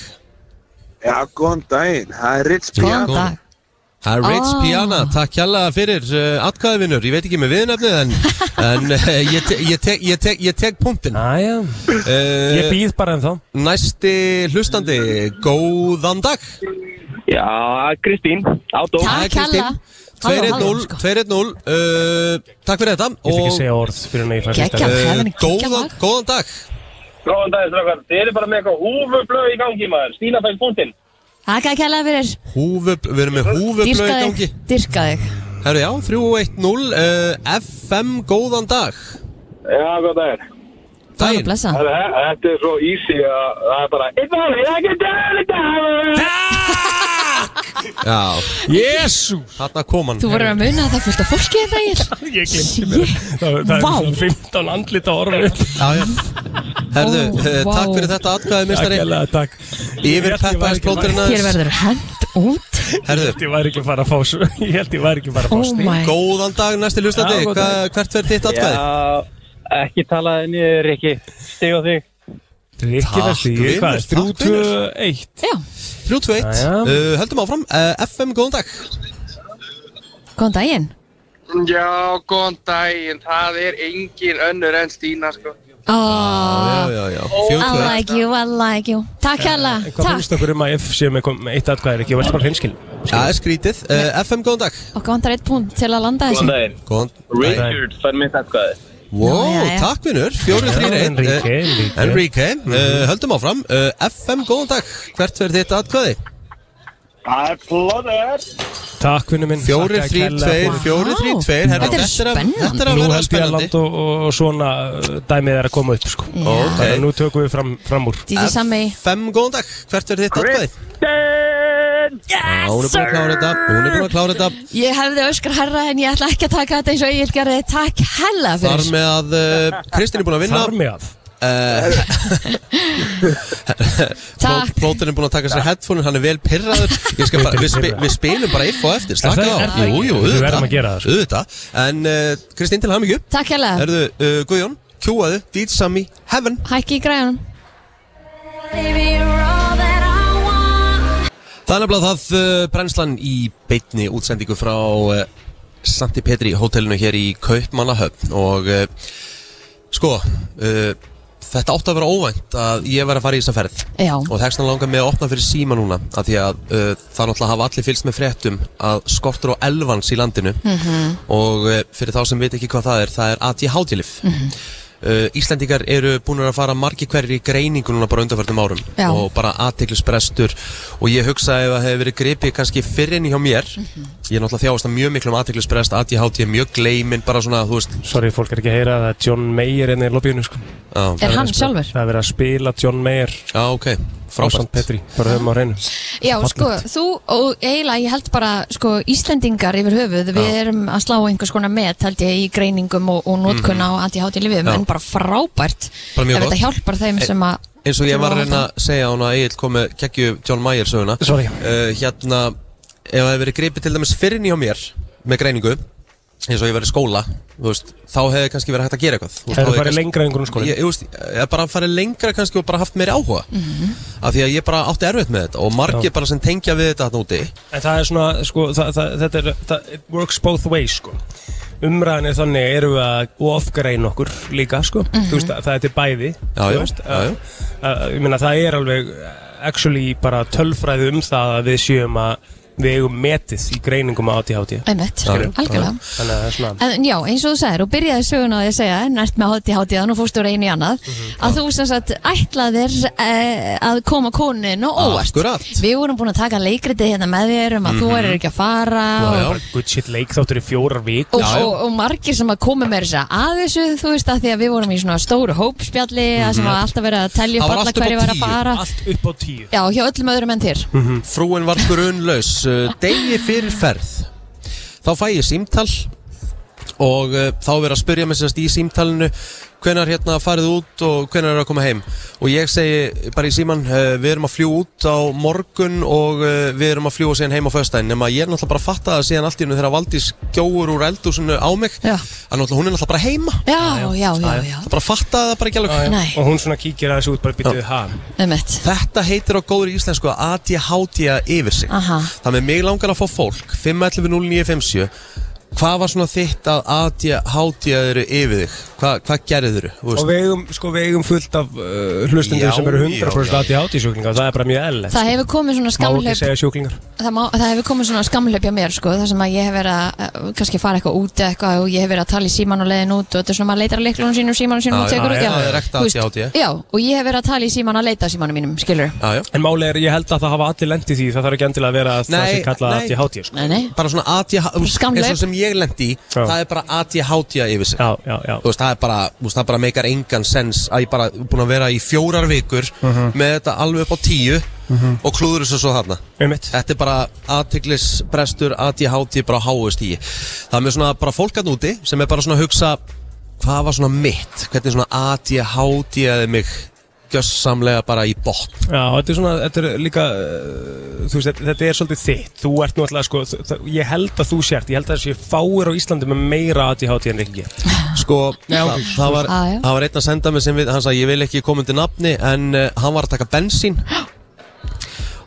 [SPEAKER 10] Já, góðan daginn, það er Ritz
[SPEAKER 3] Góðan dag
[SPEAKER 1] Það er Rich
[SPEAKER 3] Ah.
[SPEAKER 1] Piana, takk hérlega fyrir uh, atkvæðvinur, ég veit ekki með viðnefnið en, en uh, ég, te ég, te ég, te ég tek punktin
[SPEAKER 2] Æja, Ah, ég
[SPEAKER 1] uh,
[SPEAKER 2] býð bara en þá
[SPEAKER 1] Næsti hlustandi, góðan dag
[SPEAKER 9] Já, Kristín, átó
[SPEAKER 1] Hæ,
[SPEAKER 3] Takk
[SPEAKER 1] Kristín.
[SPEAKER 3] hella
[SPEAKER 1] 2-1-0, 2-1-0 uh, Takk fyrir þetta
[SPEAKER 2] Ég vil ekki
[SPEAKER 1] og
[SPEAKER 2] segja orð fyrir henni í færi
[SPEAKER 3] Geggjað.
[SPEAKER 2] stæði
[SPEAKER 1] Eh,
[SPEAKER 3] Það er henni geggjað
[SPEAKER 1] góðan,
[SPEAKER 3] lag.
[SPEAKER 1] góðan dag
[SPEAKER 10] Góðan daginn, strákar. Þið eru bara með eitthvað húfublöð í gangi, maður. Stína fæk búntinn.
[SPEAKER 3] Takk að kella fyrir
[SPEAKER 1] Húfub, Við erum með húfublöð í
[SPEAKER 3] Dyrka
[SPEAKER 1] gangi
[SPEAKER 3] þig, dyrka þig
[SPEAKER 1] Herru já, 3-1-0 uh, FM, góðan dag
[SPEAKER 10] Já, góðan daginn.
[SPEAKER 3] Góða
[SPEAKER 1] Daginn,
[SPEAKER 3] blessa
[SPEAKER 10] Herra, he- Þetta er svo easy að það er bara It's all I can do it all.
[SPEAKER 1] já,
[SPEAKER 2] Jésús
[SPEAKER 1] þarna kom hann
[SPEAKER 3] Þú voru að muna að það er fullt af fólki hérna, þetta ég
[SPEAKER 2] Ég glemti mér Það, það er
[SPEAKER 3] Vá.
[SPEAKER 2] svona 15 andlit á orðinu
[SPEAKER 1] Já, já. Herðu,
[SPEAKER 3] Ó,
[SPEAKER 1] uh,
[SPEAKER 3] vá.
[SPEAKER 1] takk fyrir þetta atkvæði,
[SPEAKER 2] Takk
[SPEAKER 1] mistari
[SPEAKER 2] hérlega, takk
[SPEAKER 1] Yfir peppaðisplóturinn
[SPEAKER 3] Hér
[SPEAKER 1] aðeins
[SPEAKER 3] verður hend út
[SPEAKER 1] Herðu,
[SPEAKER 2] Ég væri ekki að fara að fá svo Ég held ég væri ekki að fara að fá
[SPEAKER 3] Oh
[SPEAKER 2] stíl
[SPEAKER 3] my
[SPEAKER 1] góðan dag næsti hlustandi
[SPEAKER 2] Já, góðan
[SPEAKER 1] Hva, Hvert verður þitt atkvæði?
[SPEAKER 9] Já, ekki talaði niður, ekki Stig og þig
[SPEAKER 2] Rikki
[SPEAKER 1] Takk,
[SPEAKER 2] þessi,
[SPEAKER 1] vinur,
[SPEAKER 2] hvað er
[SPEAKER 1] takk,
[SPEAKER 2] 3, 2,
[SPEAKER 1] vinur.
[SPEAKER 2] 1
[SPEAKER 3] Já,
[SPEAKER 1] 3-2-1
[SPEAKER 2] Já,
[SPEAKER 1] uh,
[SPEAKER 2] já.
[SPEAKER 1] Höldum áfram, uh, FM, góðan dag
[SPEAKER 3] góðan daginn
[SPEAKER 8] Já, góðan daginn, það er engin önnur en Stína, sko.
[SPEAKER 3] oh,
[SPEAKER 1] Já, já, já,
[SPEAKER 3] I
[SPEAKER 1] 4-2-1
[SPEAKER 3] like you, I like you Takk hella,
[SPEAKER 2] Hvað
[SPEAKER 3] takk
[SPEAKER 2] finnst okkur um að F séu með kom- með eitt atkvæði Rikki? Ég væri bara hreinskil
[SPEAKER 1] Já, er skrítið uh, FM, góðan dag
[SPEAKER 3] Okkur vantar eitt punkt til að landa þessu
[SPEAKER 10] Góðan daginn.
[SPEAKER 1] Góðan
[SPEAKER 10] Richard fær mitt atkvæði.
[SPEAKER 1] Wow,
[SPEAKER 3] Já, já, já.
[SPEAKER 1] takk vinnur, 4-3-1
[SPEAKER 2] Enrique,
[SPEAKER 1] Eh,
[SPEAKER 2] Enrique.
[SPEAKER 1] Enrique, uh, höldum áfram uh, FM, góðan dag, hvert verður þitt atkvæði?
[SPEAKER 10] Það er plóður.
[SPEAKER 2] Takk vinnu minn
[SPEAKER 1] 4-3-2, 4-3-2
[SPEAKER 3] Vá.
[SPEAKER 1] Herra,
[SPEAKER 3] Þetta er spennandi.
[SPEAKER 1] Þetta er að
[SPEAKER 2] Nú held
[SPEAKER 1] vera
[SPEAKER 2] ég að
[SPEAKER 1] spennandi
[SPEAKER 2] land og, og og svona uh, dæmið er að koma upp sko
[SPEAKER 1] Ok.
[SPEAKER 2] Þannig að nú tökum við fram, fram úr
[SPEAKER 3] Dísi Sammi
[SPEAKER 1] Fem góðan dag, hvert verður þitt atkvæði? Já, hún er búin að klára þetta, hún er búin að klára þetta
[SPEAKER 3] Ég hefði öskar herra en ég ætla ekki að taka þetta eins og ég gerði Takk hella
[SPEAKER 1] Þar
[SPEAKER 3] fyrir
[SPEAKER 1] með að uh, Kristinn er búin að vinna
[SPEAKER 2] Þar með að
[SPEAKER 1] uh,
[SPEAKER 3] Takk.
[SPEAKER 1] Plótin er búin að taka sér headphone Hann er vel pirraður Ég skal bara, við, spi, við spilum bara if og eftir Slaka
[SPEAKER 2] Er það- er
[SPEAKER 1] á,
[SPEAKER 2] það ekki?
[SPEAKER 1] jú, jú,
[SPEAKER 2] Við
[SPEAKER 1] auðvitað
[SPEAKER 2] verðum að gera það, sko.
[SPEAKER 1] Auðvitað, en uh, Kristinn til hamingju
[SPEAKER 3] Takk hella,
[SPEAKER 1] Erðu, uh, Guðjón, kjúaðu, dýt sami, heaven
[SPEAKER 3] hækki í græðunum
[SPEAKER 1] Það er nefnilega það uh, brennslan í beitni útsendingu frá uh, Santi Petri hótelinu hér í Kaupmannahöfn og uh, sko uh, þetta átti að vera óvænt að ég var að fara í þessa ferð
[SPEAKER 3] Já.
[SPEAKER 1] og þess vegna langar mig að opna fyrir síma núna af því að uh, það náttúrulega hafa allir fylgst með fréttum að skortur og elvans í landinu -hmm. og uh, fyrir þá sem veit ekki hvað það er það er ADHD-lif mm -hmm. Uh, Íslendingar eru búin að fara margi hverjir í greiningu núna bara undanförnum árum
[SPEAKER 3] Já.
[SPEAKER 1] og bara aðteglisbrestur og ég hugsa ef það hefur verið gripið kannski fyrr inn hjá mér
[SPEAKER 3] Mhm.
[SPEAKER 1] ég er náttúrulega þjáast að mjög miklu um aðteglisbrest ADHD, mjög gleimin, bara svona þú veist,
[SPEAKER 2] Sorry, fólk er ekki að heyra að það er John Mayer enn í lobbyinu sko
[SPEAKER 1] á,
[SPEAKER 3] Er hann sjálfur?
[SPEAKER 2] Það er verið að spila John Mayer
[SPEAKER 1] á ok,
[SPEAKER 2] frá Sant
[SPEAKER 1] frábært
[SPEAKER 2] Petri Bara höfum á hreinu
[SPEAKER 3] Já, sko, þú og eiginlega ég held bara sko, Íslendingar yfir höfuð við erum að slá einhvers konar met held ég í greiningum og, og notkun á ADHD lifum
[SPEAKER 1] Mhm. Já.
[SPEAKER 3] en bara frábært
[SPEAKER 1] Bara mjög
[SPEAKER 3] ef
[SPEAKER 1] gott. Eh,
[SPEAKER 3] þetta hjálpar þeim sem að
[SPEAKER 1] eins og ég
[SPEAKER 3] sem
[SPEAKER 1] var
[SPEAKER 3] að
[SPEAKER 1] að reyna
[SPEAKER 3] hafa
[SPEAKER 1] að segja hún að Egil kom með geggju John Mayer söguna
[SPEAKER 2] Sorry.
[SPEAKER 1] uh, hérna, ef það hefur verið gripið til dæmis fyrr inn hjá mér með greiningu eins og ég var í skóla, þú veist, þá hefði kannski verið hægt að gera eitthvað Þú
[SPEAKER 2] Það
[SPEAKER 1] veist, þá
[SPEAKER 2] er
[SPEAKER 1] hefði
[SPEAKER 2] farið
[SPEAKER 1] kannski-
[SPEAKER 2] lengra en grunnskóli
[SPEAKER 1] ég, ég veist, ég bara farið lengra kannski og bara haft meiri áhuga af því að ég bara átti erfitt með þetta og margir
[SPEAKER 2] Já.
[SPEAKER 1] bara sem tengja við þetta hann úti
[SPEAKER 2] En það er svona, sko, það, það, þetta er, það, it works both ways, sko. Umræðan er þannig, erum við að ofgreina okkur líka, sko.
[SPEAKER 3] Mhm.
[SPEAKER 2] Þú veist, það, það er til bæði,
[SPEAKER 1] Já,
[SPEAKER 2] þú
[SPEAKER 1] já,
[SPEAKER 2] veist.
[SPEAKER 1] já, já.
[SPEAKER 2] Uh, uh, ég meina, það er alveg uh, actually bara tölfræði um það að við séum að við eigum metið í greiningum á ADHD.
[SPEAKER 3] Einmitt,
[SPEAKER 1] já.
[SPEAKER 3] algjörlega
[SPEAKER 2] Þannig að það er svona,
[SPEAKER 3] En já, eins og þú sagðir, og byrjaði sögun á því að segja nært með hátti hátíðan og fórstu úr einu í annað
[SPEAKER 1] Mhm.
[SPEAKER 3] að þú sem sagt ætlaðir eh, að koma konin og óvart
[SPEAKER 1] Akkurat. Mhm.
[SPEAKER 3] Við vorum búin að taka leikritið hérna með þér um að þú erir ekki að fara og,
[SPEAKER 1] já.
[SPEAKER 2] bara good shit leik þáttur í fjórar vík.
[SPEAKER 3] og,
[SPEAKER 1] Já, já.
[SPEAKER 3] og, og margir sem að koma með þess að þessu, þú veist, að því að við vorum í svona stóru hópspjalli mm sem var alltaf verið að telja
[SPEAKER 1] Mhm. Það
[SPEAKER 3] upp
[SPEAKER 1] var
[SPEAKER 3] alla
[SPEAKER 1] allt upp á
[SPEAKER 3] hverju var að
[SPEAKER 1] tíu,
[SPEAKER 3] fara
[SPEAKER 2] Allt upp á tíu.
[SPEAKER 3] Já, hjá öllum öðrum enn þér
[SPEAKER 1] frúin var grunlaus uh, degi fyrir ferð eh, þá fæ ég símtal og uh, þá er verið að spyrja mig sérst í símtalinu hvenar hérna farið út og hvenar er að koma heim og ég segi bara í síman uh, við erum að fljú út á morgun og uh, við erum að fljú og síðan heim á föstudaginn nema ég er náttúrulega bara að fatta það síðan allt í hennu þegar Valdís gjóður úr eldúsinu á mig já. að náttúrulega hún er náttúrulega bara heima
[SPEAKER 3] Já, já, já, já,
[SPEAKER 1] það bara fatta það bara ekki alveg
[SPEAKER 3] Nei.
[SPEAKER 2] Og hún svona kíkir að þessu út bara byttið hann
[SPEAKER 3] einmitt
[SPEAKER 1] Þetta heitir á góður íslensku að ADHD-a yfir sig
[SPEAKER 3] Aha.
[SPEAKER 1] Þannig að mig langar að fá fólk 511-0957 Hvað var svona þitt að ADHD-aður yfir þig? Hva, hvað gerður þú?
[SPEAKER 2] Og við eigum, sko, við eigum fullt af uh, hlustendur
[SPEAKER 1] Já,
[SPEAKER 2] sem eru
[SPEAKER 1] já,
[SPEAKER 2] 100% aðti átti sjúklingar Það er bara mjög sko. ellegt
[SPEAKER 3] Það hefur komið svona
[SPEAKER 2] Má ekki
[SPEAKER 3] skamhlaup
[SPEAKER 2] segja sjúklingar
[SPEAKER 3] það, má, það hefur komið svona skamleipja mér sko, þar sem að ég hef verið að eh, kannski fara eitthvað út eða eitthvað og ég hef verið að tala í síman og leiðin út og þetta er svona maður leitar að leiklunum sínum, símanum sínum
[SPEAKER 1] Já,
[SPEAKER 3] og tekur
[SPEAKER 1] já,
[SPEAKER 3] út
[SPEAKER 1] já, það er ekta
[SPEAKER 3] Þú veist,
[SPEAKER 1] ADHD.
[SPEAKER 3] Já, og ég hef verið að tala í síman að leita að símanum mínum, skilur
[SPEAKER 1] Já, já.
[SPEAKER 2] En máli er, ég held að það hafa allir lent í því Það þarf ekki endilega að vera að það
[SPEAKER 1] Nei,
[SPEAKER 2] sé kallað
[SPEAKER 1] nei.
[SPEAKER 2] aðti átti sko.
[SPEAKER 3] Nei, nei,
[SPEAKER 1] Bara svona ADHD
[SPEAKER 3] Skamlaug.
[SPEAKER 1] um, eins og sem ég lendi í
[SPEAKER 2] Já.
[SPEAKER 1] Það er bara ADHD-a yfir sig
[SPEAKER 2] Já, já, já
[SPEAKER 1] Þú veist, það er bara, þú veist, það bara meikar engan sens að ég bara búin að vera í fjórar vikur með þetta alveg upp á tíu og klúður þessu svo þarna
[SPEAKER 2] Einmitt.
[SPEAKER 1] Þetta er bara aðtiklisbrestur, ADHD, bara háist í Það er með svona bara fólk að núti sem er bara svona að hugsa hvað var svona mitt, hvernig svona ADHD eða mig gjössamlega bara í botn
[SPEAKER 2] Já, og þetta er svona, þetta er líka uh, þú veist, þetta- þetta er svolítið þitt þú ert nú alltaf, sko, þ- þ- ég held að þú sért ég held að þessi fáir á Íslandi með meira ADHD en ekki
[SPEAKER 1] Sko, það, það, var,
[SPEAKER 3] Já, Ah, já.
[SPEAKER 1] það var einn að senda mig sem við, hann sagði ég vil ekki koma undir nafni en uh, hann var að taka bensín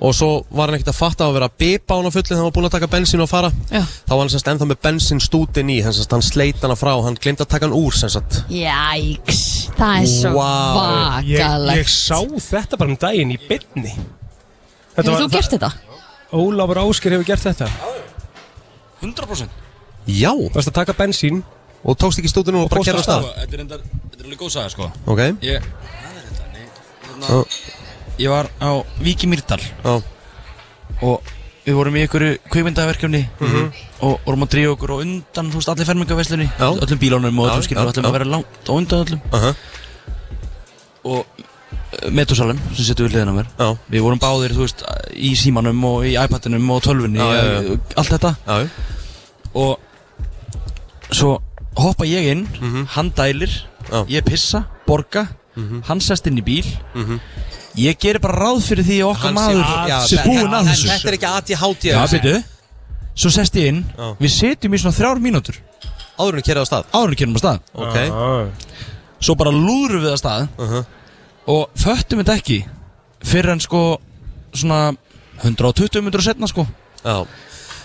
[SPEAKER 1] og svo var hann ekkert að fatta að vera að bipa hann á fullu þegar hann var búinn að taka bensín og fara
[SPEAKER 3] Já.
[SPEAKER 1] þá var hann semst ennþá með bensín stútin í þannig að hann sleit hana frá, hann glemt að taka hann úr sem sagt
[SPEAKER 3] Jæks, það er svo
[SPEAKER 1] Vá.
[SPEAKER 2] ég, ég
[SPEAKER 3] vakalegt
[SPEAKER 2] sá þetta bara um daginn í bytni
[SPEAKER 3] Hefur þú gert þetta?
[SPEAKER 2] Ólafur Ásker hefur gert þetta
[SPEAKER 11] 100%
[SPEAKER 1] Já,
[SPEAKER 2] Þú varst að taka bensín
[SPEAKER 1] og tókst ekki stútin og bara
[SPEAKER 2] fórst af
[SPEAKER 1] kerra á stað
[SPEAKER 11] Þetta er endar, þetta er alveg góð saga sko
[SPEAKER 1] Ok,
[SPEAKER 11] Ég Hérna,
[SPEAKER 1] Ó.
[SPEAKER 11] Ég var á Víki Mýrdal
[SPEAKER 1] já,
[SPEAKER 11] og við vorum í einhverju kveikmyndaverkefni
[SPEAKER 1] Mhm.
[SPEAKER 11] og vorum að dríja okkur og undan, þú veist, allir fermingaveslunni
[SPEAKER 1] Já.
[SPEAKER 11] öllum bílónum og öllum
[SPEAKER 1] Já,
[SPEAKER 11] skilur
[SPEAKER 1] já,
[SPEAKER 11] öllum
[SPEAKER 1] já.
[SPEAKER 11] að vera langt og undan öllum
[SPEAKER 1] aha,
[SPEAKER 11] og metusalum sem setur við hliðin á mér
[SPEAKER 1] já,
[SPEAKER 11] við vorum báðir, þú veist, í símanum og í iPadinum og tölvunni
[SPEAKER 1] Já, já, já.
[SPEAKER 11] og allt þetta
[SPEAKER 1] já,
[SPEAKER 11] og svo hoppa ég inn, hann dælir
[SPEAKER 1] Mhm. Já. Mhm.
[SPEAKER 11] ég pissa, borga hann sest inn í bíl ég gerir bara ráð fyrir því að okkar
[SPEAKER 1] Hann sé-
[SPEAKER 11] maður
[SPEAKER 1] Já,
[SPEAKER 11] sé
[SPEAKER 1] þetta-
[SPEAKER 11] búinn að
[SPEAKER 1] en
[SPEAKER 11] þessu
[SPEAKER 1] Þetta er ekki ADHD
[SPEAKER 11] Já, byrju Svo sest ég inn
[SPEAKER 1] Já.
[SPEAKER 11] Við setjum í svona þrjár mínútur
[SPEAKER 1] Áður en kerra á stað
[SPEAKER 11] Áður en við kynum að stað
[SPEAKER 1] Ok,
[SPEAKER 11] Svo bara lúðrum við að stað
[SPEAKER 1] Mhm.
[SPEAKER 11] Og föttum þetta ekki Fyrir en sko Svona 120 mínútur setna sko
[SPEAKER 1] já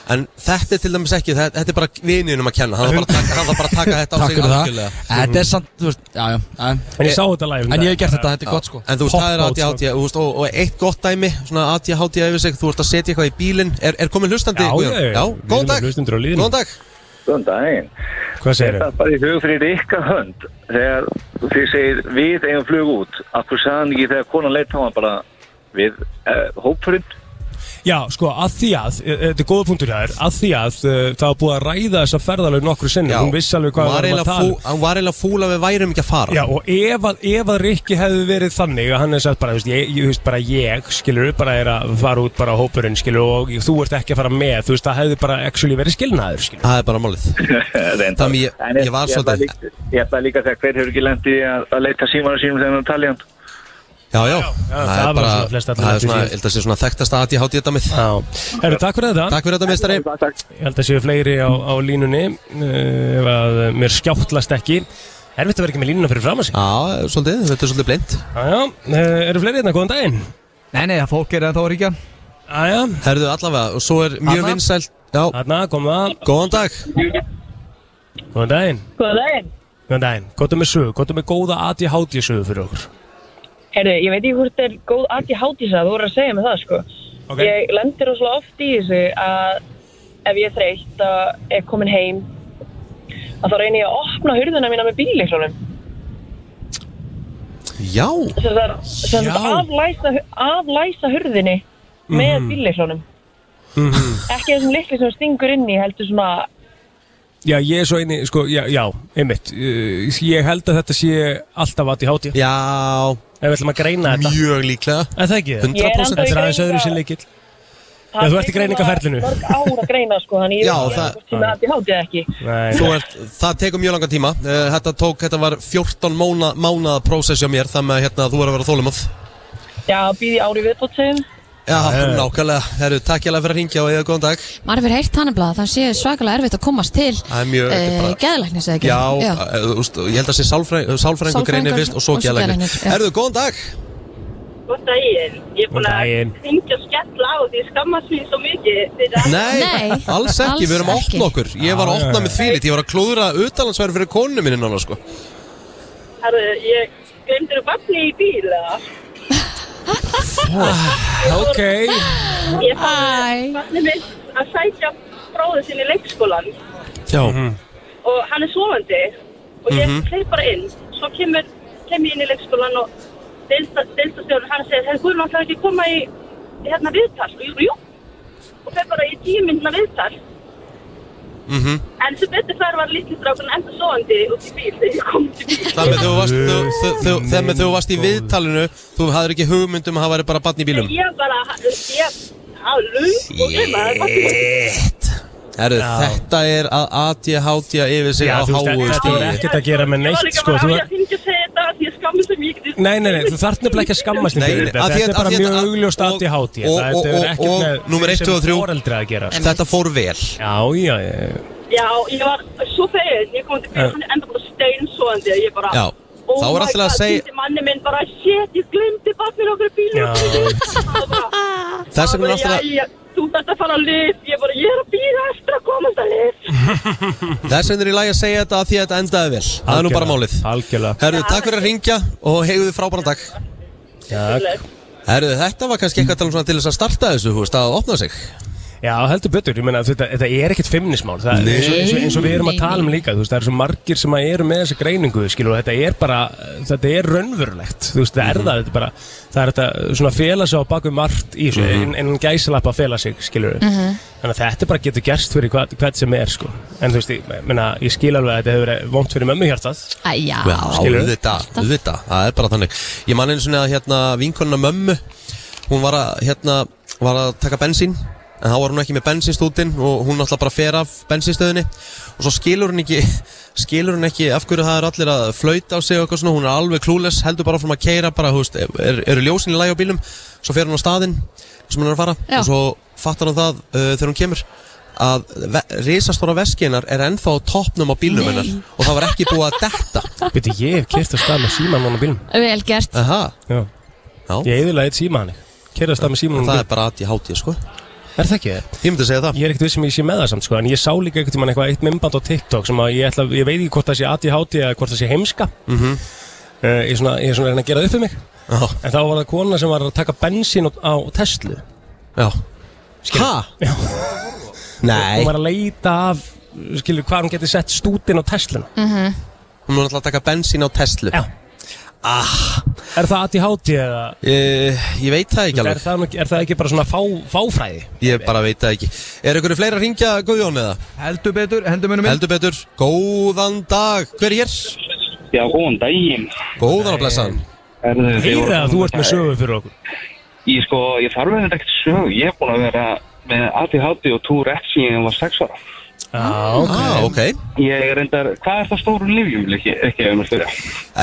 [SPEAKER 1] En þetta er til dæmis ekki, þetta þetta er bara vininum að kenna Hann var bara að taka- hann var bara að taka þetta á
[SPEAKER 11] Takk
[SPEAKER 1] sig
[SPEAKER 11] fyrir það
[SPEAKER 1] algjörlega.
[SPEAKER 11] Þetta er samt, þú veist Já, já, já
[SPEAKER 2] En ég sá þetta live um
[SPEAKER 11] En ég hef
[SPEAKER 2] daginn.
[SPEAKER 11] gert þetta, þetta er gott sko
[SPEAKER 1] En þú veist,
[SPEAKER 2] Pop
[SPEAKER 1] það er
[SPEAKER 2] out,
[SPEAKER 1] ADHD þú veist, og, og eitt gott dæmi, svona ADHD yfir sig, þú ert að setja eitthvað í bílinn Er, er komin hlustandi?
[SPEAKER 2] Já,
[SPEAKER 1] Guðjón?
[SPEAKER 2] já, já.
[SPEAKER 1] já
[SPEAKER 2] Við
[SPEAKER 1] góðan
[SPEAKER 2] erum
[SPEAKER 1] dag
[SPEAKER 2] með hlustendur á línunni.
[SPEAKER 1] Góðan dag
[SPEAKER 10] Góðan daginn.
[SPEAKER 2] Hvað segir
[SPEAKER 10] Það
[SPEAKER 2] þau?
[SPEAKER 10] er bara í hug fyrir ykkar hönd. Þegar þið segir við eigum flug út, af hverju sagðan ekki þegar konan leitt á hann bara við eh, hópfrind?
[SPEAKER 2] Já, sko, að því að, e- e- þetta er góða punktur hjá þér Að því að uh, það var búið að ræða þessa ferðalög nokkru sinni Hún vissi alveg hvað
[SPEAKER 1] Hún var
[SPEAKER 2] við varum að
[SPEAKER 1] eiginlega
[SPEAKER 2] tala um.
[SPEAKER 1] fú- Hann var eiginlega fúl að við værum ekki að fara
[SPEAKER 2] Já, og ef að, ef að Rikki hefði verið þannig að hann hefði sagt bara, þú veist, ég, ég, þú veist, bara ég, skilur, bara er að fara út bara á hópurinn, skilur, og þú ert ekki að fara með, þú veist, það hefði bara actually verið skilnaður, skilur.
[SPEAKER 1] Það er bara málið
[SPEAKER 10] Reyndar.
[SPEAKER 1] Þannig ég-
[SPEAKER 10] En
[SPEAKER 1] ég var
[SPEAKER 10] ætla
[SPEAKER 1] svolítið-
[SPEAKER 10] líka- Ég ætla líka að segja hver hefur ekki lendið að, að leita símanu sínum þegar hann talið hann.
[SPEAKER 1] Já, já,
[SPEAKER 2] það
[SPEAKER 1] það
[SPEAKER 2] var
[SPEAKER 1] er bara,
[SPEAKER 2] svona flest allir
[SPEAKER 1] það er
[SPEAKER 2] lentu í því.
[SPEAKER 1] svona, ég held að sé svona þekktasta ADHD dæmið
[SPEAKER 2] Já. Herru, takk fyrir þetta.
[SPEAKER 1] Takk fyrir þetta, meistari
[SPEAKER 10] Takk, takk.
[SPEAKER 2] Ég held að séu fleiri á, á línunni, eh, ef að eh, mér skjáttlast ekki. Erfitt að vera ekki með línuna fyrir fram að sig.
[SPEAKER 1] Já, svolítið, þetta er svolítið blind
[SPEAKER 2] Já, já, eh, eru fleiri hérna, góðan daginn.
[SPEAKER 12] Nei, nei, það fólk er ennþá að ríkja
[SPEAKER 2] Já, já,
[SPEAKER 1] Herðu allavega, og svo er mjög
[SPEAKER 12] Anna?
[SPEAKER 1] vinsælt Já,
[SPEAKER 2] þarna, kom það,
[SPEAKER 1] góðan dag
[SPEAKER 2] góðan daginn.
[SPEAKER 13] Góða daginn.
[SPEAKER 2] Góðan daginn, góðan með sögu, góðan með góða ADHD sögu fyrir okkur.
[SPEAKER 13] Herru, ég veit ekki hvort er góð ADHD það, þú voru að segja mig það sko.
[SPEAKER 2] Ok.
[SPEAKER 13] Ég lendir rosalega oft í þessu að ef ég er þreytt og er komin heim að þá reynir ég að opna hurðina mína með bíleiklunum.
[SPEAKER 1] Já,
[SPEAKER 13] Sem það sem sagt aflæsa, aflæsa hurðinni með mm. bíleiklunum.
[SPEAKER 1] Mhm.
[SPEAKER 13] Ekki þessum litlu sem stingur inn í heldur svona
[SPEAKER 2] Já, ég er svo eini, sko, já, já einmitt, uh, ég held að þetta sé alltaf aðt í hátíð,
[SPEAKER 1] já,
[SPEAKER 2] ef við ætlum að greina þetta
[SPEAKER 1] mjög líklega
[SPEAKER 2] En það ekki,
[SPEAKER 13] Ég er
[SPEAKER 1] 100%
[SPEAKER 13] ennþá í
[SPEAKER 2] þetta er aðeins
[SPEAKER 13] greiningu.
[SPEAKER 2] öðru sér leikill Já, þú ert í greiningaferlinu.
[SPEAKER 13] Það er mörg ár að greina sko, þannig ég
[SPEAKER 1] Já,
[SPEAKER 13] veit
[SPEAKER 1] það-
[SPEAKER 13] ekki hvort sem ADHD eða ekki.
[SPEAKER 1] Þú ert, það tekur mjög langan tíma Eh, Þetta tók, þetta var 14 mána, mánaða prósess hjá mér Þannig að hérna, þú er að vera þólumöð
[SPEAKER 13] Já, býði ári viðbótsum.
[SPEAKER 1] Já, nákvæmlega, herru, takk ég alveg fyrir að ringja og eða góðan dag
[SPEAKER 3] Maður hefur heyrt þannig að það sé svakalega erfitt að komast til eh,
[SPEAKER 1] Það er mjög, þetta Eh, er bara-
[SPEAKER 3] geðlæknis eða ekki
[SPEAKER 1] Já, eh, þú veist, ég held að sé sálfræðingur sálfræðingu greinir fyrst og svo gælæknir
[SPEAKER 3] já.
[SPEAKER 1] Herru, góðan dag
[SPEAKER 7] Góð daginn, ég er búin
[SPEAKER 1] Góðan
[SPEAKER 7] að
[SPEAKER 1] daginn.
[SPEAKER 7] hringja og skella á því ég skammast mér svo mikið fyrir að-
[SPEAKER 1] Nei, alls ekki, við erum að opna okkur Ég var að opna með þvílit, ég var að klúðra utalandsverð fyrir konu minni nána sko
[SPEAKER 7] Herðu, ég glemdur að vatni í bíl eða?
[SPEAKER 2] Ok
[SPEAKER 7] Ég fann vatni mitt að sækja bróður sinni í leikskólan
[SPEAKER 1] Já
[SPEAKER 7] og hann er svovandi og ég mm
[SPEAKER 1] Mhm.
[SPEAKER 7] bara inn, svo kemur, kemur ég inn í leikskólan og deildastjórn hann segir, hefur Guðrún alltaf ekki að koma í í hérna viðtal og ég, jú, og fer bara í tíu myndna viðtal
[SPEAKER 1] Mhm.
[SPEAKER 7] En sem betur fær var lítið strákun enda svoandi út í bíl þegar ég kom til bíl.
[SPEAKER 1] Þar með þú varst, þú- þú- þú- þegar með þú varst í viðtalinu Þú hafðir ekki hugmyndum að það væri bara batn í bílum
[SPEAKER 7] Ég bara, ég á lung og glema
[SPEAKER 1] Shit Herru, þetta er að ADHD yfir sig
[SPEAKER 2] Já,
[SPEAKER 1] á
[SPEAKER 2] þú veist,
[SPEAKER 1] háu
[SPEAKER 2] þetta
[SPEAKER 1] stíði
[SPEAKER 2] hefur ekkert að gera með
[SPEAKER 7] Ég var
[SPEAKER 2] neitt,
[SPEAKER 7] líka
[SPEAKER 2] sko,
[SPEAKER 7] bara
[SPEAKER 2] þú
[SPEAKER 7] að
[SPEAKER 2] var-
[SPEAKER 7] ég fengi að segja þetta af því ég skammi sem ég geti.
[SPEAKER 2] Nei, nei, nei, þú þarf nefnilega ekki að skammast þín
[SPEAKER 1] Nei,
[SPEAKER 2] fyrir
[SPEAKER 1] nei,
[SPEAKER 2] þetta
[SPEAKER 1] af því
[SPEAKER 2] Þetta er
[SPEAKER 1] að-
[SPEAKER 2] bara
[SPEAKER 1] af því
[SPEAKER 2] mjög
[SPEAKER 1] að-
[SPEAKER 2] augljóst aðti háti
[SPEAKER 1] og-
[SPEAKER 2] Þetta
[SPEAKER 1] og-
[SPEAKER 2] hefur
[SPEAKER 1] og-
[SPEAKER 2] ekkert
[SPEAKER 1] og-
[SPEAKER 2] með
[SPEAKER 1] númer eitt,
[SPEAKER 2] sem
[SPEAKER 1] tvö og þrjú.
[SPEAKER 2] foreldra að gera
[SPEAKER 1] Þetta fór vel
[SPEAKER 2] Já, já, já
[SPEAKER 7] Já, ég var svo fegin, ég kom til bíl,
[SPEAKER 2] Já.
[SPEAKER 7] hann er enda bara steinsóandi og ég bara...
[SPEAKER 2] Já.
[SPEAKER 7] Oh
[SPEAKER 1] Þá er alltaf að segja-
[SPEAKER 7] Týndi manni minn bara, shit, ég glemdi barnir okkur í bílum.
[SPEAKER 1] Já. Þess vegna er alltaf að
[SPEAKER 7] Jæja, þú þarft að fara að lið, ég bara, ég er að býða eftir að komast að lið.
[SPEAKER 1] Þess vegna er í lagi að segja þetta af því að þetta endaði vel Það er nú bara málið
[SPEAKER 2] Algjörlega
[SPEAKER 1] Herru, takk fyrir að ringja og hegðu þið frábæran dag
[SPEAKER 2] Takk.
[SPEAKER 1] Herru, þetta var kannski eitthvað til, svona, til þess að starta þessu, þú veist, að opna sig
[SPEAKER 2] Já, heldur betur, ég meina þetta, þetta er ekkert feimnismál það,
[SPEAKER 1] Nei.
[SPEAKER 2] eins, og, eins, og, eins og við erum að tala um líka þú veist, það eru svo margir sem að eru með þessa greiningu skilur, og þetta er bara, þetta er raunverulegt þú veist, það
[SPEAKER 1] Mhm.
[SPEAKER 2] er það, þetta er bara það er þetta svona að fela sig á baku margt í þessu,
[SPEAKER 1] Mhm.
[SPEAKER 2] mm -hmm. en, en gæsalappa að fela sig skilur,
[SPEAKER 14] Mhm.
[SPEAKER 2] þannig að þetta bara getur gerst fyrir hvað, hvað sem er, sko en þú veist, ég, meina, ég skil alveg að þetta hefur verið vont fyrir mömmu hjartað
[SPEAKER 3] Æja,
[SPEAKER 1] Já, auðvitað, auðvitað, það er bara þannig Ég man einu svona að hérna vinkonuna mömmu Hún var að, hérna, var að taka bensín En þá var hún ekki með bensinstútin Og hún náttúrulega bara fer af bensinstöðinni Og svo skilur hún ekki Skilur hún ekki af hverju það er allir að flauta á sig og eitthvað svona, Hún er alveg klúles, heldur bara frá að keira Bara, þú veist, er, eru ljósin í lagi á bílum Svo fer hún á staðinn sem hún er að fara
[SPEAKER 3] Já.
[SPEAKER 1] Og svo fattar hún það uh, þegar hún kemur að ve risastóra veskinar er ennþá á toppnum á bílnum
[SPEAKER 3] Nei.
[SPEAKER 1] hennar og það var ekki búið að detta
[SPEAKER 2] Beti, ég hef kert að stað með síman núna á bílum
[SPEAKER 3] Vel gert
[SPEAKER 1] Aha.
[SPEAKER 2] Já. Ég eðilaði eitt síma hann Kert að stað með síman núna á
[SPEAKER 1] Það
[SPEAKER 2] bílum
[SPEAKER 1] er bara aðti hátí, sko
[SPEAKER 2] Er það ekki það?
[SPEAKER 1] Ég myndi að segja það
[SPEAKER 2] Ég er ekkert vissum ég sé með það samt sko En ég sá líka einhvern tímann eitthvað eitt mymband á TikTok sem að ég, ætla, ég veit ekki hvort það sé ADHD eða hvort það sé heimska Eh,
[SPEAKER 1] mm -hmm.
[SPEAKER 2] Ég er svona, ég er svona að reyna að gera það upp fyrir mig
[SPEAKER 1] oh.
[SPEAKER 2] En þá var það kona sem var að taka bensín á, á Tesla
[SPEAKER 1] Já
[SPEAKER 2] Skilur. Já
[SPEAKER 1] Nei.
[SPEAKER 2] Hún var að leita af, skilur, hvað hún geti sett stútin á Tesluna
[SPEAKER 1] Hún var alltaf að taka bensín á Tesla
[SPEAKER 2] Já
[SPEAKER 1] ah.
[SPEAKER 2] Er það ADHD eða?
[SPEAKER 1] uh, Ég veit það ekki
[SPEAKER 2] Er
[SPEAKER 1] alveg
[SPEAKER 2] það, nú- er það ekki bara svona fá, fáfræði?
[SPEAKER 1] Ég bara veit það ekki Er ykkur fleira að ringja Guðjón eða?
[SPEAKER 12] Heldur betur, hendur munum
[SPEAKER 1] minn Heldur betur, góðan dag Hver er hér?
[SPEAKER 15] Já, góðan daginn Eh,
[SPEAKER 1] Góðan að blessa hann
[SPEAKER 2] Heyra að þú ert með sögu fyrir okkur
[SPEAKER 15] Ég sko, ég þarf með ekkert sögu Ég er búin að vera með ADHD og Tourette síðan ég var 6 ára
[SPEAKER 2] Já, ok,
[SPEAKER 1] ah, okay.
[SPEAKER 15] Ég er reyndar, hvað er það stóru lífjum ekki, ekki ef maður spyrja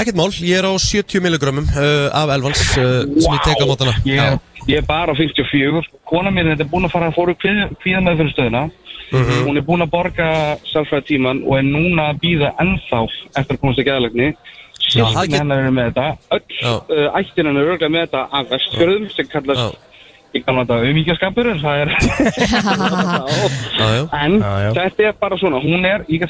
[SPEAKER 1] Ekkert mál, ég er á 70 milligrömmum uh, af elvans uh, sem ég tek á mótana
[SPEAKER 15] ég, ég er bara 54 Kona mín er þetta búin að fara að fóru kvíða með fyrir stöðina
[SPEAKER 1] Mhm.
[SPEAKER 15] Hún er búin að borga sálfræði tíman og er núna að býða ennþá eftir að komast í geðalegni
[SPEAKER 1] Já, það
[SPEAKER 15] Sýstin
[SPEAKER 1] get-
[SPEAKER 15] hennar er með þetta Öll uh, ættin hennar er örglega með þetta af vestfjörðum sem kallast Ég kannu þetta umíkjaskapur en það er
[SPEAKER 1] Já,
[SPEAKER 15] En þetta er bara svona, hún er, ég,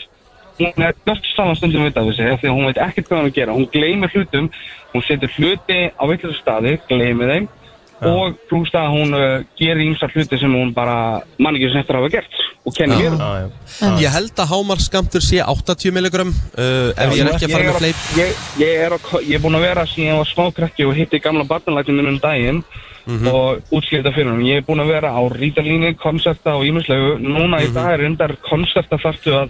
[SPEAKER 15] hún er dörst saman stundum við það við segja því að hún veit ekkert hvað hún er að gera. Hún gleymir hlutum, hún setur hluti á villistu staði, gleymir þeim og plúst að hún uh, gerir ímsa hluti sem hún bara mann ekki sem eftir að hafa gert
[SPEAKER 1] Já.
[SPEAKER 15] og kennir mér. um.
[SPEAKER 1] Ég held að hámarskamtur sé 80 milligrömm uh, Ef
[SPEAKER 15] Já,
[SPEAKER 1] ég er ekki að fara með fleip
[SPEAKER 15] Ég, ég, er, að, ko- ég er búin að vera síðan ég var smákrakki og hitti gamla barnalæknum minn um daginn
[SPEAKER 1] Mhm.
[SPEAKER 15] og útskýrta fyrir hann. Ég er búin að vera á rítalíni, koncepta og ímislegu. Núna
[SPEAKER 1] Mhm.
[SPEAKER 15] í dag er reyndar koncepta þarftu að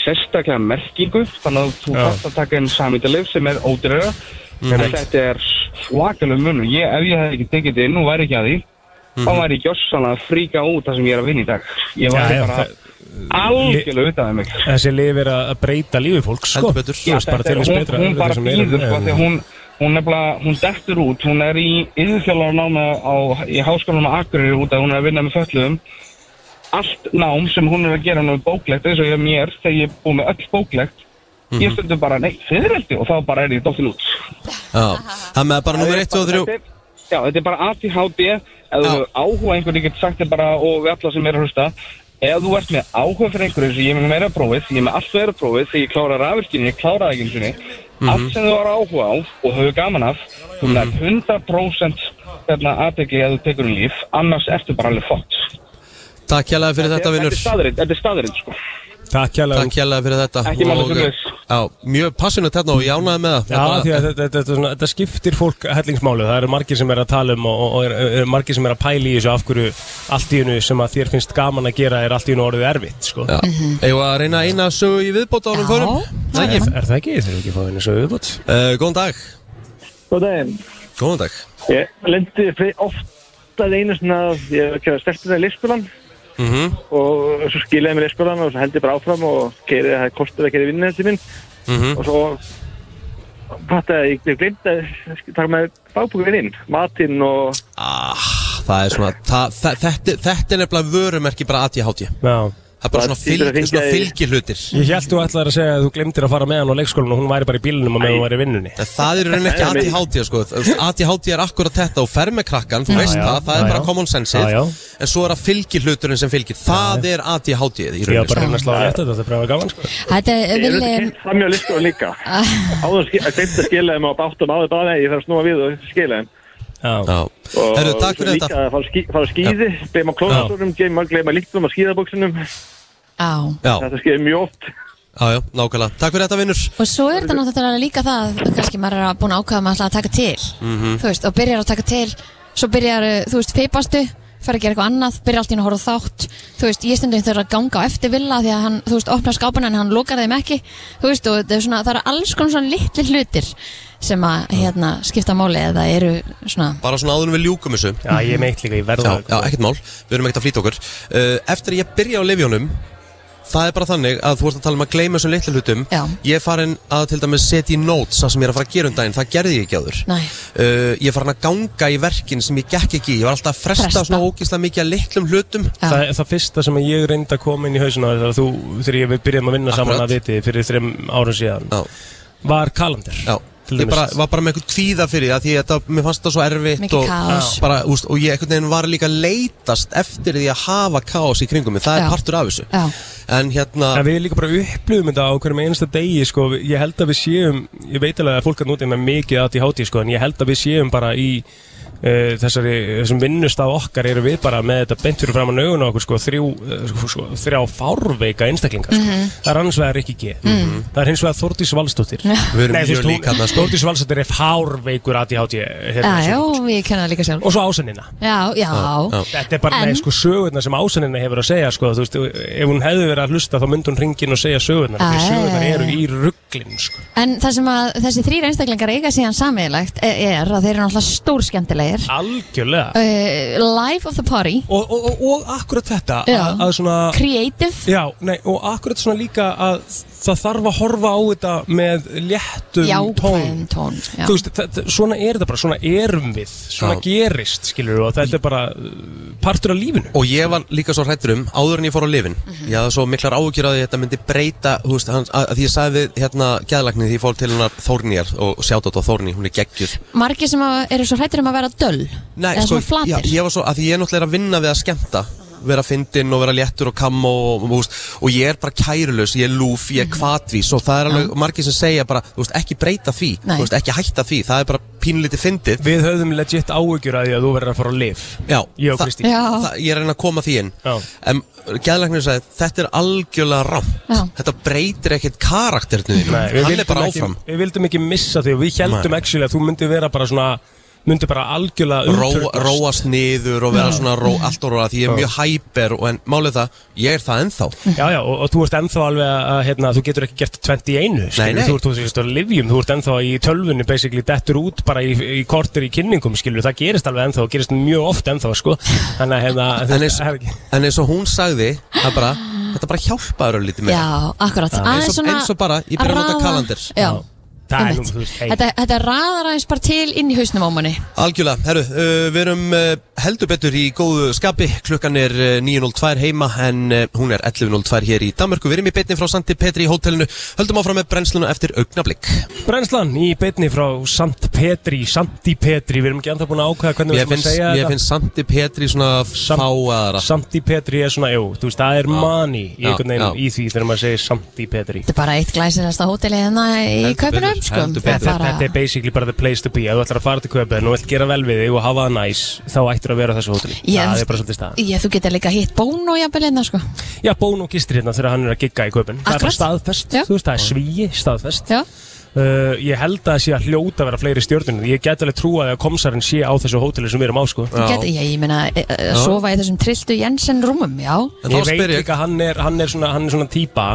[SPEAKER 15] sérstaklega merkingu, þannig að þú
[SPEAKER 2] Já.
[SPEAKER 15] þarft að taka einn samítalif sem er ódreira.
[SPEAKER 2] Mhm.
[SPEAKER 15] En þetta er svakalega munum. Ég, ef ég hef ekki tekið þetta inn og væri ekki að því, þá
[SPEAKER 1] Mhm.
[SPEAKER 15] var ég gjössan að fríka út það sem ég er að vinna í dag ég var
[SPEAKER 2] Já, já,
[SPEAKER 15] bara
[SPEAKER 2] það-
[SPEAKER 15] algjörlega utan með mig
[SPEAKER 2] Þessi lif er að að breyta lífi fólk sko. Ég veist bara til þess
[SPEAKER 15] hún,
[SPEAKER 2] betra
[SPEAKER 15] hún bara
[SPEAKER 2] þessum leirum.
[SPEAKER 15] býður sko, því að hún, hún nefnilega, hún dettur út hún er í yfirfjallar námi á, í háskólanum á Akureyri út að hún er að vinna með föllum allt nám sem hún er að gera nú er bóklegt eins og ég er mér, þegar ég er búið með öll bóklegt
[SPEAKER 2] Mhm.
[SPEAKER 15] ég stundu bara, nei, fyrireldi og þá bara er ég dóttin út
[SPEAKER 1] Það með bara nummer 1 og 3
[SPEAKER 15] Já, þetta er bara ADHD Ef þú hefur áhuga einhvern, ég get sagt þér bara og við alla sem er að hlusta Ef þú ert með áhuga fyrir einhverju sem ég er með meira prófið ég er með allt meira prófið þegar ég klára rafvirkjunni, ég klára það ekki einu sinni
[SPEAKER 1] Mhm.
[SPEAKER 15] Allt sem þú har áhuga á og hefur gaman af þú nær 100% þarna aðtegli að þú tekur um líf annars ertu bara alveg fótt
[SPEAKER 1] Takk hérlega fyrir þetta, vinnur.
[SPEAKER 15] Þetta er staðurinn, þetta er staðurinn sko
[SPEAKER 2] Takk hérlega
[SPEAKER 1] Takk hérlega fyrir þetta
[SPEAKER 15] Ekki máli,
[SPEAKER 1] Og,
[SPEAKER 15] sömuleiðis.
[SPEAKER 1] Já, mjög passunum þetta og ég ánaði með það
[SPEAKER 2] Já, því að þetta, þetta, þetta, þetta skiptir fólk hellingsmálu, það eru margir sem er að tala um og, og er, er margir sem er að pæla í þessu af hverju allt í hennu sem að þér finnst gaman að gera er allt í hennu orðið erfitt sko.
[SPEAKER 1] Eða að reyna eina sögu í viðbót árum förum
[SPEAKER 2] það er, er það ekki? Þeir eru ekki fáið henni sögu í viðbót
[SPEAKER 1] uh, Góðan dag
[SPEAKER 14] Góðan daginn
[SPEAKER 1] Góðan dag
[SPEAKER 14] Ég lendi fre- oft að einu svona að ég hef kjöðað steltina í leikskólan
[SPEAKER 1] mm -hmm.
[SPEAKER 14] og svo skilaði ég mér leikskólan og svo held ég bara áfram og keiri það kostur að keiri vinnu til mín
[SPEAKER 1] Mhm.
[SPEAKER 14] og svo fattaði ég, ég glemt að taka með fagbúkinn inn, matinn og
[SPEAKER 1] ah, Það er svona, það, það, þetta, þetta er nefnilega vörumerki bara að ég hátt ég
[SPEAKER 2] Já
[SPEAKER 1] Það er bara svona, fylg, svona fylgihlutir
[SPEAKER 2] Ég held þú ætlaði að segja að þú glemtir að fara með hann á leikskólan og hún væri bara í bílunum og með hún væri í vinnunni
[SPEAKER 1] Það er í rauninni ekki ADHD sko. ADHD er akkurat þetta og fer með krakkan, þú
[SPEAKER 2] Já,
[SPEAKER 1] veist
[SPEAKER 2] já,
[SPEAKER 1] það, það
[SPEAKER 2] já,
[SPEAKER 1] er bara
[SPEAKER 2] já.
[SPEAKER 1] common sense
[SPEAKER 2] Já, já.
[SPEAKER 1] en svo er það fylgihluturinn sem fylgir það er ADHD í
[SPEAKER 2] Ég var bara að
[SPEAKER 1] rauninni sko.
[SPEAKER 2] reyna að slá rétt þetta, þetta er bara gaman sko.
[SPEAKER 3] Þetta er
[SPEAKER 14] Ég
[SPEAKER 3] villi
[SPEAKER 14] hef framjá leikskólan líka áður skil- að glemt að skila þeim á báttum áður bara nei, ég þarf að snúa við og skila þeim
[SPEAKER 1] Já.
[SPEAKER 14] og
[SPEAKER 1] Herru, takk
[SPEAKER 14] svo
[SPEAKER 1] fyrir
[SPEAKER 14] líka
[SPEAKER 1] þetta.
[SPEAKER 14] að fara, skí, fara skýði gleyma klónastórum, gleyma líktum að skýðaboksunum
[SPEAKER 3] á
[SPEAKER 1] Já,
[SPEAKER 14] þetta skeiði mjög oft
[SPEAKER 1] já, já, nákvæmlega Takk fyrir þetta vinnur
[SPEAKER 3] Og svo er þetta náttúrulega líka það kannski maður er að búin að ákvaða að maður ætla að taka til
[SPEAKER 1] Mhm.
[SPEAKER 3] þú veist, og byrjar að taka til svo byrjar, uh, þú veist, feipastu fer að gera eitthvað annað, byrjar allt í einu að horfa á þátt þú veist, ég stundum þurfa að ganga á eftir villa því að hann, þú veist, opnar skápana en hann lokar þeim ekki þú veist, og það er svona, það eru alls konar svona litli hlutir sem að, hérna, skipta máli eða eru svona
[SPEAKER 1] Bara svona áðurum við ljúkum þessu
[SPEAKER 2] Já, ég er meitt líka, ég verða
[SPEAKER 1] Já, já, ekkert mál, við erum ekkert að flýta okkur uh, Eftir að ég byrja á lifjónum Það er bara þannig að þú ert að tala um að gleyma þessum litlu hlutum
[SPEAKER 3] Já.
[SPEAKER 1] Ég er farin að til dæmis setja í notes það sem ég er að fara að gera um daginn, það gerði ég ekki áður
[SPEAKER 3] Nei.
[SPEAKER 1] uh, Ég er farin að ganga í verkin sem ég gekk ekki í Ég var alltaf að fresta,
[SPEAKER 2] Fresta.
[SPEAKER 1] svona ógislega mikið að litlum hlutum
[SPEAKER 2] Það, það fyrsta sem ég reyndi að koma inn í hausuna þegar þú, þegar ég- við byrjum að vinna saman
[SPEAKER 1] Akkurat.
[SPEAKER 2] að viti fyrir þrem árum síðan
[SPEAKER 1] Já.
[SPEAKER 2] var kalendar
[SPEAKER 1] Já. Ég bara, var bara með eitthvað kvíða fyrir það því að þetta, mér fannst það svo erfitt
[SPEAKER 2] Mikið
[SPEAKER 1] og,
[SPEAKER 2] kaos.
[SPEAKER 1] bara, úst, og ég einhvern veginn var líka að leitast eftir því að hafa kaos í kringum mig, það er
[SPEAKER 2] Já.
[SPEAKER 1] partur af þessu En hérna
[SPEAKER 2] En við líka bara upplöfum þetta á hverjum einasta degi sko, Við- ég held að við séum ég veit alveg að fólk að núti með mikið aðt í hátíð sko, en ég held að við séum bara í uh, þessari, þessum vinnustaf okkar eru við bara með þetta beint fyrir fram á nögun okkur sko, þrjú, eh, sko, sko, þrjá fárveika
[SPEAKER 3] Mm.
[SPEAKER 2] einstaklingar sko.
[SPEAKER 16] Mhm.
[SPEAKER 2] það er annars vegar ekki ekki
[SPEAKER 16] Mhm.
[SPEAKER 2] það er hins vegar Þórdís Valstóttir
[SPEAKER 1] Við erum mjög lík þarna, sko.
[SPEAKER 2] Þórdís Valstóttir er fárveikur aðt í hátíð
[SPEAKER 3] Já, já, ég kenna það líka sjálf
[SPEAKER 2] Hérna Og svo ásennina
[SPEAKER 3] Já, já,
[SPEAKER 2] Þetta er bara
[SPEAKER 3] En-
[SPEAKER 2] með sko sögurnar sem ásennina hefur að segja sko, þú veist, ef hún hefði verið að hlusta þá myndi hún ringin og segja sögurnar
[SPEAKER 3] Já,
[SPEAKER 2] því
[SPEAKER 3] já,
[SPEAKER 2] sögurnar
[SPEAKER 3] já,
[SPEAKER 2] eru
[SPEAKER 3] já.
[SPEAKER 2] í rugglin sko.
[SPEAKER 3] En það sem að þessi þrýra einstaklingar eiga síðan sameiglegt er að þeir eru náttúrulega stórskemmtilegir
[SPEAKER 2] Algjörlega
[SPEAKER 3] uh, Life of the party
[SPEAKER 2] og, og, og, og akkurat þetta
[SPEAKER 3] Já.
[SPEAKER 2] að, að svona
[SPEAKER 3] Creative
[SPEAKER 2] Já, nei, og akkurat svona líka að það þarf að horfa á þetta með léttum
[SPEAKER 3] Jákvæðum tón já.
[SPEAKER 2] Þú veist, þetta, svona er þetta bara, svona erum við svona
[SPEAKER 1] Já.
[SPEAKER 2] gerist, skilur við og þetta er bara uh, partur af lífinu
[SPEAKER 1] Og ég var líka svo hrættur um, áður en ég fór á lifin Ég hafði svo miklar áhugjur að þetta myndi breyta Þú veist, hans, að, að því ég sagði við, hérna Gæðlagnið því ég fór til hennar Þórnýjar Og sjátt á Þórný, hún er geggjur
[SPEAKER 3] Margir sem að- eru svo hrættir um að vera döll
[SPEAKER 1] Nei, sko,
[SPEAKER 3] Eða svona
[SPEAKER 1] já,
[SPEAKER 3] flatir
[SPEAKER 1] ég var svo, að því ég er náttúrulega er að vinna við að skemmta vera fyndinn og vera léttur og kam og, og, þú veist, og ég er bara kærulös, ég er lúf, ég er kvatvís og það er alveg margir sem segja bara, þú veist, ekki breyta því,
[SPEAKER 2] Nei.
[SPEAKER 1] þú veist, ekki hætta því, það er bara pínlítið fyndið.
[SPEAKER 2] Við höfðum legit áhugjur að því að þú verður að fara á lif.
[SPEAKER 1] Já,
[SPEAKER 2] Ég og
[SPEAKER 1] það-
[SPEAKER 2] Kristín. Já.
[SPEAKER 1] það- Ég er að reyna að koma því inn.
[SPEAKER 2] Já.
[SPEAKER 1] En gæðlæknir sagði, þetta er algjörlega
[SPEAKER 3] Já.
[SPEAKER 1] rámt. Þetta breytir ekkert karakterinu þínu.
[SPEAKER 2] Nei, við
[SPEAKER 1] Hann er
[SPEAKER 2] vildum
[SPEAKER 1] bara
[SPEAKER 2] ekki-
[SPEAKER 1] áfram.
[SPEAKER 2] Við vildum ekki missa þig og við heldum
[SPEAKER 1] Nei.
[SPEAKER 2] actually að þú myndi vera bara svona myndi bara algjörlega
[SPEAKER 1] Ró,
[SPEAKER 2] umturnast.
[SPEAKER 1] Róast niður og vera
[SPEAKER 2] Já.
[SPEAKER 1] svona ró, allt og róla Því ég er mjög hæper og en málið það, ég er það ennþá
[SPEAKER 2] Já, já, og, og þú ert ennþá alveg að, að, hérna, þú getur ekki gert 21 skilur,
[SPEAKER 1] nei.
[SPEAKER 2] þú ert þú veist að livjum, þú ert ennþá í tölvunni basically dettur út bara í, í kortir í kynningum, skilur, það gerist alveg ennþá, gerist mjög oft ennþá, sko, þannig að hérna,
[SPEAKER 1] En eins, en eins og hún sagði það bara, þetta bara hjálpaði þér lítið meira
[SPEAKER 3] Já, akkurat
[SPEAKER 1] Já.
[SPEAKER 3] Aðeins
[SPEAKER 1] Eins og-
[SPEAKER 3] svona
[SPEAKER 1] eins og bara, ég byrja að nota
[SPEAKER 3] raða-
[SPEAKER 1] kalenders.
[SPEAKER 3] Já,
[SPEAKER 1] Það er nú,
[SPEAKER 3] einmitt.
[SPEAKER 1] þú veist, hey.
[SPEAKER 3] Þetta, þetta raðar aðeins bara til inn í hausnum á manni
[SPEAKER 1] Algjörlega, herru, uh, við erum uh, heldur betur í góðu skapi, klukkan er uh, 9.02 heima en uh, hún er 11.02 hér í Danmörku, við erum í beinni frá Santi Petri í hótelinu, höldum áfram með brennsluna eftir augnablik.
[SPEAKER 2] Brennslan í beinni frá Sant Petri, Santi Petri, við erum ekki ennþá búin að ákveða hvernig við
[SPEAKER 1] Mér
[SPEAKER 2] erum að
[SPEAKER 1] finnst,
[SPEAKER 2] segja
[SPEAKER 1] mér finnst Santi Petri svona fáaðara.
[SPEAKER 2] Santi Petri er svona, jú, þú veist, það er
[SPEAKER 1] Já.
[SPEAKER 2] mani í
[SPEAKER 1] Já,
[SPEAKER 2] einhvern
[SPEAKER 1] já.
[SPEAKER 2] veginn í því þegar maður segir Santi Petri.
[SPEAKER 3] Þetta er bara eitt glæsilegasta hótelið hérna í Kaupunum sko. Það er
[SPEAKER 2] Þetta,
[SPEAKER 3] bara-
[SPEAKER 2] þetta er basically bara the place to be Ef þú ætlar að fara til Köpen og vilt gera vel við þig og hafa það næs þá ættir að vera á þessu hóteli
[SPEAKER 3] Ég-
[SPEAKER 2] Það er bara svolítið staðan
[SPEAKER 3] Ég, þú getur líka hitt bónu og jafnvel hérna sko
[SPEAKER 2] Já, Bón og gistir hérna þegar hann er að gigga í Köpen Það er bara staðfest, þú veist, það er svíi staðfest
[SPEAKER 3] Já
[SPEAKER 2] Uh, ég held að það sé að hljóta að vera fleiri stjórnir Ég get alveg trúa að komsarinn sé á þessu hóteli sem við erum á sko.
[SPEAKER 3] Get, ég, ég meina e- e- að
[SPEAKER 2] Já.
[SPEAKER 3] sofa í þessum trilltu Jensen rúmum, já
[SPEAKER 2] En Ég veit líka að hann er, hann er svona, hann er svona típa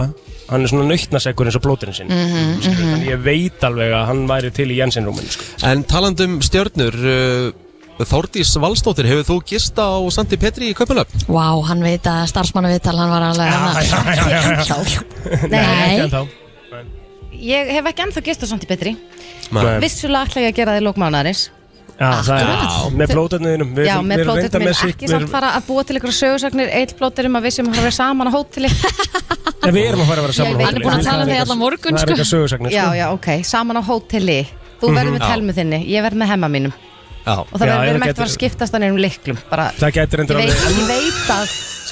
[SPEAKER 2] Hann er svona nautnasekkur eins og blóturinn sinn
[SPEAKER 3] Mhm, mhm.
[SPEAKER 2] Ég veit alveg að hann væri til í Jensenrúmin sko.
[SPEAKER 1] En talandum stjörnur, uh, Þórdís Valstóttir, hefur þú gist á Santi Petri í Köpunöfn?
[SPEAKER 3] Vá, hann veit að starfsmannavital, hann var alveg
[SPEAKER 2] já, já, já, já.
[SPEAKER 16] Nei.
[SPEAKER 2] ekki ennþá.
[SPEAKER 16] Ég hef ekki ennþá gist á samt í betri
[SPEAKER 2] Nei.
[SPEAKER 16] Vissulega ætla ég að gera það í lókmánaðarins
[SPEAKER 2] Já, það er
[SPEAKER 16] Akkurat.
[SPEAKER 2] með blótarnuðinum
[SPEAKER 16] Já, með plótið minn ekki samt fara að búa til ykkur sögursagnir eitt plótið um að við sem hafa verið saman á hóteli
[SPEAKER 2] En við erum að fara að vera saman
[SPEAKER 16] Ég veit. Hann er búinn að tala um þig allan morgun,
[SPEAKER 2] Það er
[SPEAKER 16] sko.
[SPEAKER 2] eitthvað sögursagnir
[SPEAKER 16] Já, já, ok, saman á hóteli Þú
[SPEAKER 2] Mhm.
[SPEAKER 16] verður með
[SPEAKER 2] Já.
[SPEAKER 16] telmu þinni, ég verð með hemma mínum
[SPEAKER 1] Já,
[SPEAKER 16] Og það verður við erum ekkert að fara að skiptast þannig um liklum bara,
[SPEAKER 2] Það getur
[SPEAKER 16] ég,
[SPEAKER 2] endur
[SPEAKER 16] veit,
[SPEAKER 2] alveg
[SPEAKER 16] ég veit að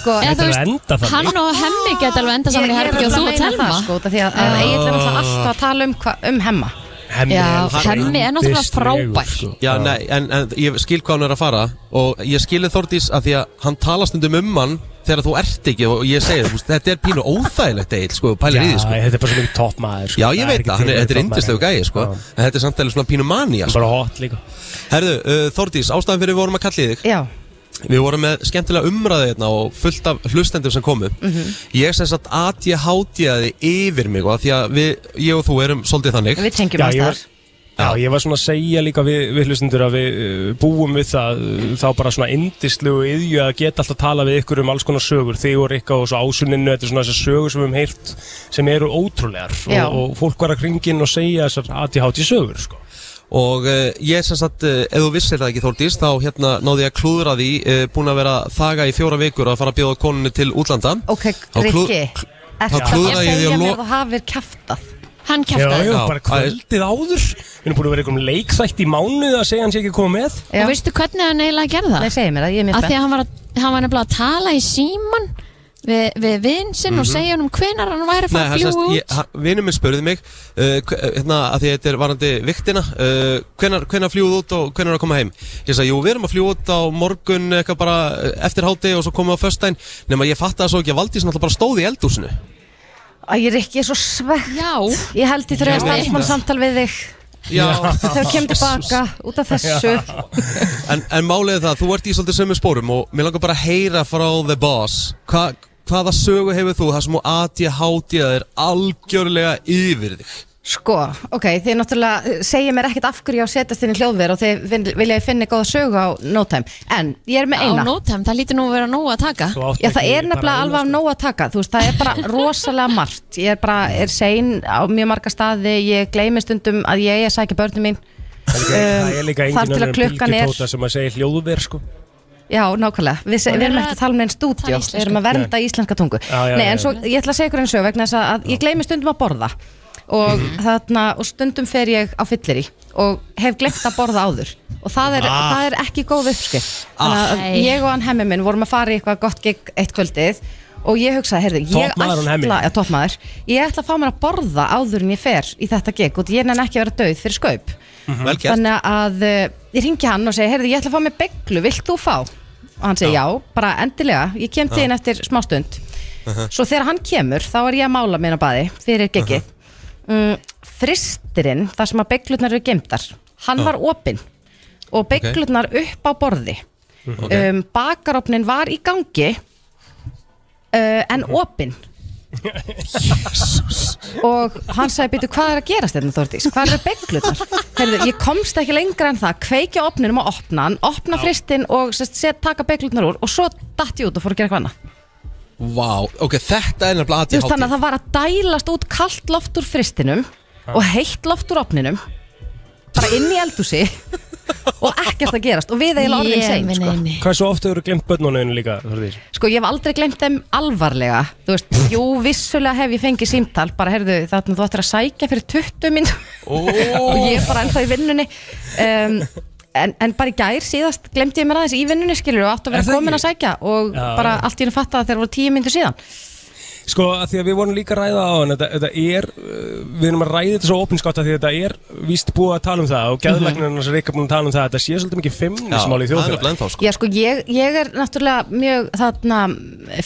[SPEAKER 16] sko,
[SPEAKER 3] Eða þú veist, hann og hemmi geta alveg enda saman í
[SPEAKER 16] Ég- ég er
[SPEAKER 3] herbyggju og þú
[SPEAKER 16] nefnilega að
[SPEAKER 3] og
[SPEAKER 16] meina
[SPEAKER 3] Telma
[SPEAKER 16] það, sko, út af því að að Egill er náttúrulega alltaf að tala um, hva, um hemma
[SPEAKER 2] Hemmi
[SPEAKER 3] Já,
[SPEAKER 1] er hann-
[SPEAKER 3] hemmi er náttúrulega frábær
[SPEAKER 2] sko.
[SPEAKER 1] Já, nei, en, en ég skil hvað hann er að fara og ég skilið Þórdís að því að hann tala stundum um hann þegar þú ert ekki og ég segi þú veist, þetta er pínu óþægilegt eitt, sko, pælir í því, sko.
[SPEAKER 2] Já, þetta er bara svo mikið topp maður sko.
[SPEAKER 1] Já, ég
[SPEAKER 2] Það er
[SPEAKER 1] veit
[SPEAKER 2] ekki
[SPEAKER 1] það, hann
[SPEAKER 2] til
[SPEAKER 1] er, þetta er
[SPEAKER 2] topp maður.
[SPEAKER 1] indislegu gæi, sko En þetta er samt alveg svona pínu mania
[SPEAKER 2] Bara hot líka
[SPEAKER 1] Herðu, uh, Þórdís, ástæðan fyrir við vorum að kalla í þig
[SPEAKER 16] Já
[SPEAKER 1] Við vorum með skemmtilega umræði hérna og fullt af hlustendur sem komu
[SPEAKER 16] Mhm.
[SPEAKER 1] Ég sem sagt að ég hátíðaði yfir mig og af Því að við, ég og þú erum svolítið þannig
[SPEAKER 16] Við tengjum
[SPEAKER 2] Já,
[SPEAKER 16] alls
[SPEAKER 2] ég var-
[SPEAKER 16] þar
[SPEAKER 2] Já, ég var svona að segja líka við, við hlustundur að við uh, búum við það uh, þá bara svona indislu og yðju að geta alltaf að tala við ykkur um alls konar sögur þig og Rikka og svo ásunninu, þetta er svona þessar sögur sem við höfum heyrt sem eru ótrúlegar
[SPEAKER 1] Já.
[SPEAKER 2] og, og fólk var að kringin og segja þessar ADHD sögur sko.
[SPEAKER 1] Og uh, ég sem sagt, uh, ef þú vissir það ekki Þórdís Þá hérna náði ég að klúðra því uh, Búin að vera þaga í fjóra vikur að fara að bjóða konunni til útlanda
[SPEAKER 16] Ok,
[SPEAKER 1] Þá klú-
[SPEAKER 16] Rikki, ert
[SPEAKER 1] þá
[SPEAKER 16] það að
[SPEAKER 1] klúðraði ég því
[SPEAKER 16] segja
[SPEAKER 1] að
[SPEAKER 16] mér
[SPEAKER 1] lo-
[SPEAKER 16] að þú hafir kæftað
[SPEAKER 3] Hann
[SPEAKER 2] Já, já, bara kvöldið áður Við erum búin að vera einhverjum leikþætt í mánuð að segja hans ekki að koma með
[SPEAKER 3] Og veistu hvernig hann eiginlega gerði það?
[SPEAKER 16] Nei, segið mér það, ég er mjög
[SPEAKER 3] Af því
[SPEAKER 16] spennt.
[SPEAKER 3] að hann var, að- hann var nefnilega að tala í síman við, við vinn sinn og
[SPEAKER 1] Mhm.
[SPEAKER 3] segja hann um hvenar hann væri að
[SPEAKER 1] Nei,
[SPEAKER 3] fara að
[SPEAKER 1] hann sérst,
[SPEAKER 3] fljúa út
[SPEAKER 1] vinnum minn spurði mig uh, hve- hérna, að því þetta er varandi viktina uh, hvenar, hvenar fljúð út og hvenar að koma heim ég sagði, jú, við erum að fljúð út á morgun eitthvað bara eh, eftir háti og svo komum við á föstudaginn nema ég fattaði svo ekki að Valdís náttúrulega bara stóð í eldúsinu
[SPEAKER 16] Æ, ég er ekki, ég er svo svegt
[SPEAKER 3] Já
[SPEAKER 16] Ég held ég þurfa
[SPEAKER 1] Ég
[SPEAKER 16] að
[SPEAKER 1] veit
[SPEAKER 16] mannsmann samtal við þig
[SPEAKER 1] Já.
[SPEAKER 16] Þegar kemur tilbaka út af þessu
[SPEAKER 1] en, en málið er það, þú ert í svolítið sömu spórum og mér langar bara að heyra frá The Boss Hva, hvaða sögu hefur þú þar sem þú aðtíð hátíð að er algjörlega yfir þig
[SPEAKER 16] Sko, ok, þið náttúrulega eh, segja mér ekkert af hverju ég á að setjast inn í hljóðver og þið vin- vilja ég finna góða sögu á no time En ég er með
[SPEAKER 3] á
[SPEAKER 16] eina
[SPEAKER 3] nótem, það lítur nú að vera nóg að taka
[SPEAKER 16] Já, það er nefnilega alveg af nóg að taka Þú veist, það er bara rosalega margt Ég er bara, er sein á mjög marga staði Ég gleymi stundum að ég er að sækja börnum mín
[SPEAKER 2] Það er líka
[SPEAKER 16] þar uh, til
[SPEAKER 2] engin
[SPEAKER 16] að
[SPEAKER 2] önnur
[SPEAKER 16] klukkan er-
[SPEAKER 2] bylgjutóta sem að segja hljóðver sko.
[SPEAKER 16] Já, nákvæmlega, við,
[SPEAKER 2] Og
[SPEAKER 16] við erum
[SPEAKER 2] er
[SPEAKER 16] ekki að tala um neinn stúdíó Við erum að vernda íslenska tungu
[SPEAKER 2] Já, já,
[SPEAKER 16] Nei,
[SPEAKER 2] já,
[SPEAKER 16] en
[SPEAKER 2] já.
[SPEAKER 16] svo ég ætla að segja ykkur eins og vegna þess að, að ég gleymi stundum að borða og, þarna, og stundum fer ég á fyllir í og hef glemt að borða áður og það er,
[SPEAKER 17] Ah.
[SPEAKER 16] það er ekki góð uppskrift þannig
[SPEAKER 17] Ah.
[SPEAKER 16] að ég og hann hemmi minn vorum að fara í eitthvað gott gig eitt kvöldið og ég hugsaði, heyrðu, ég
[SPEAKER 17] Toppmaður hún Hemmi.
[SPEAKER 16] ætla já, toppmaður, ég ætla að fá mér að borða áður en ég fer í þetta gig og ég nenn ekki að vera döið fyrir skaup
[SPEAKER 1] Mhm. Vel gert.
[SPEAKER 16] þannig að uh, ég ringi hann og segi, heyrðu, ég ætla að fá mér beglu, vilt þú fá? og hann segi, já, bara endilega, ég kem til
[SPEAKER 17] Já.
[SPEAKER 16] þín eftir smástund Svo þegar hann kemur, þá er ég að mála mér á baði fyrir geggið. Mm, fristirinn, þar sem að beiglutnar eru gemdar, hann
[SPEAKER 17] Já.
[SPEAKER 16] var opinn. og beiglutnar upp á borði um, Bakarofnin var í gangi uh, en opinn og hann sagði býtu hvað er að gerast hérna Þórdís, hvað eru beiglutnar Herðu, ég komst ekki lengra en það kveikja opninum og opna hann, opna fristinn og sest, set, taka beiglutnar úr og svo datt ég út og fór að gera eitthvað annað
[SPEAKER 1] Vá, ok, þetta er nefnilega
[SPEAKER 16] Þú veist,
[SPEAKER 1] ADHD.
[SPEAKER 16] þannig að það var að dælast út kallt loft úr fristinum og heitt loft úr opninum bara inn í eldúsi og ekkert að gerast og við eiginlega orðin sein sko.
[SPEAKER 2] Hvað svo ofta eru glemt börnunauðinu líka, Þorðís?
[SPEAKER 16] sko ég hef aldrei glemt þeim alvarlega þú veist, jú vissulega hef ég fengið símtal bara heyrðu þarna þú ættir að sækja fyrir 20 minn og ég er bara ennþá í vinnunni um, en, en bara í gær síðast glemdi ég mér aðeins í vinnunni skilur og átt að
[SPEAKER 2] Er það
[SPEAKER 16] vera komin
[SPEAKER 2] ekki?
[SPEAKER 16] að sækja og
[SPEAKER 2] Já.
[SPEAKER 16] bara allt í hennu fatta að þeir voru 10 myndir síðan
[SPEAKER 2] Sko, að því að við vorum líka að ræða á hann, þetta, þetta er, uh, við erum að ræða þetta svo opinskátt að því að þetta er víst búið að tala um það og geðlagnarinn hans er ekki búin að tala um það, þetta sé svolítið mikið feimnismál í
[SPEAKER 1] Mhm. Já, það er nefnilega
[SPEAKER 2] þjóðfélagi.
[SPEAKER 1] ennþá,
[SPEAKER 16] Já, sko, ég, ég er náttúrulega mjög þarna,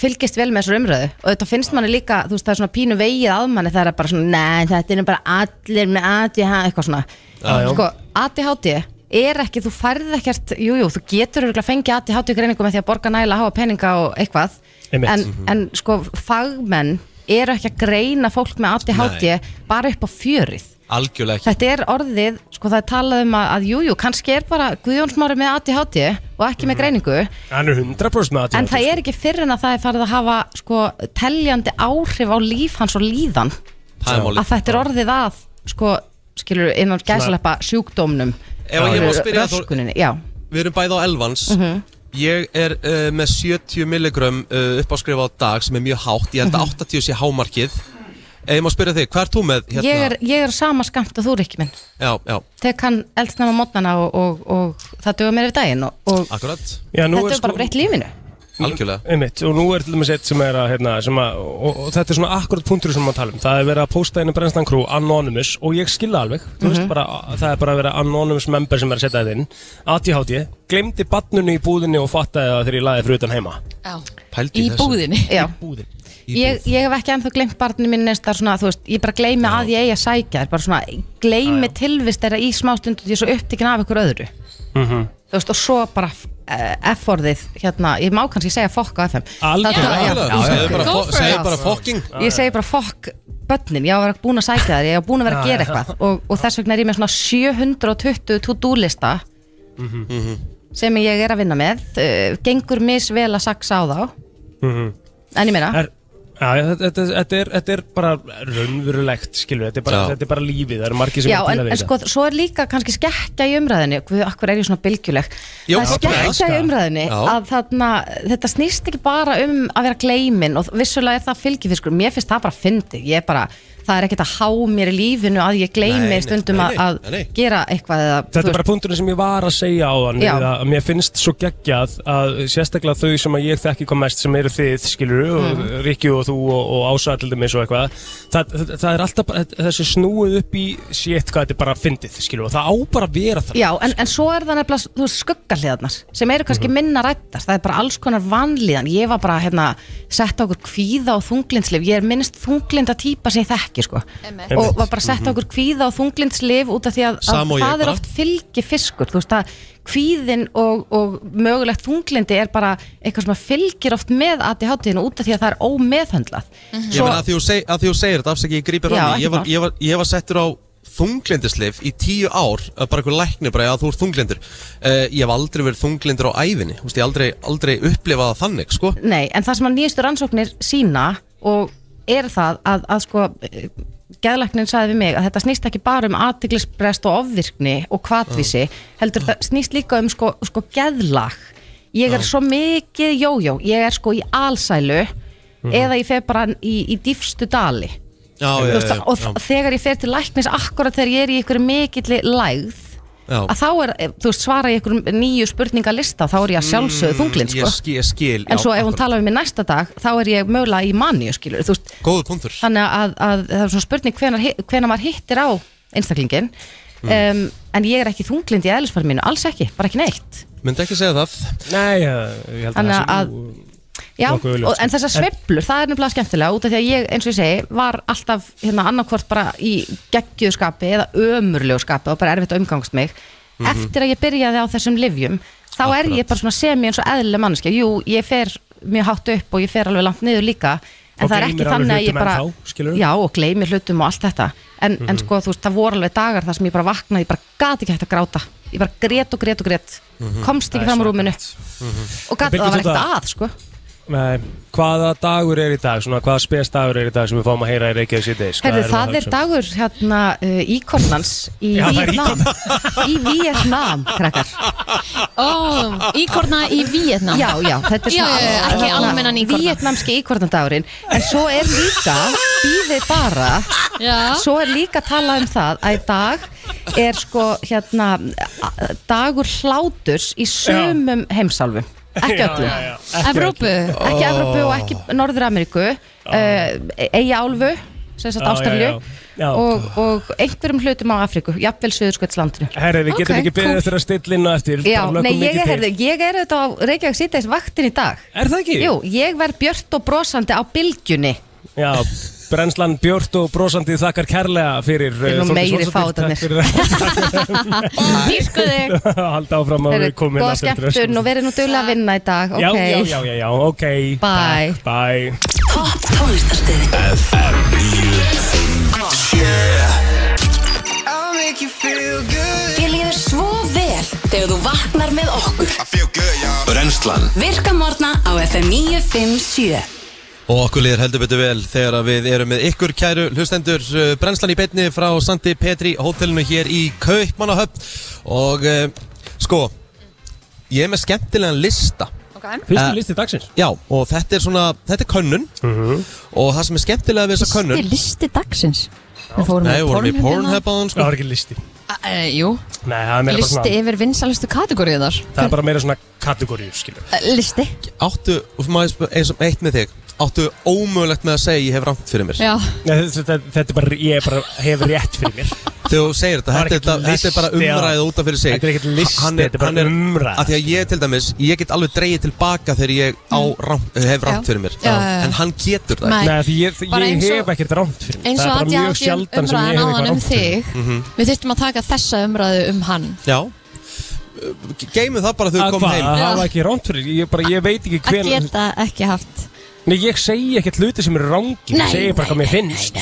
[SPEAKER 16] fylgist vel með þessar umröðu og þetta finnst manni líka, þú veist, það er svona pínu vegið að manni það er bara svona, nei, þetta er nú bara allir með ADHD, eitthvað svona
[SPEAKER 17] Já, já.
[SPEAKER 16] Sko, ADHD er ekki, þú færð ekkert, jú, jú, þú getur örugglega fengið ADHD greiningu með því að borga næla háa peninga og eitthvað,
[SPEAKER 17] Einmitt.
[SPEAKER 16] en,
[SPEAKER 17] Mhm.
[SPEAKER 16] en sko, fagmenn eru ekki að greina fólk með ADHD
[SPEAKER 1] Nei.
[SPEAKER 16] bara upp á fjörið
[SPEAKER 1] Algjörlega ekki
[SPEAKER 16] Þetta er orðið, sko það er talað um að, að jú, jú, kannski er bara Guðjónsmári með ADHD og ekki
[SPEAKER 1] Mhm.
[SPEAKER 16] með greiningu
[SPEAKER 2] Hann er 100% með
[SPEAKER 16] en
[SPEAKER 1] sko.
[SPEAKER 16] það er ekki fyrir en að það er farið að hafa sko teljandi áhrif á líf hans og líðan
[SPEAKER 1] Það er málið.
[SPEAKER 16] að þetta er orðið að sko, skilur, innan gæsalepa sjúkdómnum
[SPEAKER 1] Ef ég má spyrja Þór-
[SPEAKER 16] röskuninni, já
[SPEAKER 1] Við erum bæði á elvans
[SPEAKER 16] Mhm.
[SPEAKER 1] Ég er uh, með 70 milligram uh, uppáskrif á dag sem er mjög hátt Ég held
[SPEAKER 16] Mhm.
[SPEAKER 1] að 80 sé hámarkið Ef ég má spyrja þig, hvað er þú með hérna?
[SPEAKER 16] ég, er, ég er á sama skamt og þú, Rikki minn
[SPEAKER 1] Já, já,
[SPEAKER 16] tek hann eldsnama mótnana og, og, og það dögum mér við daginn og, og
[SPEAKER 1] akkurat
[SPEAKER 2] Já, nú
[SPEAKER 16] þetta er
[SPEAKER 2] sko-
[SPEAKER 16] bara breytt lífinu
[SPEAKER 1] Algjörlega
[SPEAKER 2] Einmitt, og nú er til dæmis eitt sem er að, hérna, sem að og, og þetta er svona akkurat punktur sem maður tala um það er verið að posta einu brennstan crew anonymous og ég skilða alveg, þú
[SPEAKER 16] Mhm.
[SPEAKER 2] veist bara það er bara að vera anonymous member sem er að setja þetta inn ADHD, glemdi badnunu í búðinni og fattaði það þegar ég laði fyrir utan heima Pældi
[SPEAKER 6] Í búðinni
[SPEAKER 16] Já.
[SPEAKER 2] Í
[SPEAKER 16] ég, ég hef ekki ennþá gleymt barninu mín neins það er svona, þú veist, ég bara gleymi að ég eigi að sækja þér, bara svona, gleymi tilvist þeirra í smástundu því ég er svo upptekinn af ykkur öðru þú veist, og svo bara eh, F-orðið, hérna, ég má kannski segja fokk á FM
[SPEAKER 2] Algjörlega.
[SPEAKER 16] Það-
[SPEAKER 2] Já, algjörlega. Þú segir bara
[SPEAKER 16] Go
[SPEAKER 2] fo-
[SPEAKER 16] for it.
[SPEAKER 2] segir bara fucking.
[SPEAKER 16] Ég segi bara fokk börnin, ég á að vera búin að sækja þær, ég á búin að vera að
[SPEAKER 2] Já,
[SPEAKER 16] gera
[SPEAKER 2] já.
[SPEAKER 16] eitthvað og, og þess vegna er ég með svona 720 to-do-lista
[SPEAKER 1] Mm-hmm.
[SPEAKER 16] sem ég er að vinna með uh, gengur misvel að saksa á þá
[SPEAKER 2] Mhm.
[SPEAKER 16] en ég meina
[SPEAKER 2] Er- Já, já, þetta, þetta, þetta, er, þetta er bara raunverulegt, skilur, þetta er bara,
[SPEAKER 1] Já.
[SPEAKER 2] þetta er bara lífið, það eru margir sem
[SPEAKER 16] Já,
[SPEAKER 2] eru að
[SPEAKER 16] en,
[SPEAKER 2] díla við
[SPEAKER 16] en sko,
[SPEAKER 2] þetta.
[SPEAKER 16] svo er líka kannski skekkja í umræðinni Guð, akkur er ég svona bylgjuleg
[SPEAKER 2] Jó,
[SPEAKER 16] Það er
[SPEAKER 2] það er bara
[SPEAKER 16] skekkja í
[SPEAKER 2] aska.
[SPEAKER 16] umræðinni
[SPEAKER 2] Já.
[SPEAKER 16] að þarna, þetta snýst ekki bara um að vera gleimin og vissulega er það fylgifiskur mér finnst það bara fyndið, ég er bara það er ekkert að há mér í lífinu að ég
[SPEAKER 2] Nei,
[SPEAKER 16] gleymi
[SPEAKER 2] nei,
[SPEAKER 16] stundum
[SPEAKER 2] nei,
[SPEAKER 16] að-
[SPEAKER 2] nei,
[SPEAKER 16] að gera eitthvað eða,
[SPEAKER 2] Þetta
[SPEAKER 16] þú
[SPEAKER 2] er bara punkturinn sem ég var að segja á þann
[SPEAKER 16] Já.
[SPEAKER 2] að mér finnst svo geggjað að sérstaklega þau sem að ég þekki kom mest sem eru þið, skilur, mm.
[SPEAKER 16] Mhm.
[SPEAKER 2] Rikki og þú og, og ásætildum eins og eitthvað það, það, það er alltaf bara, þessi snúið upp í sétt hvað þetta er bara fyndið, skilur, og það á bara að vera það
[SPEAKER 16] Já, en, en svo er það nefnilega þú veist, skuggahliðarnar sem eru
[SPEAKER 2] Mhm.
[SPEAKER 16] kannski minna rættar það er bara alls konar vanlíðan ég var bara hérna, sett á okkur kvíða og þunglindslif ég er minnst þunglinda típa sem ég þekki sko.
[SPEAKER 17] Einmitt. Mhm.
[SPEAKER 16] og var bara sett á okkur kvíða og þunglindslif út af því að,
[SPEAKER 17] Sama og ég
[SPEAKER 16] að það er
[SPEAKER 17] bara.
[SPEAKER 16] oft fylgifiskur þú veist að kvíðin og, og mögulegt þunglindi er bara eitthvað sem að fylgir oft með ADHD-inu út af því að það er ómeðhöndlað
[SPEAKER 1] Ég meina að því þú seg, að því þú segir þetta, afsækki ég grípir
[SPEAKER 16] Já,
[SPEAKER 1] hann í ég
[SPEAKER 16] ekkert
[SPEAKER 1] var,
[SPEAKER 16] mál.
[SPEAKER 1] ég, var, ég var settur á þunglindislif í tíu ár að bara eitthvað læknir bara að þú ert þunglindur uh, Ég hef aldrei verið þunglindur á ævinni Þú veist, ég hef aldrei, aldrei upplifað það þannig, sko
[SPEAKER 16] Nei, en það sem að nýjastu rannsóknir sína og er það að, að sko geðlæknin sagði við mig að þetta snýst ekki bara um aðtiklisbrest og ofvirkni og kvatvísi, heldur það snýst líka um sko, sko geðlag ég er
[SPEAKER 17] Já.
[SPEAKER 16] svo mikið jójó ég er sko í alsælu eða ég fer bara í, í dýfstu dali
[SPEAKER 1] Mhm. Já,
[SPEAKER 16] Þú
[SPEAKER 1] já,
[SPEAKER 16] veist,
[SPEAKER 1] já,
[SPEAKER 16] og
[SPEAKER 1] Eh, já.
[SPEAKER 16] þegar ég fer til læknis akkurat þegar ég er í ykkur mikilli lægð
[SPEAKER 1] Já.
[SPEAKER 16] að þá er, þú veist, svara ég ykkur nýju spurningalista, þá er ég að sjálfsögðu
[SPEAKER 1] Mm,
[SPEAKER 16] þunglind sko.
[SPEAKER 1] Ég skil, ég skil
[SPEAKER 16] En
[SPEAKER 1] já,
[SPEAKER 16] svo ef hún
[SPEAKER 1] akkurat.
[SPEAKER 16] talar við mig næsta dag þá er ég mögulega í manni, skilur þú veist,
[SPEAKER 1] Góður punktur
[SPEAKER 16] þannig að, að það er svona spurning hvenar, hi- hvenar maður hittir á einstaklingin
[SPEAKER 1] Mm.
[SPEAKER 16] um, en ég er ekki þunglind í eðlisfæri mínu, alls ekki, bara ekki neitt
[SPEAKER 1] Myndi ekki segja það
[SPEAKER 2] Nei, ég held
[SPEAKER 16] Þannig að, já,
[SPEAKER 1] nokkuð augljóst.
[SPEAKER 16] og, en þessar sveiflur, það er nefnilega skemmtilega út af því að ég, eins og ég segi, var alltaf hérna annarkvort bara í geggjöðu skapi eða ömurlegu skapi og bara erfitt að umgangast mig
[SPEAKER 1] Mhm.
[SPEAKER 16] eftir að ég byrjaði á þessum livjum þá er ég bara svona semi eins og eðlileg manneskja jú, ég fer mjög hátt upp og ég fer alveg langt niður líka en
[SPEAKER 17] Og
[SPEAKER 16] það er
[SPEAKER 17] gleymir
[SPEAKER 16] ekki
[SPEAKER 17] alveg
[SPEAKER 16] þannig að ég
[SPEAKER 17] hlutum
[SPEAKER 16] bara
[SPEAKER 17] ennþá, skilurðu?
[SPEAKER 16] já, og gleymi hlutum og allt þetta en, en
[SPEAKER 17] Mhm.
[SPEAKER 16] sko, þú veist, það voru alveg dagar þar sem ég bara vaknaði, ég bara gati ekki hægt að gráta ég bara grét og grét og grét
[SPEAKER 2] Mhm.
[SPEAKER 16] komst
[SPEAKER 2] Það
[SPEAKER 16] ekki
[SPEAKER 2] er
[SPEAKER 16] fram úr rúminu
[SPEAKER 2] Mhm.
[SPEAKER 16] og gati,
[SPEAKER 2] En
[SPEAKER 16] það var
[SPEAKER 2] Birgit,
[SPEAKER 16] ekkert
[SPEAKER 2] þetta-
[SPEAKER 16] að, sko
[SPEAKER 2] Nei, hvaða dagur er í dag, svona hvaða spes dagur er í dag sem við fáum að heyra í Reykjavík síðdeis? Hvað
[SPEAKER 16] Herðu,
[SPEAKER 2] erum við að
[SPEAKER 16] það er
[SPEAKER 2] hugsa um?
[SPEAKER 16] dagur hérna uh, íkornans í
[SPEAKER 2] Já, það er
[SPEAKER 16] Víetnam í Víetnam, krakkar
[SPEAKER 3] Ó, íkorna í Víetnam
[SPEAKER 16] Já, já, þetta er
[SPEAKER 3] Já,
[SPEAKER 16] svona hérna
[SPEAKER 3] já, já, ekki almennan íkorna.
[SPEAKER 16] Víetnamski íkornandagurinn En svo er líka, býði bara
[SPEAKER 3] Já.
[SPEAKER 16] Svo er líka talað um það að í dag er sko hérna a- dagur hláturs í sumum heimsálfum Ekki
[SPEAKER 17] Já,
[SPEAKER 16] öllum
[SPEAKER 17] já, já. Ekki Evrópu. öllum.
[SPEAKER 16] Ekki
[SPEAKER 17] Ó.
[SPEAKER 16] Evrópu og ekki Norður-Ameríku uh, Eigi álfu sem sagt
[SPEAKER 2] Já, já,
[SPEAKER 16] Ástralju
[SPEAKER 2] já. Já.
[SPEAKER 16] og, og einhverjum hlutum á Afríku jafnvel Suðurskvöldslandinu
[SPEAKER 2] Herri, við getum ekki beðið eftir að stilla inn á eftir
[SPEAKER 16] Já,
[SPEAKER 2] bara
[SPEAKER 16] nei, ég
[SPEAKER 2] lökum mikið
[SPEAKER 16] er,
[SPEAKER 2] til.
[SPEAKER 16] heyrðu, ég er auðvitað á Reykjavík síðdeis vaktin í dag
[SPEAKER 2] Er það ekki?
[SPEAKER 16] Jú, ég verð björt og brosandi á bylgjunni
[SPEAKER 2] Já, brennslan Björn og brosandi þakkar kærlega fyrir eh,
[SPEAKER 16] Þeir eru nú meiri fátarnir.
[SPEAKER 2] Dýrskuði Halda áfram að
[SPEAKER 16] Heyrðu,
[SPEAKER 2] við komum
[SPEAKER 16] Góða skemmtun og verið nú duglega að vinna í dag
[SPEAKER 2] Já,
[SPEAKER 16] ok.
[SPEAKER 2] já, já, já, já, ok
[SPEAKER 16] Bye.
[SPEAKER 2] Takk, Bye
[SPEAKER 4] Topp tónlistarstöð
[SPEAKER 5] FM 957
[SPEAKER 4] Ég líður svo vel Þegar þú vaknar með okkur
[SPEAKER 5] Brennslan
[SPEAKER 4] Virka morgna á FM 957
[SPEAKER 1] Og okkur liður heldur betur vel þegar að við erum með ykkur kæru hlustendur eh, brennslan í beinni frá Sandi Petri hótelinu hér í Kaupmannahöfn og eh, sko ég er með skemmtilegan lista Eh,
[SPEAKER 3] okay.
[SPEAKER 2] Fyrstu listi dagsins Mhm.
[SPEAKER 1] Já, og þetta er svona, þetta er könnun og það sem er skemmtilega við þessa könnun
[SPEAKER 3] Þetta er listi dagsins Við fórum
[SPEAKER 1] Nei,
[SPEAKER 3] í
[SPEAKER 1] vorum við
[SPEAKER 3] Pornhub
[SPEAKER 1] Pornhub á hann sko
[SPEAKER 2] Það var ekki listi
[SPEAKER 3] hérna. Eh, Jú,
[SPEAKER 2] Nei, það er meira bara
[SPEAKER 3] listi
[SPEAKER 2] svona
[SPEAKER 3] yfir vinsalustu kategórið þar
[SPEAKER 2] Það er bara meira svona kategóriu, skilur
[SPEAKER 3] Listi
[SPEAKER 1] Áttu, og maður spyr- eins og eitt með þig Áttu ómögulegt með að segja ég hef rangt fyrir mér
[SPEAKER 3] Já.
[SPEAKER 2] Nei, þetta, þetta, þetta er bara, ég er bara hef rétt fyrir mér
[SPEAKER 1] Þegar þú segir þetta,
[SPEAKER 2] Það er
[SPEAKER 1] þetta,
[SPEAKER 2] ekkert
[SPEAKER 1] þetta, þetta er bara
[SPEAKER 2] listi,
[SPEAKER 1] umræða
[SPEAKER 2] já.
[SPEAKER 1] út af fyrir sig
[SPEAKER 2] Þetta er ekkert listi,
[SPEAKER 1] Hann
[SPEAKER 2] þetta er bara
[SPEAKER 1] hann
[SPEAKER 2] umræða.
[SPEAKER 1] Af því að ég til dæmis, ég get alveg dreigið tilbaka þegar ég á, rangt, eh, hef rangt
[SPEAKER 3] Mm. Já.
[SPEAKER 1] fyrir mér
[SPEAKER 3] Já, já, já.
[SPEAKER 1] En hann getur það
[SPEAKER 3] Nei. Nei, því
[SPEAKER 2] ég,
[SPEAKER 3] Bara ég eins og- hef
[SPEAKER 2] ekkert rámt fyrir
[SPEAKER 3] Eins og að ég átti umræðan áðan um þig
[SPEAKER 1] Mhm.
[SPEAKER 3] Við þurftum að taka þessa umræðu um hann
[SPEAKER 1] Já Geymum það bara
[SPEAKER 2] þegar
[SPEAKER 1] þú komum heim.
[SPEAKER 2] Að
[SPEAKER 1] Já.
[SPEAKER 2] hafa ekki rámt fyrir ég, bara, ég veit ekki
[SPEAKER 3] Að
[SPEAKER 2] hven
[SPEAKER 3] geta ekki haft
[SPEAKER 2] Nei, ég segi ekkert hluti sem eru rángir
[SPEAKER 3] Nei,
[SPEAKER 2] Ég segi bara hvað mér finnst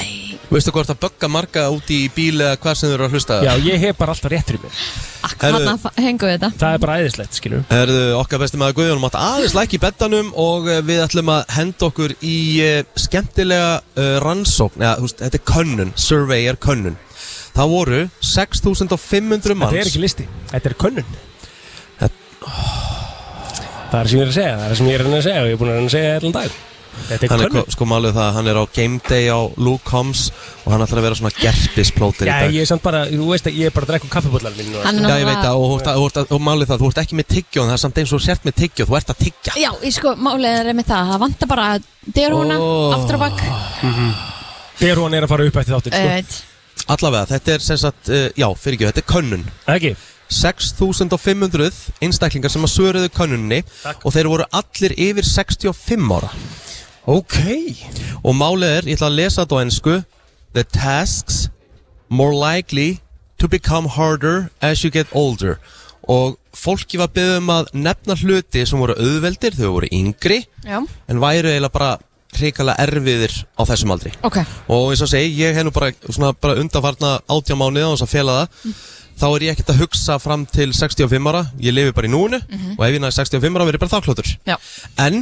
[SPEAKER 1] Veistu hvort það bögga marga úti í bíl eða hvað sem þau eru að hlusta
[SPEAKER 2] Já, ég hef bara alltaf rétt fyrir mér
[SPEAKER 1] Herðu,
[SPEAKER 3] Hanna hengu við þetta
[SPEAKER 2] Það er bara æðislegt, skilur
[SPEAKER 1] Herðu, okkar besti maður Guðjón mátt aðeins læk í bettanum og eh, við ætlum að henda okkur í eh, skemmtilega eh, rannsókn eða, þú veist, þetta er könnun, survey er könnun Það voru 6500 manns
[SPEAKER 2] Þetta er ekki listi, þetta er könnun Það er sem ég er að segja, það er sem ég er að reyna að segja og ég er búin að reyna að segja allan dag Þetta er
[SPEAKER 1] Hann er
[SPEAKER 2] könnun
[SPEAKER 1] ko- sko málið það, að hann er á game day á Luke Combs og hann ætlar að vera svona gerpisplótir
[SPEAKER 2] Já,
[SPEAKER 1] í dag
[SPEAKER 2] ég er samt bara, þú veist að ég er bara að drekka kaffibóllar mín núna,
[SPEAKER 3] Hann
[SPEAKER 2] sko.
[SPEAKER 1] Já, ég veit það, og, og, og, og, og málið það, þú ert ekki með tyggjó en það er samt eins og þú sért með tyggjó, þú ert að tyggja
[SPEAKER 3] Já, ég sko, málið er með það Það vantar bara derhúna,
[SPEAKER 1] Ó.
[SPEAKER 3] oh. aftur á eh, bakk
[SPEAKER 2] Þegar hún er að fara upp eftir þáttir sko.
[SPEAKER 3] Eitt.
[SPEAKER 1] Allavega, þetta er sem sagt, uh, já, fyrir ekki, þetta er könnun
[SPEAKER 2] Ekki
[SPEAKER 1] 6500 einstaklingar sem að svöruðu könnunni og þeir voru allir yfir 65 ára
[SPEAKER 2] Ok
[SPEAKER 1] Og málið er, ég ætla að lesa þetta á ennsku The tasks more likely to become harder as you get older Og fólki var beðið um að nefna hluti sem voru auðveldir þau voru yngri
[SPEAKER 3] Já,
[SPEAKER 1] En væru eiginlega bara hrikalega erfiðir á þessum aldri
[SPEAKER 3] ok
[SPEAKER 1] Og eins og segi, ég hef nú bara, svona, bara undanfarna átjá mánuði á þess að fela það
[SPEAKER 3] Mm.
[SPEAKER 1] Þá er ég ekkert að hugsa fram til 65 ára Ég lifi bara í núinu
[SPEAKER 17] Mhm.
[SPEAKER 1] Og ef ég næði 65 ára verið bara þakklótur
[SPEAKER 3] Já.
[SPEAKER 1] En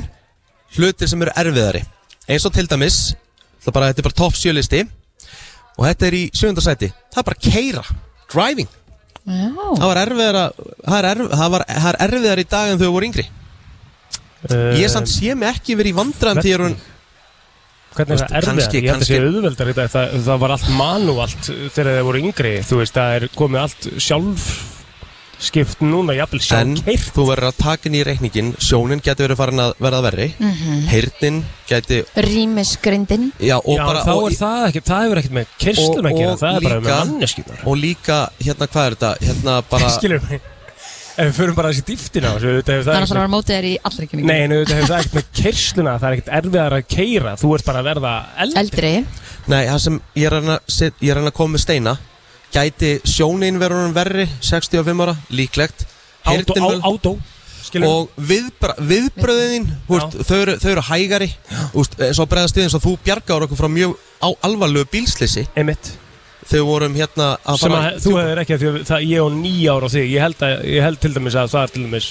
[SPEAKER 1] hlutir sem eru erfiðari Eins og til dæmis Það er bara, þetta er bara topp sjölisti Og þetta er í sjöndasæti Það er bara keira, driving
[SPEAKER 3] Já,
[SPEAKER 1] Það var erfiðara Það er, erf, það var, það er erfiðara í dag en þau voru yngri
[SPEAKER 2] Eh,
[SPEAKER 1] Ég samt sé mig ekki verið í vandræðum því ég er hún
[SPEAKER 2] Hvernig er það erfiðar?
[SPEAKER 1] Kannski-
[SPEAKER 2] ég held að
[SPEAKER 1] kannski-
[SPEAKER 2] sé auðveldar í dag það, það var allt manúalt þegar þeir voru yngri Þú veist, það er komið allt sjálf skipt núna, jafnvel
[SPEAKER 1] En
[SPEAKER 2] sjálf
[SPEAKER 1] þú verður að taka inn í reikningin Sjónin getur verið farin að verða verri
[SPEAKER 3] Mhm.
[SPEAKER 1] Heyrnin geti
[SPEAKER 3] rýmisgrindin
[SPEAKER 1] Já, og
[SPEAKER 2] Já,
[SPEAKER 1] bara,
[SPEAKER 2] þá
[SPEAKER 1] og,
[SPEAKER 2] er það ekkert, það hefur ekkert með
[SPEAKER 1] og-
[SPEAKER 2] kerslum að gera,
[SPEAKER 1] og
[SPEAKER 2] það er bara með
[SPEAKER 1] líka-
[SPEAKER 2] manneskjum
[SPEAKER 1] Og líka, hérna, hvað er þetta? Hérna bara
[SPEAKER 2] Skilur mig Ef við förum bara þessi dýftin á þessu, auðvitað
[SPEAKER 3] Það
[SPEAKER 2] hefur það
[SPEAKER 3] er að fara
[SPEAKER 2] ekkert
[SPEAKER 3] að
[SPEAKER 2] með-
[SPEAKER 3] vera mótið þér í allri kynningu
[SPEAKER 2] Nei, en auðvitað hefur það ekkert með kersluna, það er ekkert erfiðar að keira, þú ert bara að verða eldri
[SPEAKER 3] Eldri
[SPEAKER 1] Nei, það sem ég er að reyna að set- ég er að reyna að koma með steina gæti sjónin verður verri 65 ára, líklegt
[SPEAKER 2] Ádó- á- ádó, skilur.
[SPEAKER 1] og viðbra, viðbröðin húst, þau, eru, þau eru hægari húst, eins og bregðast við eins og þú bjargar okkur frá mjög á, alvarlegu bílslisi
[SPEAKER 2] Einmitt.
[SPEAKER 1] þau vorum hérna að
[SPEAKER 2] sem
[SPEAKER 1] fara-
[SPEAKER 2] að þú hefur ekki því að það ég á nýja ára á þig ég held, að, ég held til dæmis að það er til dæmis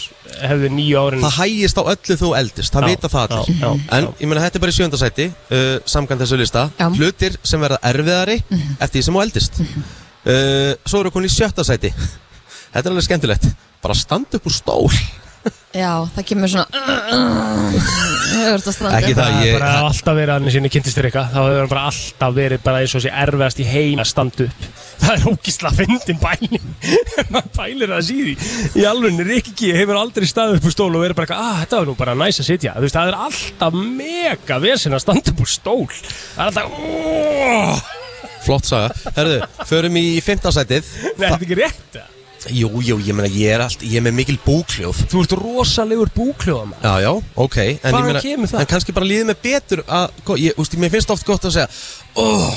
[SPEAKER 2] hefði nýja árin
[SPEAKER 1] það hægist á öllu þú eldist, það
[SPEAKER 2] Já,
[SPEAKER 1] vita það allir
[SPEAKER 2] já, já,
[SPEAKER 1] en ég meina þetta er bara í sjöndasæti uh, samkvæmt þessu lista,
[SPEAKER 2] Já. Mhm.
[SPEAKER 1] hlutir sem verða erfiðari eftir því sem þú eldist uh, svo eru komin í sjötta sæti þetta er alveg skemmtilegt bara standa upp úr stól
[SPEAKER 3] Já, það kemur svona uh, Þú ert að stranda
[SPEAKER 1] Ekki það, ég-
[SPEAKER 2] bara alltaf verið annars sinni kynntistur eitthvað þá hefur hann bara alltaf verið bara eins og sé erfiðast í heim að standa upp það er ógisla fyndin bæling maður bælir það síði í alveg Rikki hefur aldrei staðið upp úr stól og verið bara eitthvað, ah, þetta var nú bara næs að sitja þú veist, það er alltaf mega vesen að standa upp úr stól það er alltaf oh,
[SPEAKER 1] flott saga, herðu, förum í fymta sætið
[SPEAKER 2] Nei, þetta er ekki rétt
[SPEAKER 1] jú, jú, ég meina ég er allt, ég er með mikil búkljóð
[SPEAKER 2] þú ert rosalegur búkljóða maður
[SPEAKER 1] Já, já, ok en ég
[SPEAKER 2] Hvaðan
[SPEAKER 1] meina-
[SPEAKER 2] kemur það?
[SPEAKER 1] En kannski bara líði mig betur að, ko- ég, úst, mér finnst oft gott að segja oh,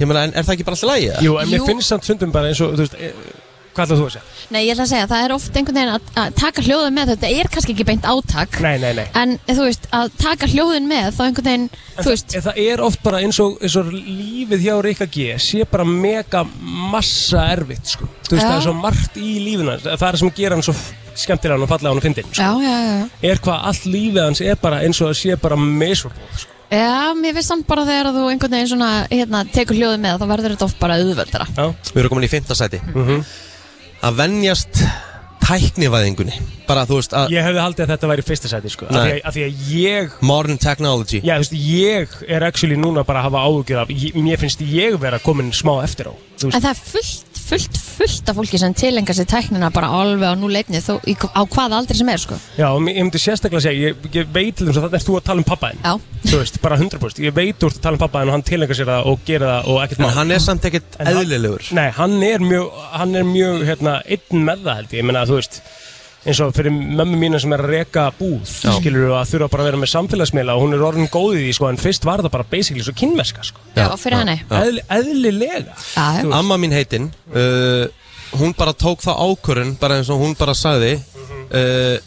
[SPEAKER 1] Ég meina, en er það ekki bara alltaf lægið?
[SPEAKER 2] Jú, en mér finnst samt sundum bara eins og, þú veist, e, hvað ætlaðu þú að segja?
[SPEAKER 3] Nei, ég ætla að segja, það er oft einhvern veginn að, að taka hljóðin með Þetta er kannski ekki beint átak
[SPEAKER 2] Nei, nei, nei.
[SPEAKER 3] En eh, þú veist, að taka hljóðin með Þá einhvern veginn,
[SPEAKER 2] En
[SPEAKER 3] Ah, þú
[SPEAKER 2] það-
[SPEAKER 3] veist
[SPEAKER 2] en það er oft bara eins og, eins og lífið hjá Rikka G sé bara mega massa erfitt, sko. Þú veist,
[SPEAKER 3] Já.
[SPEAKER 2] það er svo margt í lífinu hans. Það er sem gerir hann svo skemmtilegan og fallega hann og fyndinn, sko.
[SPEAKER 3] Já, já, já
[SPEAKER 2] Er hvað allt lífið hans er bara eins og það sé bara miserable, sko.
[SPEAKER 3] Já, mér finnst samt bara þegar að þú einhvern veginn svona, hérna, tekur hljóðið með, þá verður þetta oft bara auðveldra.
[SPEAKER 2] Já.
[SPEAKER 1] Við erum komin í fymta sæti
[SPEAKER 2] Mhm.
[SPEAKER 1] Að venjast tæknivæðingunni Bara, þú veist, að
[SPEAKER 2] Ég hefði haldið að þetta væri fyrsta sæti, sko. Af því
[SPEAKER 1] Nei.
[SPEAKER 2] að, af því að ég...
[SPEAKER 1] Modern technology
[SPEAKER 2] Já, þú veist, ég er actually núna bara að hafa áhugjur af, ég, mér finnst ég vera komin smá eftir á. Þú
[SPEAKER 3] En
[SPEAKER 2] veist,
[SPEAKER 3] það er fullt, fullt, fullt af fólki sem tilengar sér tæknina bara alveg á núleitni, þó, í, á hvaða aldri sem er, sko.
[SPEAKER 2] Já, og mér- ég myndi sérstaklega segja, ég, ég veit til þess að þetta er þú að tala um pappa þinn.
[SPEAKER 3] Já.
[SPEAKER 2] Þú veist, bara 100%. Ég veit þú ert að tala um pappa þinn og hann tilengar sér það og gerir það og ekkert
[SPEAKER 1] En hann er samt ekkert
[SPEAKER 2] En hann-
[SPEAKER 1] eðlilegur.
[SPEAKER 2] Nei, hann er mjög, hann er mjög, hérna, einn með það held ég. Ég meina, þú veist, eins og fyrir mömmu mína sem er að reka búð, Já. skilur þú að þurfa bara að vera með samfélagsmiðla og hún er orðin góð í því, sko, en fyrst var það bara basically svo kynmeska, sko.
[SPEAKER 3] Já, fyrir henni.
[SPEAKER 2] Eðli, eðlilega.
[SPEAKER 3] Já, já.
[SPEAKER 1] Amma mín heitinn uh, Hún bara tók það ákvörun Bara eins og hún bara sagði
[SPEAKER 2] Mhm.
[SPEAKER 1] uh,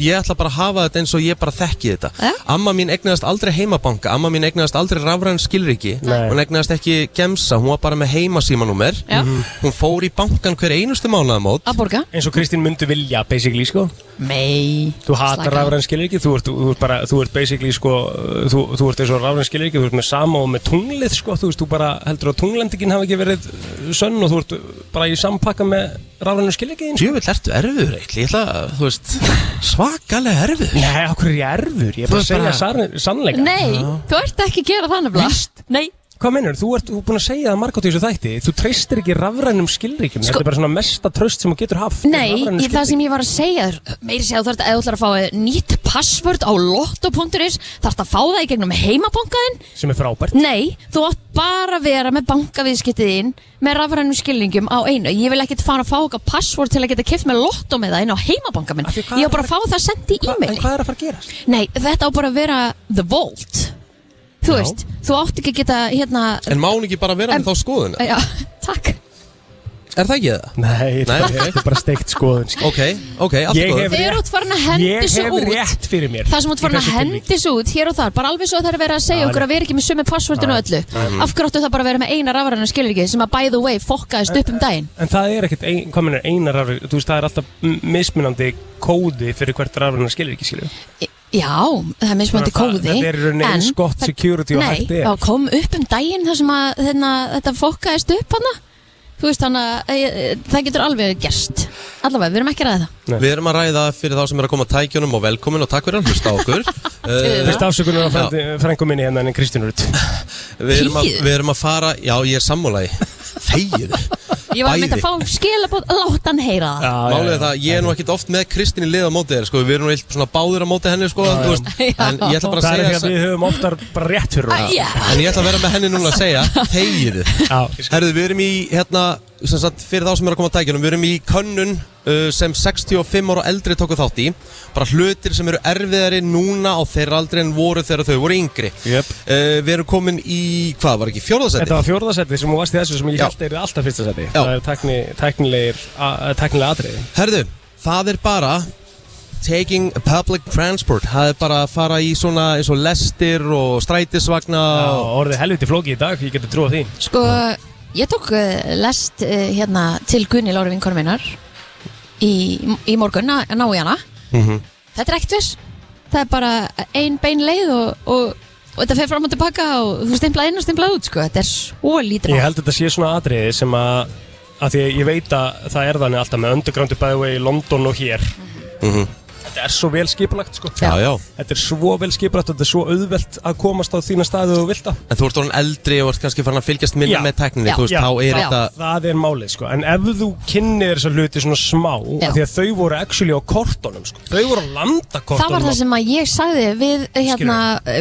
[SPEAKER 1] Ég ætla bara að hafa þetta eins og ég bara þekki þetta Amma mín egnaðast aldrei heimabanka Amma mín egnaðast aldrei rafræn skilriki
[SPEAKER 2] Nei.
[SPEAKER 1] Hún egnaðast ekki gemsa Hún var bara með heimasímanúmer
[SPEAKER 3] Já.
[SPEAKER 1] Hún fór í bankan hver einustu mánuðamót
[SPEAKER 3] Að borga
[SPEAKER 2] Mhm. Eins og Kristín myndi vilja, basically, sko.
[SPEAKER 3] Nei.
[SPEAKER 2] Þú hatar
[SPEAKER 3] Slaka á.
[SPEAKER 2] rafræn skilriki, þú ert, þú ert bara, þú ert basically sko, uh, þú, þú ert eins og rafræn skilriki, þú ert með sama og með tunglið sko, þú veist, þú bara heldur að tunglendingin hafi ekki verið uh, sönn og þú ert bara í sampakka með rafrænu sko. skilrikiðin.
[SPEAKER 1] Jöfnveld, ertu erfiður eitthvað, ég ætla að, þú veist, svakalega erfiður.
[SPEAKER 2] Nei, okkur er ég erfiður, ég er
[SPEAKER 1] Þú
[SPEAKER 2] bara að
[SPEAKER 1] ert bara-
[SPEAKER 2] segja sann- sannleika.
[SPEAKER 3] Nei, þú ert ekki að gera þannig blá. Vist? Nei.
[SPEAKER 2] Hvað mennur, þú ert þú ert búin að segja það margótt í þessu þætti, þú treystir ekki rafrænum skilríkjum, þetta er bara svona mesta tröst sem þú getur haft.
[SPEAKER 3] Sko- Nei, í það sem ég var að segja þér, meiri segja þú þarf að þú ætlar að fá nýtt passvörd á lotto.is, þarf að fá það í gegnum heimabankaðinn,
[SPEAKER 2] Sem er frábært.
[SPEAKER 3] Nei, þú átt bara að vera með bankaviðskiptiðinn með rafrænum skilningum á einu. Ég vil ekkert fara að fá okkar passvort til að geta kift með lotto með það inn á heimabanka minn. Ég á bara að fá það sendt í e-maili. En
[SPEAKER 2] hvað er að fara að gerast?
[SPEAKER 3] Nei, þetta á bara að vera the vault. Þú veist, þú átt ekki að geta hérna...
[SPEAKER 1] En má hún ekki bara vera með þá skoðuna?
[SPEAKER 3] Já, takk.
[SPEAKER 1] Er það ekki það?
[SPEAKER 2] Nei, þetta er bara steikt skoðun.
[SPEAKER 1] Ok, ok, allt
[SPEAKER 2] Ég
[SPEAKER 1] góð.
[SPEAKER 2] hef
[SPEAKER 3] Þegar þú ert farin að hendi
[SPEAKER 2] Ég
[SPEAKER 3] svo
[SPEAKER 2] hef
[SPEAKER 3] út.
[SPEAKER 2] rétt fyrir mér.
[SPEAKER 3] Það sem þú ert
[SPEAKER 2] í
[SPEAKER 3] farin að
[SPEAKER 2] þessu tilviki.
[SPEAKER 3] hendi svo út hér og þar, bara alveg svo að það er verið að segja
[SPEAKER 2] Já,
[SPEAKER 3] okkur að vera ekki með sömu passvortinu og öllu.
[SPEAKER 2] Mhm.
[SPEAKER 3] Af hverju áttu það bara að vera með eina rafrænum skilningi sem að by the way fokkaðist upp um daginn?
[SPEAKER 2] En það er ekkert, ein, hvað mennur, einar rafur, þú veist, það er alltaf m- mismunandi kóði fyrir hvert rafurinn skilur ekki, skilur.
[SPEAKER 3] Já, það er mismöndi
[SPEAKER 2] Þannig að
[SPEAKER 3] kóði
[SPEAKER 2] það- þetta er í rauninni
[SPEAKER 3] en
[SPEAKER 2] eins gott
[SPEAKER 3] það-
[SPEAKER 2] security og hægt
[SPEAKER 3] Nei,
[SPEAKER 2] er.
[SPEAKER 3] þá kom upp um daginn þar sem að þeirna, þetta fokkaðist upp hana Þú veist þannig að e, e, það getur alveg gerst Allavega, við erum ekki að ræða það
[SPEAKER 1] Við erum að ræða fyrir þá sem er að koma að tækjunum og velkomin og takk fyrir að hlusta á okkur. Eh,
[SPEAKER 2] Fyrst afsökunar á
[SPEAKER 1] já,
[SPEAKER 2] frændi- frængu minni hérna en Kristján Rut.
[SPEAKER 1] Við erum, að, við erum að fara, já ég er sammúlægi, þegið.
[SPEAKER 3] Ég var með
[SPEAKER 1] Bæði.
[SPEAKER 3] að fá skilabóð, láta hann heyra það
[SPEAKER 1] Málið er það, ég er nú ekkert oft með Kristín í lið á móti þér, sko, við erum nú eitt svona báðir á móti henni, sko, þú veist,
[SPEAKER 3] Já.
[SPEAKER 1] en ég ætla bara að
[SPEAKER 2] Það er því
[SPEAKER 1] segja
[SPEAKER 2] að við höfum oftar bara rétt fyrir
[SPEAKER 1] En ég ætla að vera með henni núna að segja Þegið Herðu, við erum í hérna sem sagt, fyrir þá sem er að koma að tækjunum, við erum í könnun uh, sem 65 ára og eldri tóku þátt í bara hlutir sem eru erfiðari núna á þeirra aldri en voru þegar þau voru yngri yep. Við erum komin í, hvað var ekki, fjórðasetti?
[SPEAKER 2] Þetta var fjórðasetti sem þú varst í þessu sem ég
[SPEAKER 1] Já.
[SPEAKER 2] held að er alltaf fyrsta seti Það er tækni, tæknilegir, a- tæknilega atriði
[SPEAKER 1] Herðu, það er bara taking public transport Það er bara að fara í svona eins og lestir og strætisvagna Já,
[SPEAKER 2] orðið helviti flóki í dag, ég getur trúið því
[SPEAKER 3] Sko, ég tók eh, lest eh, hérna til Gunni Lóri vinkonu minnar í, í morgun að ná í hana.
[SPEAKER 1] Mm-hmm.
[SPEAKER 3] Þetta er ekkert viss. Það er bara ein bein leið og, og, og þetta fer fram og tilbaka og þú stimpla inn og stimpla út, sko. Þetta er svo lítið.
[SPEAKER 2] Ég
[SPEAKER 3] mál.
[SPEAKER 2] held að þetta sé svona atriði sem að að því að ég veit að það er þannig alltaf með undergroundu bæðvei í London og hér
[SPEAKER 1] Mhm,
[SPEAKER 2] Þetta er svo vel skipulagt sko
[SPEAKER 1] Já, já.
[SPEAKER 2] Þetta er svo vel skipulagt og þetta er svo auðvelt að komast á þína staðu og vilta
[SPEAKER 1] En þú ert orðin eldri og ert kannski farin að fylgjast minna með tækninni, þú veist, þá er þetta
[SPEAKER 2] Það er málið sko, en ef þú kynnir þessar hluti svona smá
[SPEAKER 3] Já.
[SPEAKER 2] af Því að þau voru actually á kortunum sko Þau voru á landakortunum
[SPEAKER 3] Það var það sem að ég sagði við hérna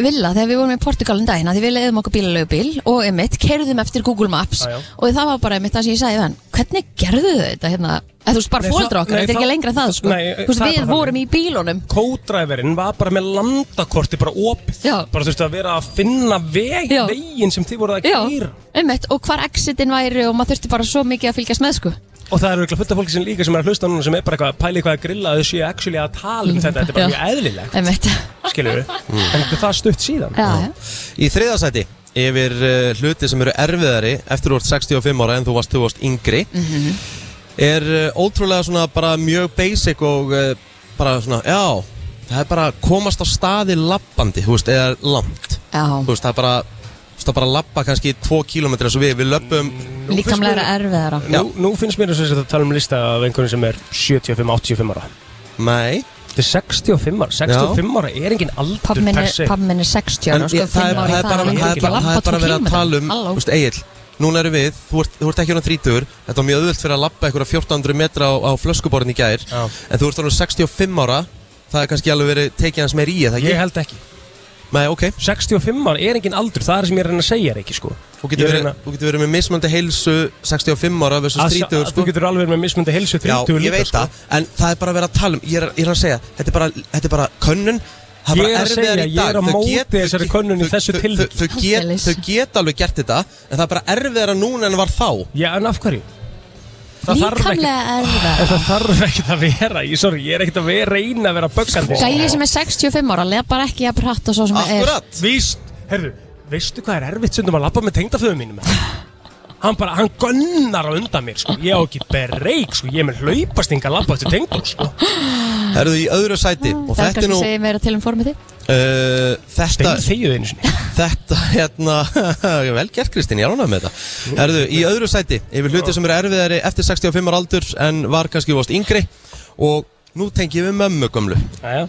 [SPEAKER 3] Villa þegar við vorum í Portugal um daginn að því við leiðum okkur bílalegu bíl og einmitt keirðum eftir Google Maps
[SPEAKER 2] Já, já.
[SPEAKER 3] og það var bara einmitt það sem ég sagði við hann hvernig gerðu þau þetta hérna eða þú veist
[SPEAKER 2] Nei,
[SPEAKER 3] bara fóldra
[SPEAKER 2] það-
[SPEAKER 3] okkar,
[SPEAKER 2] nei,
[SPEAKER 3] þetta er ekki
[SPEAKER 2] það-
[SPEAKER 3] lengra en það sko
[SPEAKER 2] nei,
[SPEAKER 3] Þú veist,
[SPEAKER 2] það er
[SPEAKER 3] við
[SPEAKER 2] bara
[SPEAKER 3] vorum í bílunum
[SPEAKER 2] Kódræverinn var bara með landakorti bara opið
[SPEAKER 3] Já.
[SPEAKER 2] Bara þurfti að vera að finna veg,
[SPEAKER 3] Já.
[SPEAKER 2] veginn sem þið voru að
[SPEAKER 3] Já,
[SPEAKER 2] kýra
[SPEAKER 3] einmitt, og hvar exitin væri og maður þurfti bara svo mikið að fylgjast með sko
[SPEAKER 2] Og það eru eitthvað fullt af fólki sem líka sem er að hlusta núna sem er bara eitthvað að pæli hvað að grilla að þau séu actually að tala um þetta, þetta er bara
[SPEAKER 3] Já.
[SPEAKER 2] mjög eðlilegt
[SPEAKER 3] einmitt,
[SPEAKER 2] skilur við, en þetta er það stutt síðan
[SPEAKER 3] já, já.
[SPEAKER 1] Mm. Í þriðasæti yfir uh, hluti sem eru erfiðari eftir þú ert 65 ára en þú varst, þú varst yngri
[SPEAKER 5] Mhm.
[SPEAKER 1] er uh, ótrúlega svona bara mjög basic og uh, bara svona, já það er bara að komast á staði lappandi, þú veist, eða langt
[SPEAKER 3] Já.
[SPEAKER 1] þú veist, það er bara þú veist, að bara lappa kannski 2 km eins og við, við löpum
[SPEAKER 2] Mm.
[SPEAKER 3] líkamlega erfiðara
[SPEAKER 2] Nú, nú finnst mér þess að tala um lista af einhvern sem er 75-85 ára
[SPEAKER 1] Nei
[SPEAKER 2] Þetta er 65 ára, 65 ára er engin aldur
[SPEAKER 3] Pabbi minn
[SPEAKER 2] per
[SPEAKER 3] er-
[SPEAKER 2] se.
[SPEAKER 3] pabbi minn er 60 ára
[SPEAKER 1] En
[SPEAKER 3] sko,
[SPEAKER 1] ég- það er-
[SPEAKER 3] fimm ár í
[SPEAKER 1] það er bara-
[SPEAKER 3] það,
[SPEAKER 1] það er
[SPEAKER 3] ekki
[SPEAKER 1] bara- það er
[SPEAKER 3] labba
[SPEAKER 1] bara
[SPEAKER 3] tvo
[SPEAKER 1] verið að
[SPEAKER 3] kílómetra.
[SPEAKER 1] tala um
[SPEAKER 3] Halló.
[SPEAKER 1] Þú veist, Egil, núna erum við, þú ert, þú ert ekki hann 30 Þetta var mjög auðvöld fyrir að lappa einhverja 1400 metra á, á flöskuborðin í gær En þú ert hann 65 ára Það er kannski alveg verið tekið hans meir í, eða ekki?
[SPEAKER 2] Ég held ekki
[SPEAKER 1] Nei, ok
[SPEAKER 2] 65 ára er engin aldur, það er sem ég er að reyna að segja er ekki sko
[SPEAKER 1] Þú getur, verið, þú getur verið með mismöndi heilsu 65 ára versus
[SPEAKER 2] Að sjá- að
[SPEAKER 1] 30
[SPEAKER 2] þú getur alveg verið með mismunandi heilsu 30
[SPEAKER 1] Já, ég
[SPEAKER 2] líka,
[SPEAKER 1] veit
[SPEAKER 2] sko.
[SPEAKER 1] það, en það er bara að vera að tala um Ég er, ég er að segja, þetta er bara, þetta er bara könnun Það
[SPEAKER 2] Ég er
[SPEAKER 1] bara
[SPEAKER 2] að
[SPEAKER 1] erfiðara
[SPEAKER 2] segja,
[SPEAKER 1] í
[SPEAKER 2] ég er
[SPEAKER 1] dag.
[SPEAKER 2] á
[SPEAKER 1] Þau
[SPEAKER 2] móti
[SPEAKER 1] get- þau
[SPEAKER 2] þessari
[SPEAKER 1] get-
[SPEAKER 2] könnun í
[SPEAKER 1] þau-
[SPEAKER 2] þessu
[SPEAKER 1] þau-
[SPEAKER 2] tilviki.
[SPEAKER 1] þau- Þau get- þau get alveg gert þetta, en það er bara erfiðara núna en var þá
[SPEAKER 2] Já, en af hverju?
[SPEAKER 3] Líkamlega erfiðara
[SPEAKER 2] En það þarf ekkert að vera, ég, sorry, ég er ekkert að vera, reyna að vera böggandi
[SPEAKER 3] Gæði sem er 65 ára, leða bara ekki að prata svo sem það er
[SPEAKER 2] Eh, Víst, herðu, veistu hvað er erfitt sem þú maður lappa með tengdaföðum mínum? Hann bara, hann gönnar á undan mér, sko Ég á ekki berreik, sko, ég er með hlaupastinga að lappa eftir tengdum, sko
[SPEAKER 1] Erðu í öðru sæti og
[SPEAKER 3] Ah. Það er
[SPEAKER 1] þetta er
[SPEAKER 3] kannski
[SPEAKER 1] nú
[SPEAKER 3] að segja meira til um formið
[SPEAKER 1] uh, Þetta Þetta hérna Vel gert Kristín, ég er ánægð með þetta Erðu í öðru sæti yfir hluti sem eru erfiðari eftir 65 ára aldur en var kannski vost yngri og nú tengi ég við mömmu gömlu
[SPEAKER 2] Aja.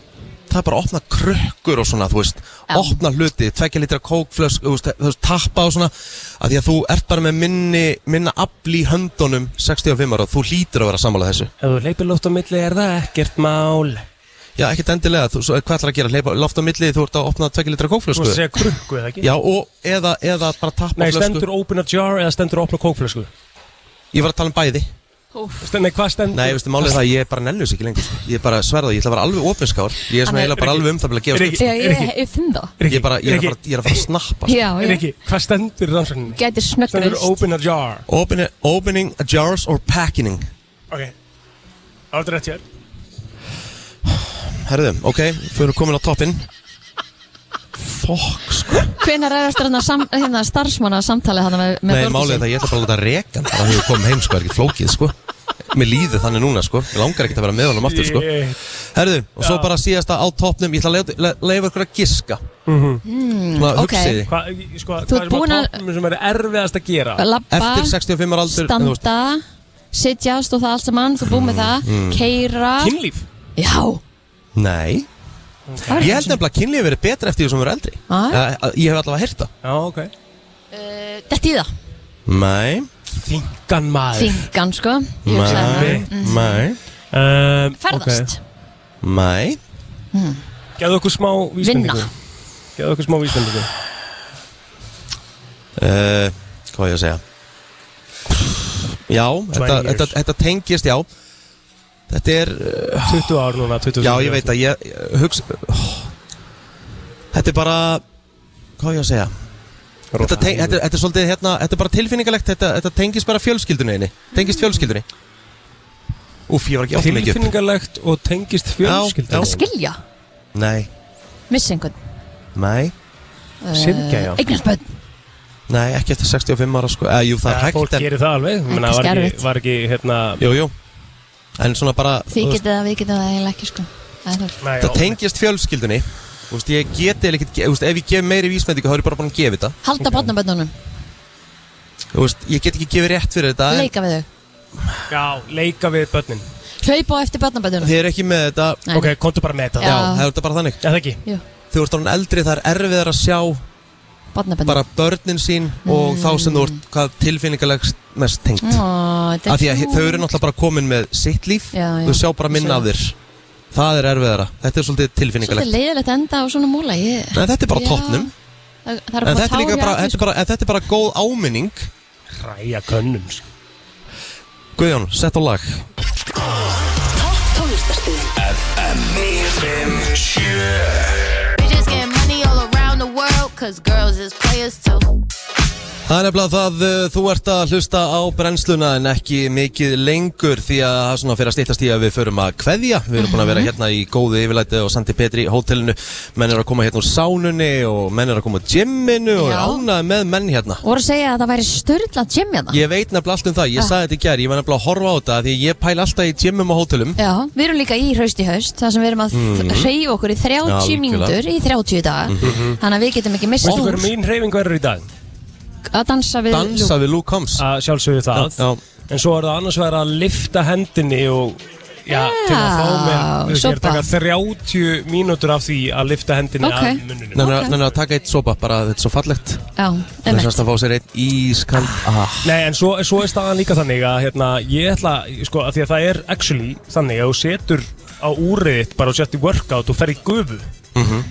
[SPEAKER 1] Það er bara að opna krökkur og svona, þú veist Opna hluti, tvekja litra kókflösk þú veist, þú veist, tappa og svona að Því að þú ert bara með minni, minna afli í höndunum 65 ára Þú hlýtur að vera sammála þessu
[SPEAKER 2] Ef þú leipir lótt á milli er það ekkert mál
[SPEAKER 1] Já, ekkert endilega, þú, svo, hvað ætlar að gera, hleypa loft á milli, þú ert að opna 2 litra
[SPEAKER 2] Þú
[SPEAKER 1] kókflösku
[SPEAKER 2] veist að segja krukku eða ekki?
[SPEAKER 1] Já, og eða, eða bara tappa
[SPEAKER 2] Nei,
[SPEAKER 1] flösku
[SPEAKER 2] stendur open a jar eða stendur opna kókflösku?
[SPEAKER 1] Ég var að tala um bæði
[SPEAKER 2] Nei, hvað stendur?
[SPEAKER 1] Nei, veistu, málið er það, að ég er bara nennus ekki lengur sko. Ég er bara sverðað, ég ætla að vera alveg ofinskár Ég er svona
[SPEAKER 3] Hann er-
[SPEAKER 1] eiginlega bara alveg um það að gefa
[SPEAKER 3] þitt Já, ég ég finn það
[SPEAKER 1] Ég er bara, ég er að
[SPEAKER 2] Riki.
[SPEAKER 1] fara, ég er að fara að snappa sko.
[SPEAKER 3] Já, já.
[SPEAKER 2] Riki, hvað stendur í rannsókninni?
[SPEAKER 3] Gæti
[SPEAKER 2] Stendur
[SPEAKER 3] snöggreist
[SPEAKER 2] open a jar
[SPEAKER 1] Open, Opening a jars or packing
[SPEAKER 2] Ok, áttur rétt hér
[SPEAKER 1] Herðu, ok, þau eru komin á toppinn Fokk, sko
[SPEAKER 3] Hvenær er eftir hérna, sam, hérna starfsmanna samtalið hann með, með
[SPEAKER 1] Nei, málið er það, ég ætla bara að láta rekan Það hefur komið heim, sko, er ekki flókið, sko Mér líði þannig núna, sko Mér langar ekki að vera með honum aftur, sko
[SPEAKER 2] Shit.
[SPEAKER 1] Herðu, og svo bara síðasta á toppnum Ég ætla að leifa- le- leifa ykkur að giska
[SPEAKER 2] Mhm.
[SPEAKER 3] mm,
[SPEAKER 1] Svona,
[SPEAKER 3] Ok,
[SPEAKER 1] hugsið þið.
[SPEAKER 2] Hva,
[SPEAKER 3] Þú
[SPEAKER 2] sko, hvað
[SPEAKER 3] ert
[SPEAKER 2] er sem
[SPEAKER 3] búin
[SPEAKER 2] að
[SPEAKER 3] að-
[SPEAKER 2] toppnum sem er erfiðast að gera?
[SPEAKER 3] Labba,
[SPEAKER 1] Eftir 65 ára aldur en þú veist-
[SPEAKER 3] standa Sitjast og það allt saman, þú búið með það
[SPEAKER 1] Mm, mm.
[SPEAKER 3] Keira
[SPEAKER 2] Kynlíf?
[SPEAKER 3] Já,
[SPEAKER 1] Nei
[SPEAKER 3] er
[SPEAKER 1] Ég held nefnilega að kynlífi verið betra eftir því sem verið eldri
[SPEAKER 3] Ah.
[SPEAKER 1] Eh, eh, Ég hef allavega heyrt það
[SPEAKER 2] Já, ok
[SPEAKER 3] þetta eh, í það
[SPEAKER 1] Nei
[SPEAKER 2] Þingan maður
[SPEAKER 3] Þingan, sko Ég hugsaði það.
[SPEAKER 1] Nei
[SPEAKER 3] Mhm.
[SPEAKER 1] Nei
[SPEAKER 2] um,
[SPEAKER 3] Ferðast
[SPEAKER 1] Nei
[SPEAKER 3] Mm.
[SPEAKER 2] Gæðu okkur smá vísbendingu
[SPEAKER 3] Vinna.
[SPEAKER 2] Gæðu okkur smá vísbendingu
[SPEAKER 1] Eh, Hvað á ég að segja Já,
[SPEAKER 2] 20
[SPEAKER 1] þetta,
[SPEAKER 2] years.
[SPEAKER 1] þetta, þetta tengist, já Þetta er uh,
[SPEAKER 2] 20 ár núna 20
[SPEAKER 1] Já, ég veit að ég, ég hugsa oh, Þetta er bara Hvað á ég að segja þetta, teng, þetta, þetta er svolítið hérna Þetta er bara tilfinningalegt Þetta, þetta tengist bara fjölskyldunni einni Tengist fjölskyldunni Úf, ég var ekki áttum ekki upp
[SPEAKER 2] Tilfinningalegt og tengist fjölskyldunni.
[SPEAKER 3] Að skilja,
[SPEAKER 1] Nei,
[SPEAKER 3] missa einhvern
[SPEAKER 1] nei,
[SPEAKER 3] Eh,
[SPEAKER 1] Syrgja, já.
[SPEAKER 3] Eignast börn
[SPEAKER 1] nei, ekki eftir 65 ára sko eh, Jú, það er
[SPEAKER 2] Nei,
[SPEAKER 1] hægt
[SPEAKER 2] fólk
[SPEAKER 1] en-
[SPEAKER 2] gerir það alveg Ég meina, var
[SPEAKER 3] kannski
[SPEAKER 2] ekki,
[SPEAKER 3] erfitt.
[SPEAKER 2] var ekki hérna
[SPEAKER 1] Jú, jú En svona bara
[SPEAKER 3] Þið
[SPEAKER 1] þú veist,
[SPEAKER 3] getið það, við getið það eiginlega ekki sko Það er þú-
[SPEAKER 1] Það tengist fjölskyldunni Þú veist, ég geti eða ekkert, ge- þú veist, ef ég gef meiri vísmendingu þá er ég bara búin að gefa þetta
[SPEAKER 3] Halda okay. barnaböndunum,
[SPEAKER 1] Þú veist, ég get ekki gefið rétt fyrir þetta en
[SPEAKER 3] leika við þau
[SPEAKER 2] Já, leika við börnin
[SPEAKER 3] Hlaupa á eftir barnaböndunum
[SPEAKER 1] Þið eru ekki með þetta
[SPEAKER 3] Nei. Ok,
[SPEAKER 2] kontu bara með
[SPEAKER 3] þetta.
[SPEAKER 1] Já,
[SPEAKER 3] Já.
[SPEAKER 1] það er þetta bara þannig
[SPEAKER 2] Já, það ekki
[SPEAKER 3] Jú.
[SPEAKER 1] Þú ert orðin eldri, það er erfiðar að sjá
[SPEAKER 3] Barnaböndunum
[SPEAKER 1] bara börnin sín og þá sem þú
[SPEAKER 3] Mm.
[SPEAKER 1] ert hvað tilfinningalegst mest tengt
[SPEAKER 3] Af
[SPEAKER 1] Af því að hi- þau eru náttúrulega bara komin með sitt líf
[SPEAKER 3] Já, já.
[SPEAKER 1] Þú sjá bara minna af þér Það er erfiðara, þetta er svolítið
[SPEAKER 3] Svolítið
[SPEAKER 1] tilfinningalegt
[SPEAKER 3] leiðilegt að enda á svona múla ég...
[SPEAKER 1] Nei, þetta er bara
[SPEAKER 3] Já.
[SPEAKER 1] toppnum.
[SPEAKER 3] Það, það er
[SPEAKER 1] En
[SPEAKER 3] bara
[SPEAKER 1] þetta er líka
[SPEAKER 3] tár í
[SPEAKER 1] bara,
[SPEAKER 3] augun,
[SPEAKER 1] þetta er bara, en þetta er bara góð áminning
[SPEAKER 2] Ræja könnum sko.
[SPEAKER 1] Guðjón, sett á lag
[SPEAKER 4] Tónlistarstöðin
[SPEAKER 17] We just getting money all around the world, cause girls is players too.
[SPEAKER 1] Það er nefnilega það, uh, þú ert að hlusta á brennsluna en ekki mikið lengur því að það er svona fyrir að stýttast í að við förum að kveðja. Við erum búin að
[SPEAKER 3] Mhm.
[SPEAKER 1] vera hérna í góðu yfirlæti og Sandi Petri hótelinu. Menn eru að koma hérna úr sánunni og menn eru að koma úr gymminu og er
[SPEAKER 3] Já.
[SPEAKER 1] ánað með menn hérna.
[SPEAKER 3] sko. Voru að segja að það væri störla gym hérna
[SPEAKER 1] Ég veit nefnilega allt um það, ég
[SPEAKER 3] Ah.
[SPEAKER 1] sagði þetta í gær, ég var nefnilega að horfa á þetta af því að ég pæl alltaf í gymmum og hótelum.
[SPEAKER 3] Já, við erum líka í haust í haust þar sem við erum að
[SPEAKER 1] Mhm.
[SPEAKER 3] mm. reyfa okkur í 30
[SPEAKER 1] Algjörlega.
[SPEAKER 3] mínútur í 30 daga
[SPEAKER 1] Mhm.
[SPEAKER 3] þannig að við getum ekki mist
[SPEAKER 2] Veistu hver mín hreyfing verður í dag?
[SPEAKER 3] að dansa við Lú-
[SPEAKER 1] við Luke Combs
[SPEAKER 2] Að sjálfsögðu það En svo er það annars verið að lifta hendinni og Já, til að fá mér þú veist, Ég er að taka 30 mínútur af því að lifta hendinni
[SPEAKER 3] Ok.
[SPEAKER 2] að munnunum
[SPEAKER 1] Nenna okay. að taka eitt sopa, bara þetta er svo fallegt.
[SPEAKER 3] Já,
[SPEAKER 1] Það er
[SPEAKER 3] einmitt.
[SPEAKER 1] sérst að fá sér eitt ískald. Ah.
[SPEAKER 2] Nei, en svo, svo er staðan líka þannig að hérna, ég ætla, sko, að því að það er actually þannig að þú setur á úrið þitt bara og sett í workout og fer í gufu
[SPEAKER 1] Mm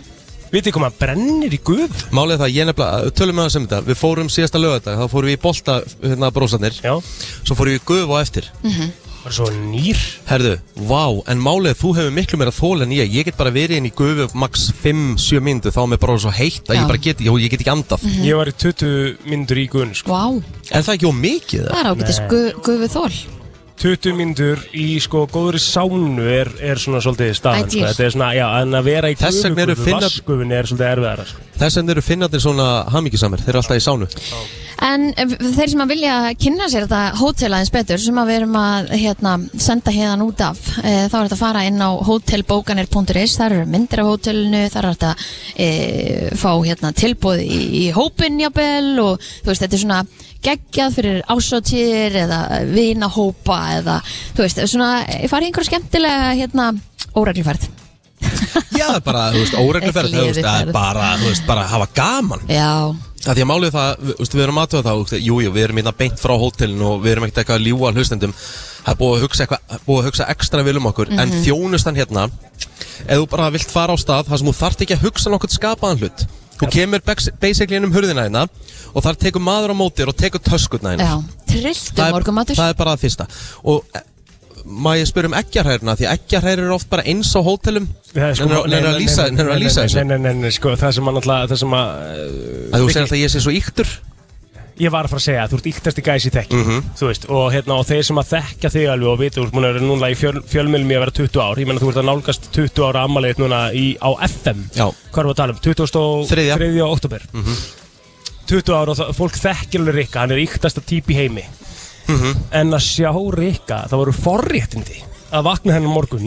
[SPEAKER 2] Vitið þið hvað maður brennir í gufu?
[SPEAKER 1] Málið er það, ég nefnilega, tölum við aðeins um þetta Við fórum síðasta lögadag, þá fórum við í bolta hérna brósarnir
[SPEAKER 2] Já
[SPEAKER 1] Svo fórum við í gufu á eftir
[SPEAKER 3] Mhm.
[SPEAKER 2] Bara svo nýr
[SPEAKER 1] Herðu, vá, en málið er þú hefur miklu meira þól en ég Ég get bara verið inn í gufu max 5-7 myndu Þá er mér bara svo heitt að
[SPEAKER 3] Já.
[SPEAKER 1] ég bara get, ég, ég get ekki andað
[SPEAKER 3] Mhm.
[SPEAKER 2] Ég var í 20 myndur í gufunni sko.
[SPEAKER 3] Vá,
[SPEAKER 1] Er það ekki ómikið?
[SPEAKER 3] það er ágætis
[SPEAKER 2] Nei.
[SPEAKER 3] gu, gufu þól
[SPEAKER 2] 20 myndur í sko góðri sánu er, er svona svolítið staðan sko.
[SPEAKER 3] Ideal.
[SPEAKER 2] Þetta er svona, já, en að vera í
[SPEAKER 1] Þess vegna eru
[SPEAKER 2] gufugufu,
[SPEAKER 1] Finnar-
[SPEAKER 2] vassgufunni er svolítið erfiðara sko.
[SPEAKER 1] Þess vegna eru finnarnir svona hamingjusamir Þeir eru alltaf í sánu
[SPEAKER 3] En eh, þeir sem að vilja kynna sér þetta hótel aðeins betur sem að við erum að hérna, senda hérna út af e, þá er þetta að fara inn á hotelbókanir.is þar eru myndir af hótelinu, þar er þetta e, fá hérna, tilbúð í, í hópin jafnvel og þú veist þetta er svona geggjað fyrir ásóttíðir eða vinahópa eða þú veist svona eh, fara í einhverju skemmtilega hérna óreglifært.
[SPEAKER 1] Já, það er bara, þú veist, óregluferð þú veist, Það er
[SPEAKER 3] Gleðiferð.
[SPEAKER 1] bara, þú veist, bara að hafa gaman
[SPEAKER 3] Já,
[SPEAKER 1] Af Því að málið er það, við, við erum aðtöða það, þú veist, jú, jú, við erum hérna beint frá hótelinu og við erum ekkert eitthvað að ljúa hlustendum. Það er búið að hugsa, eitthvað, búið að hugsa ekstra vel um okkur, en
[SPEAKER 18] Mhm.
[SPEAKER 1] þjónustan hérna, ef þú bara vilt fara á stað, þar sem þú þarft ekki að hugsa nokkurt skapaðan hlut. Þú kemur bex- basically inn um hurðina hérna og þar tekur maður á mótir og tekur töskurna hérna.
[SPEAKER 3] já, trilltu morgumatur
[SPEAKER 1] Það er bara það fyrsta. Og eh, má ég spyrja um eggjarhæruna, því eggjarhærir eru oft bara eins á hótelum, nennir að lýsa nennirðu að lýsa þessu.
[SPEAKER 2] sko, Nei, nei, nei, nei, sko, það sem að náttúrulega, það sem að
[SPEAKER 1] Að þú segir alltaf að ég sé svo yktur
[SPEAKER 2] Ég var að fara að segja, þú ert yktast í gæsi þekki
[SPEAKER 1] Mm-hmm.
[SPEAKER 2] Þú veist, og hérna, og þeir sem að þekka þig alveg og vita, þú ert múin að vera núna í fjöl, fjölmjölmi að vera 20 ár, ég menna þú ert að nálgast 20 ára ammaliðið núna í, á FM
[SPEAKER 1] Já. mhm.
[SPEAKER 2] Hvað erum við að tala um? 23. 3. oktober 20 ára og það, fólk þekkir alveg Rikka, hann er yktasta típ í heimi En að sjá Rikka, það voru forréttindi að vakna hennar morgun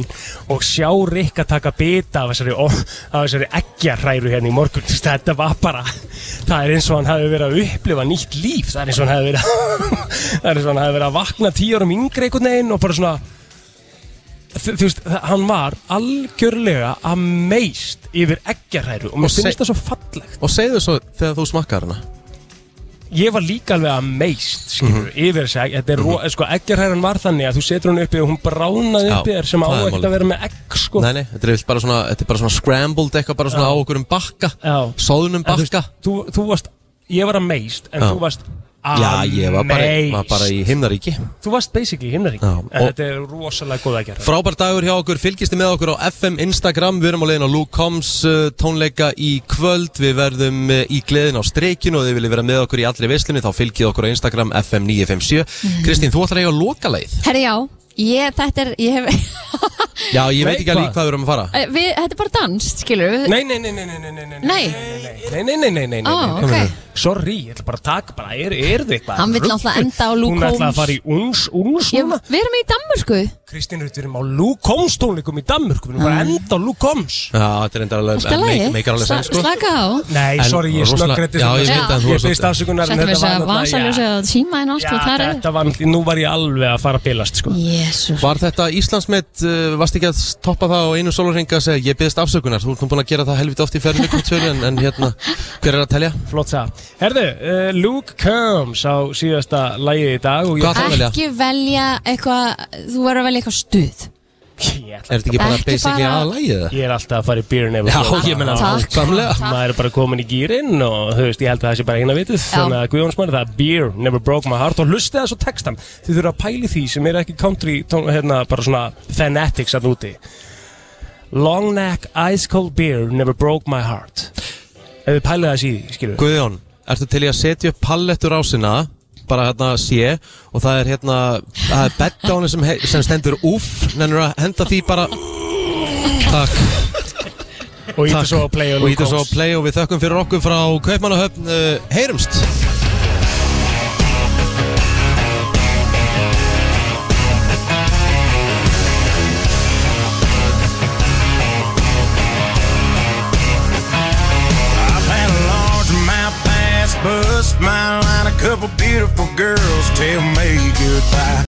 [SPEAKER 2] og sjá Rikka taka bita af þessari, ó- af þessari eggjarræru hérna í morgun Þú veist, þetta var bara, það er eins og hann hafi verið að upplifa nýtt líf það er eins og hann hafi verið það er eins og hann hafi verið að vakna tíu árum yngri einhvern veginn og bara svona þú þú veist, það- hann var algjörlega amazed yfir eggjarræru og mér finnst það svo fallegt
[SPEAKER 1] Og segðu svo þegar þú smakkar hana
[SPEAKER 2] ég var líka alveg amazed skilur,
[SPEAKER 1] Mhm.
[SPEAKER 2] mm yfir þessi egg- þetta er mm -hmm. sko, eggjarhæran var þannig að þú setur hún uppi og hún bránaði
[SPEAKER 1] Já,
[SPEAKER 2] uppi þér sem á
[SPEAKER 1] það er
[SPEAKER 2] ekkert
[SPEAKER 1] málið.
[SPEAKER 2] að vera með egg sko.
[SPEAKER 1] Nei, nei, þetta er yfirleitt bara svona, þetta er bara svona scrambled eitthvað bara svona á okkur um bakka
[SPEAKER 2] Já.
[SPEAKER 1] Sóðunum
[SPEAKER 2] En þú
[SPEAKER 1] bakka
[SPEAKER 2] veist, þú, þú varst, ég var amazed en
[SPEAKER 1] Já.
[SPEAKER 2] þú varst
[SPEAKER 1] Já, ég var bara,
[SPEAKER 2] Amazing.
[SPEAKER 1] var bara í himnaríki
[SPEAKER 2] Þú varst basically í himnaríki
[SPEAKER 1] Já,
[SPEAKER 2] En
[SPEAKER 1] og-
[SPEAKER 2] þetta er rosalega góð að gera
[SPEAKER 1] Frábær dagur hjá okkur, fylgistu með okkur á FM Instagram, við erum á leiðin á Luke Combs uh, tónleika í kvöld, við verðum uh, í gleðin á streikinu og þið viljið vera með okkur í allri veislunni, þá fylgið okkur á Instagram FM957. Kristín, þú ætlar að eiga að loka leið?
[SPEAKER 3] Herri já, ég, þetta er, ég hef,
[SPEAKER 1] Já, ég veit
[SPEAKER 2] Nei,
[SPEAKER 1] ekki að
[SPEAKER 2] hvað?
[SPEAKER 1] líka hvað við erum að fara.
[SPEAKER 3] Eh, við, þetta er bara dans, skilur við
[SPEAKER 2] Nei, nei, nei, nei, nei, nei, nei,
[SPEAKER 3] Nei,
[SPEAKER 2] Nei, nei, nei, nei, nei, nei,
[SPEAKER 3] Ó,
[SPEAKER 2] nei,
[SPEAKER 3] ok.
[SPEAKER 2] nei. Sorry, ég ætla bara að taka bara, er, er þið eitthvað
[SPEAKER 3] Hann vill náttúrulega
[SPEAKER 2] rugl?
[SPEAKER 3] enda á Luke
[SPEAKER 2] Hún ætla
[SPEAKER 3] Holmes.
[SPEAKER 2] að fara í uns, uns
[SPEAKER 3] ég, við erum í Danmörku
[SPEAKER 2] Kristín Rutt, við erum á Luke Holmes tónleikum í Danmörku Við erum bara að
[SPEAKER 3] Mm.
[SPEAKER 2] enda á Luke Holmes
[SPEAKER 1] Já, þetta er enda alveg,
[SPEAKER 3] Allt í lagi.
[SPEAKER 1] make- meikar alveg sens,
[SPEAKER 3] Sla-
[SPEAKER 1] sko.
[SPEAKER 3] slaka á
[SPEAKER 2] Nei,
[SPEAKER 1] En
[SPEAKER 2] sorry, ég
[SPEAKER 1] rosalega-
[SPEAKER 2] snöggrætti
[SPEAKER 1] Já, ég veit að þú
[SPEAKER 2] Ég
[SPEAKER 1] er
[SPEAKER 2] byrst
[SPEAKER 1] svolítið-
[SPEAKER 2] afsökunar en
[SPEAKER 3] Settum við
[SPEAKER 2] þetta
[SPEAKER 3] þess
[SPEAKER 2] var
[SPEAKER 3] að
[SPEAKER 2] náttúrulega-
[SPEAKER 3] vasaljósi að síma en allt og
[SPEAKER 2] Já,
[SPEAKER 3] það er
[SPEAKER 2] Þetta var, nú var ég alveg að fara að bilast, sko
[SPEAKER 3] Jésus
[SPEAKER 1] Var þetta Íslandsmet, uh, varst ekki að toppa það á einu sólurringa að segja, ég byggðist afsökunar, þú ert nú búin að gera það helviti oft í ferðinu kultúri, en, en hérna, hver er að telja?
[SPEAKER 2] Flott það. Herðu, uh, Luke Combs á síðasta lægi í dag og ég-
[SPEAKER 1] Hvað ætlarðu að velja?
[SPEAKER 3] Ekki velja eitthvað, þú verður að velja eitthvað stuð
[SPEAKER 2] Er
[SPEAKER 1] þetta ekki bara
[SPEAKER 3] Ekki
[SPEAKER 1] basically
[SPEAKER 3] bara-
[SPEAKER 1] aðal lagið það?
[SPEAKER 2] Ég er alltaf að fara í beer nefn
[SPEAKER 1] Já, ég meina, Takk. nákvæmlega. Takk.
[SPEAKER 2] Maður er bara komin í gýrin og þú veist, ég held að það sé bara eina vitið
[SPEAKER 3] Já.
[SPEAKER 2] Þannig að Guðjónsmann, það er beer, never broke my heart Og hlustið þessu textan Þið þurfa að pæli því sem er ekki country tón, hérna, Bara svona fanatics að úti Long neck, ice cold beer, never broke my heart Ef þið pælið þessi í, því, skilur
[SPEAKER 1] Guðjón, ertu til í að setja upp pallettur á sinna bara hérna sé og það er hérna það er beddáni sem, he- sem stendur úff nennur að henda því bara takk
[SPEAKER 2] Og
[SPEAKER 1] Takk.
[SPEAKER 2] íttu svo að play
[SPEAKER 1] og ítum svo að play og við þökkum fyrir okkur frá Kaupmannahöfn uh, heyrumst
[SPEAKER 18] I've had a large amount past bust my line. A couple beautiful girls tell me goodbye.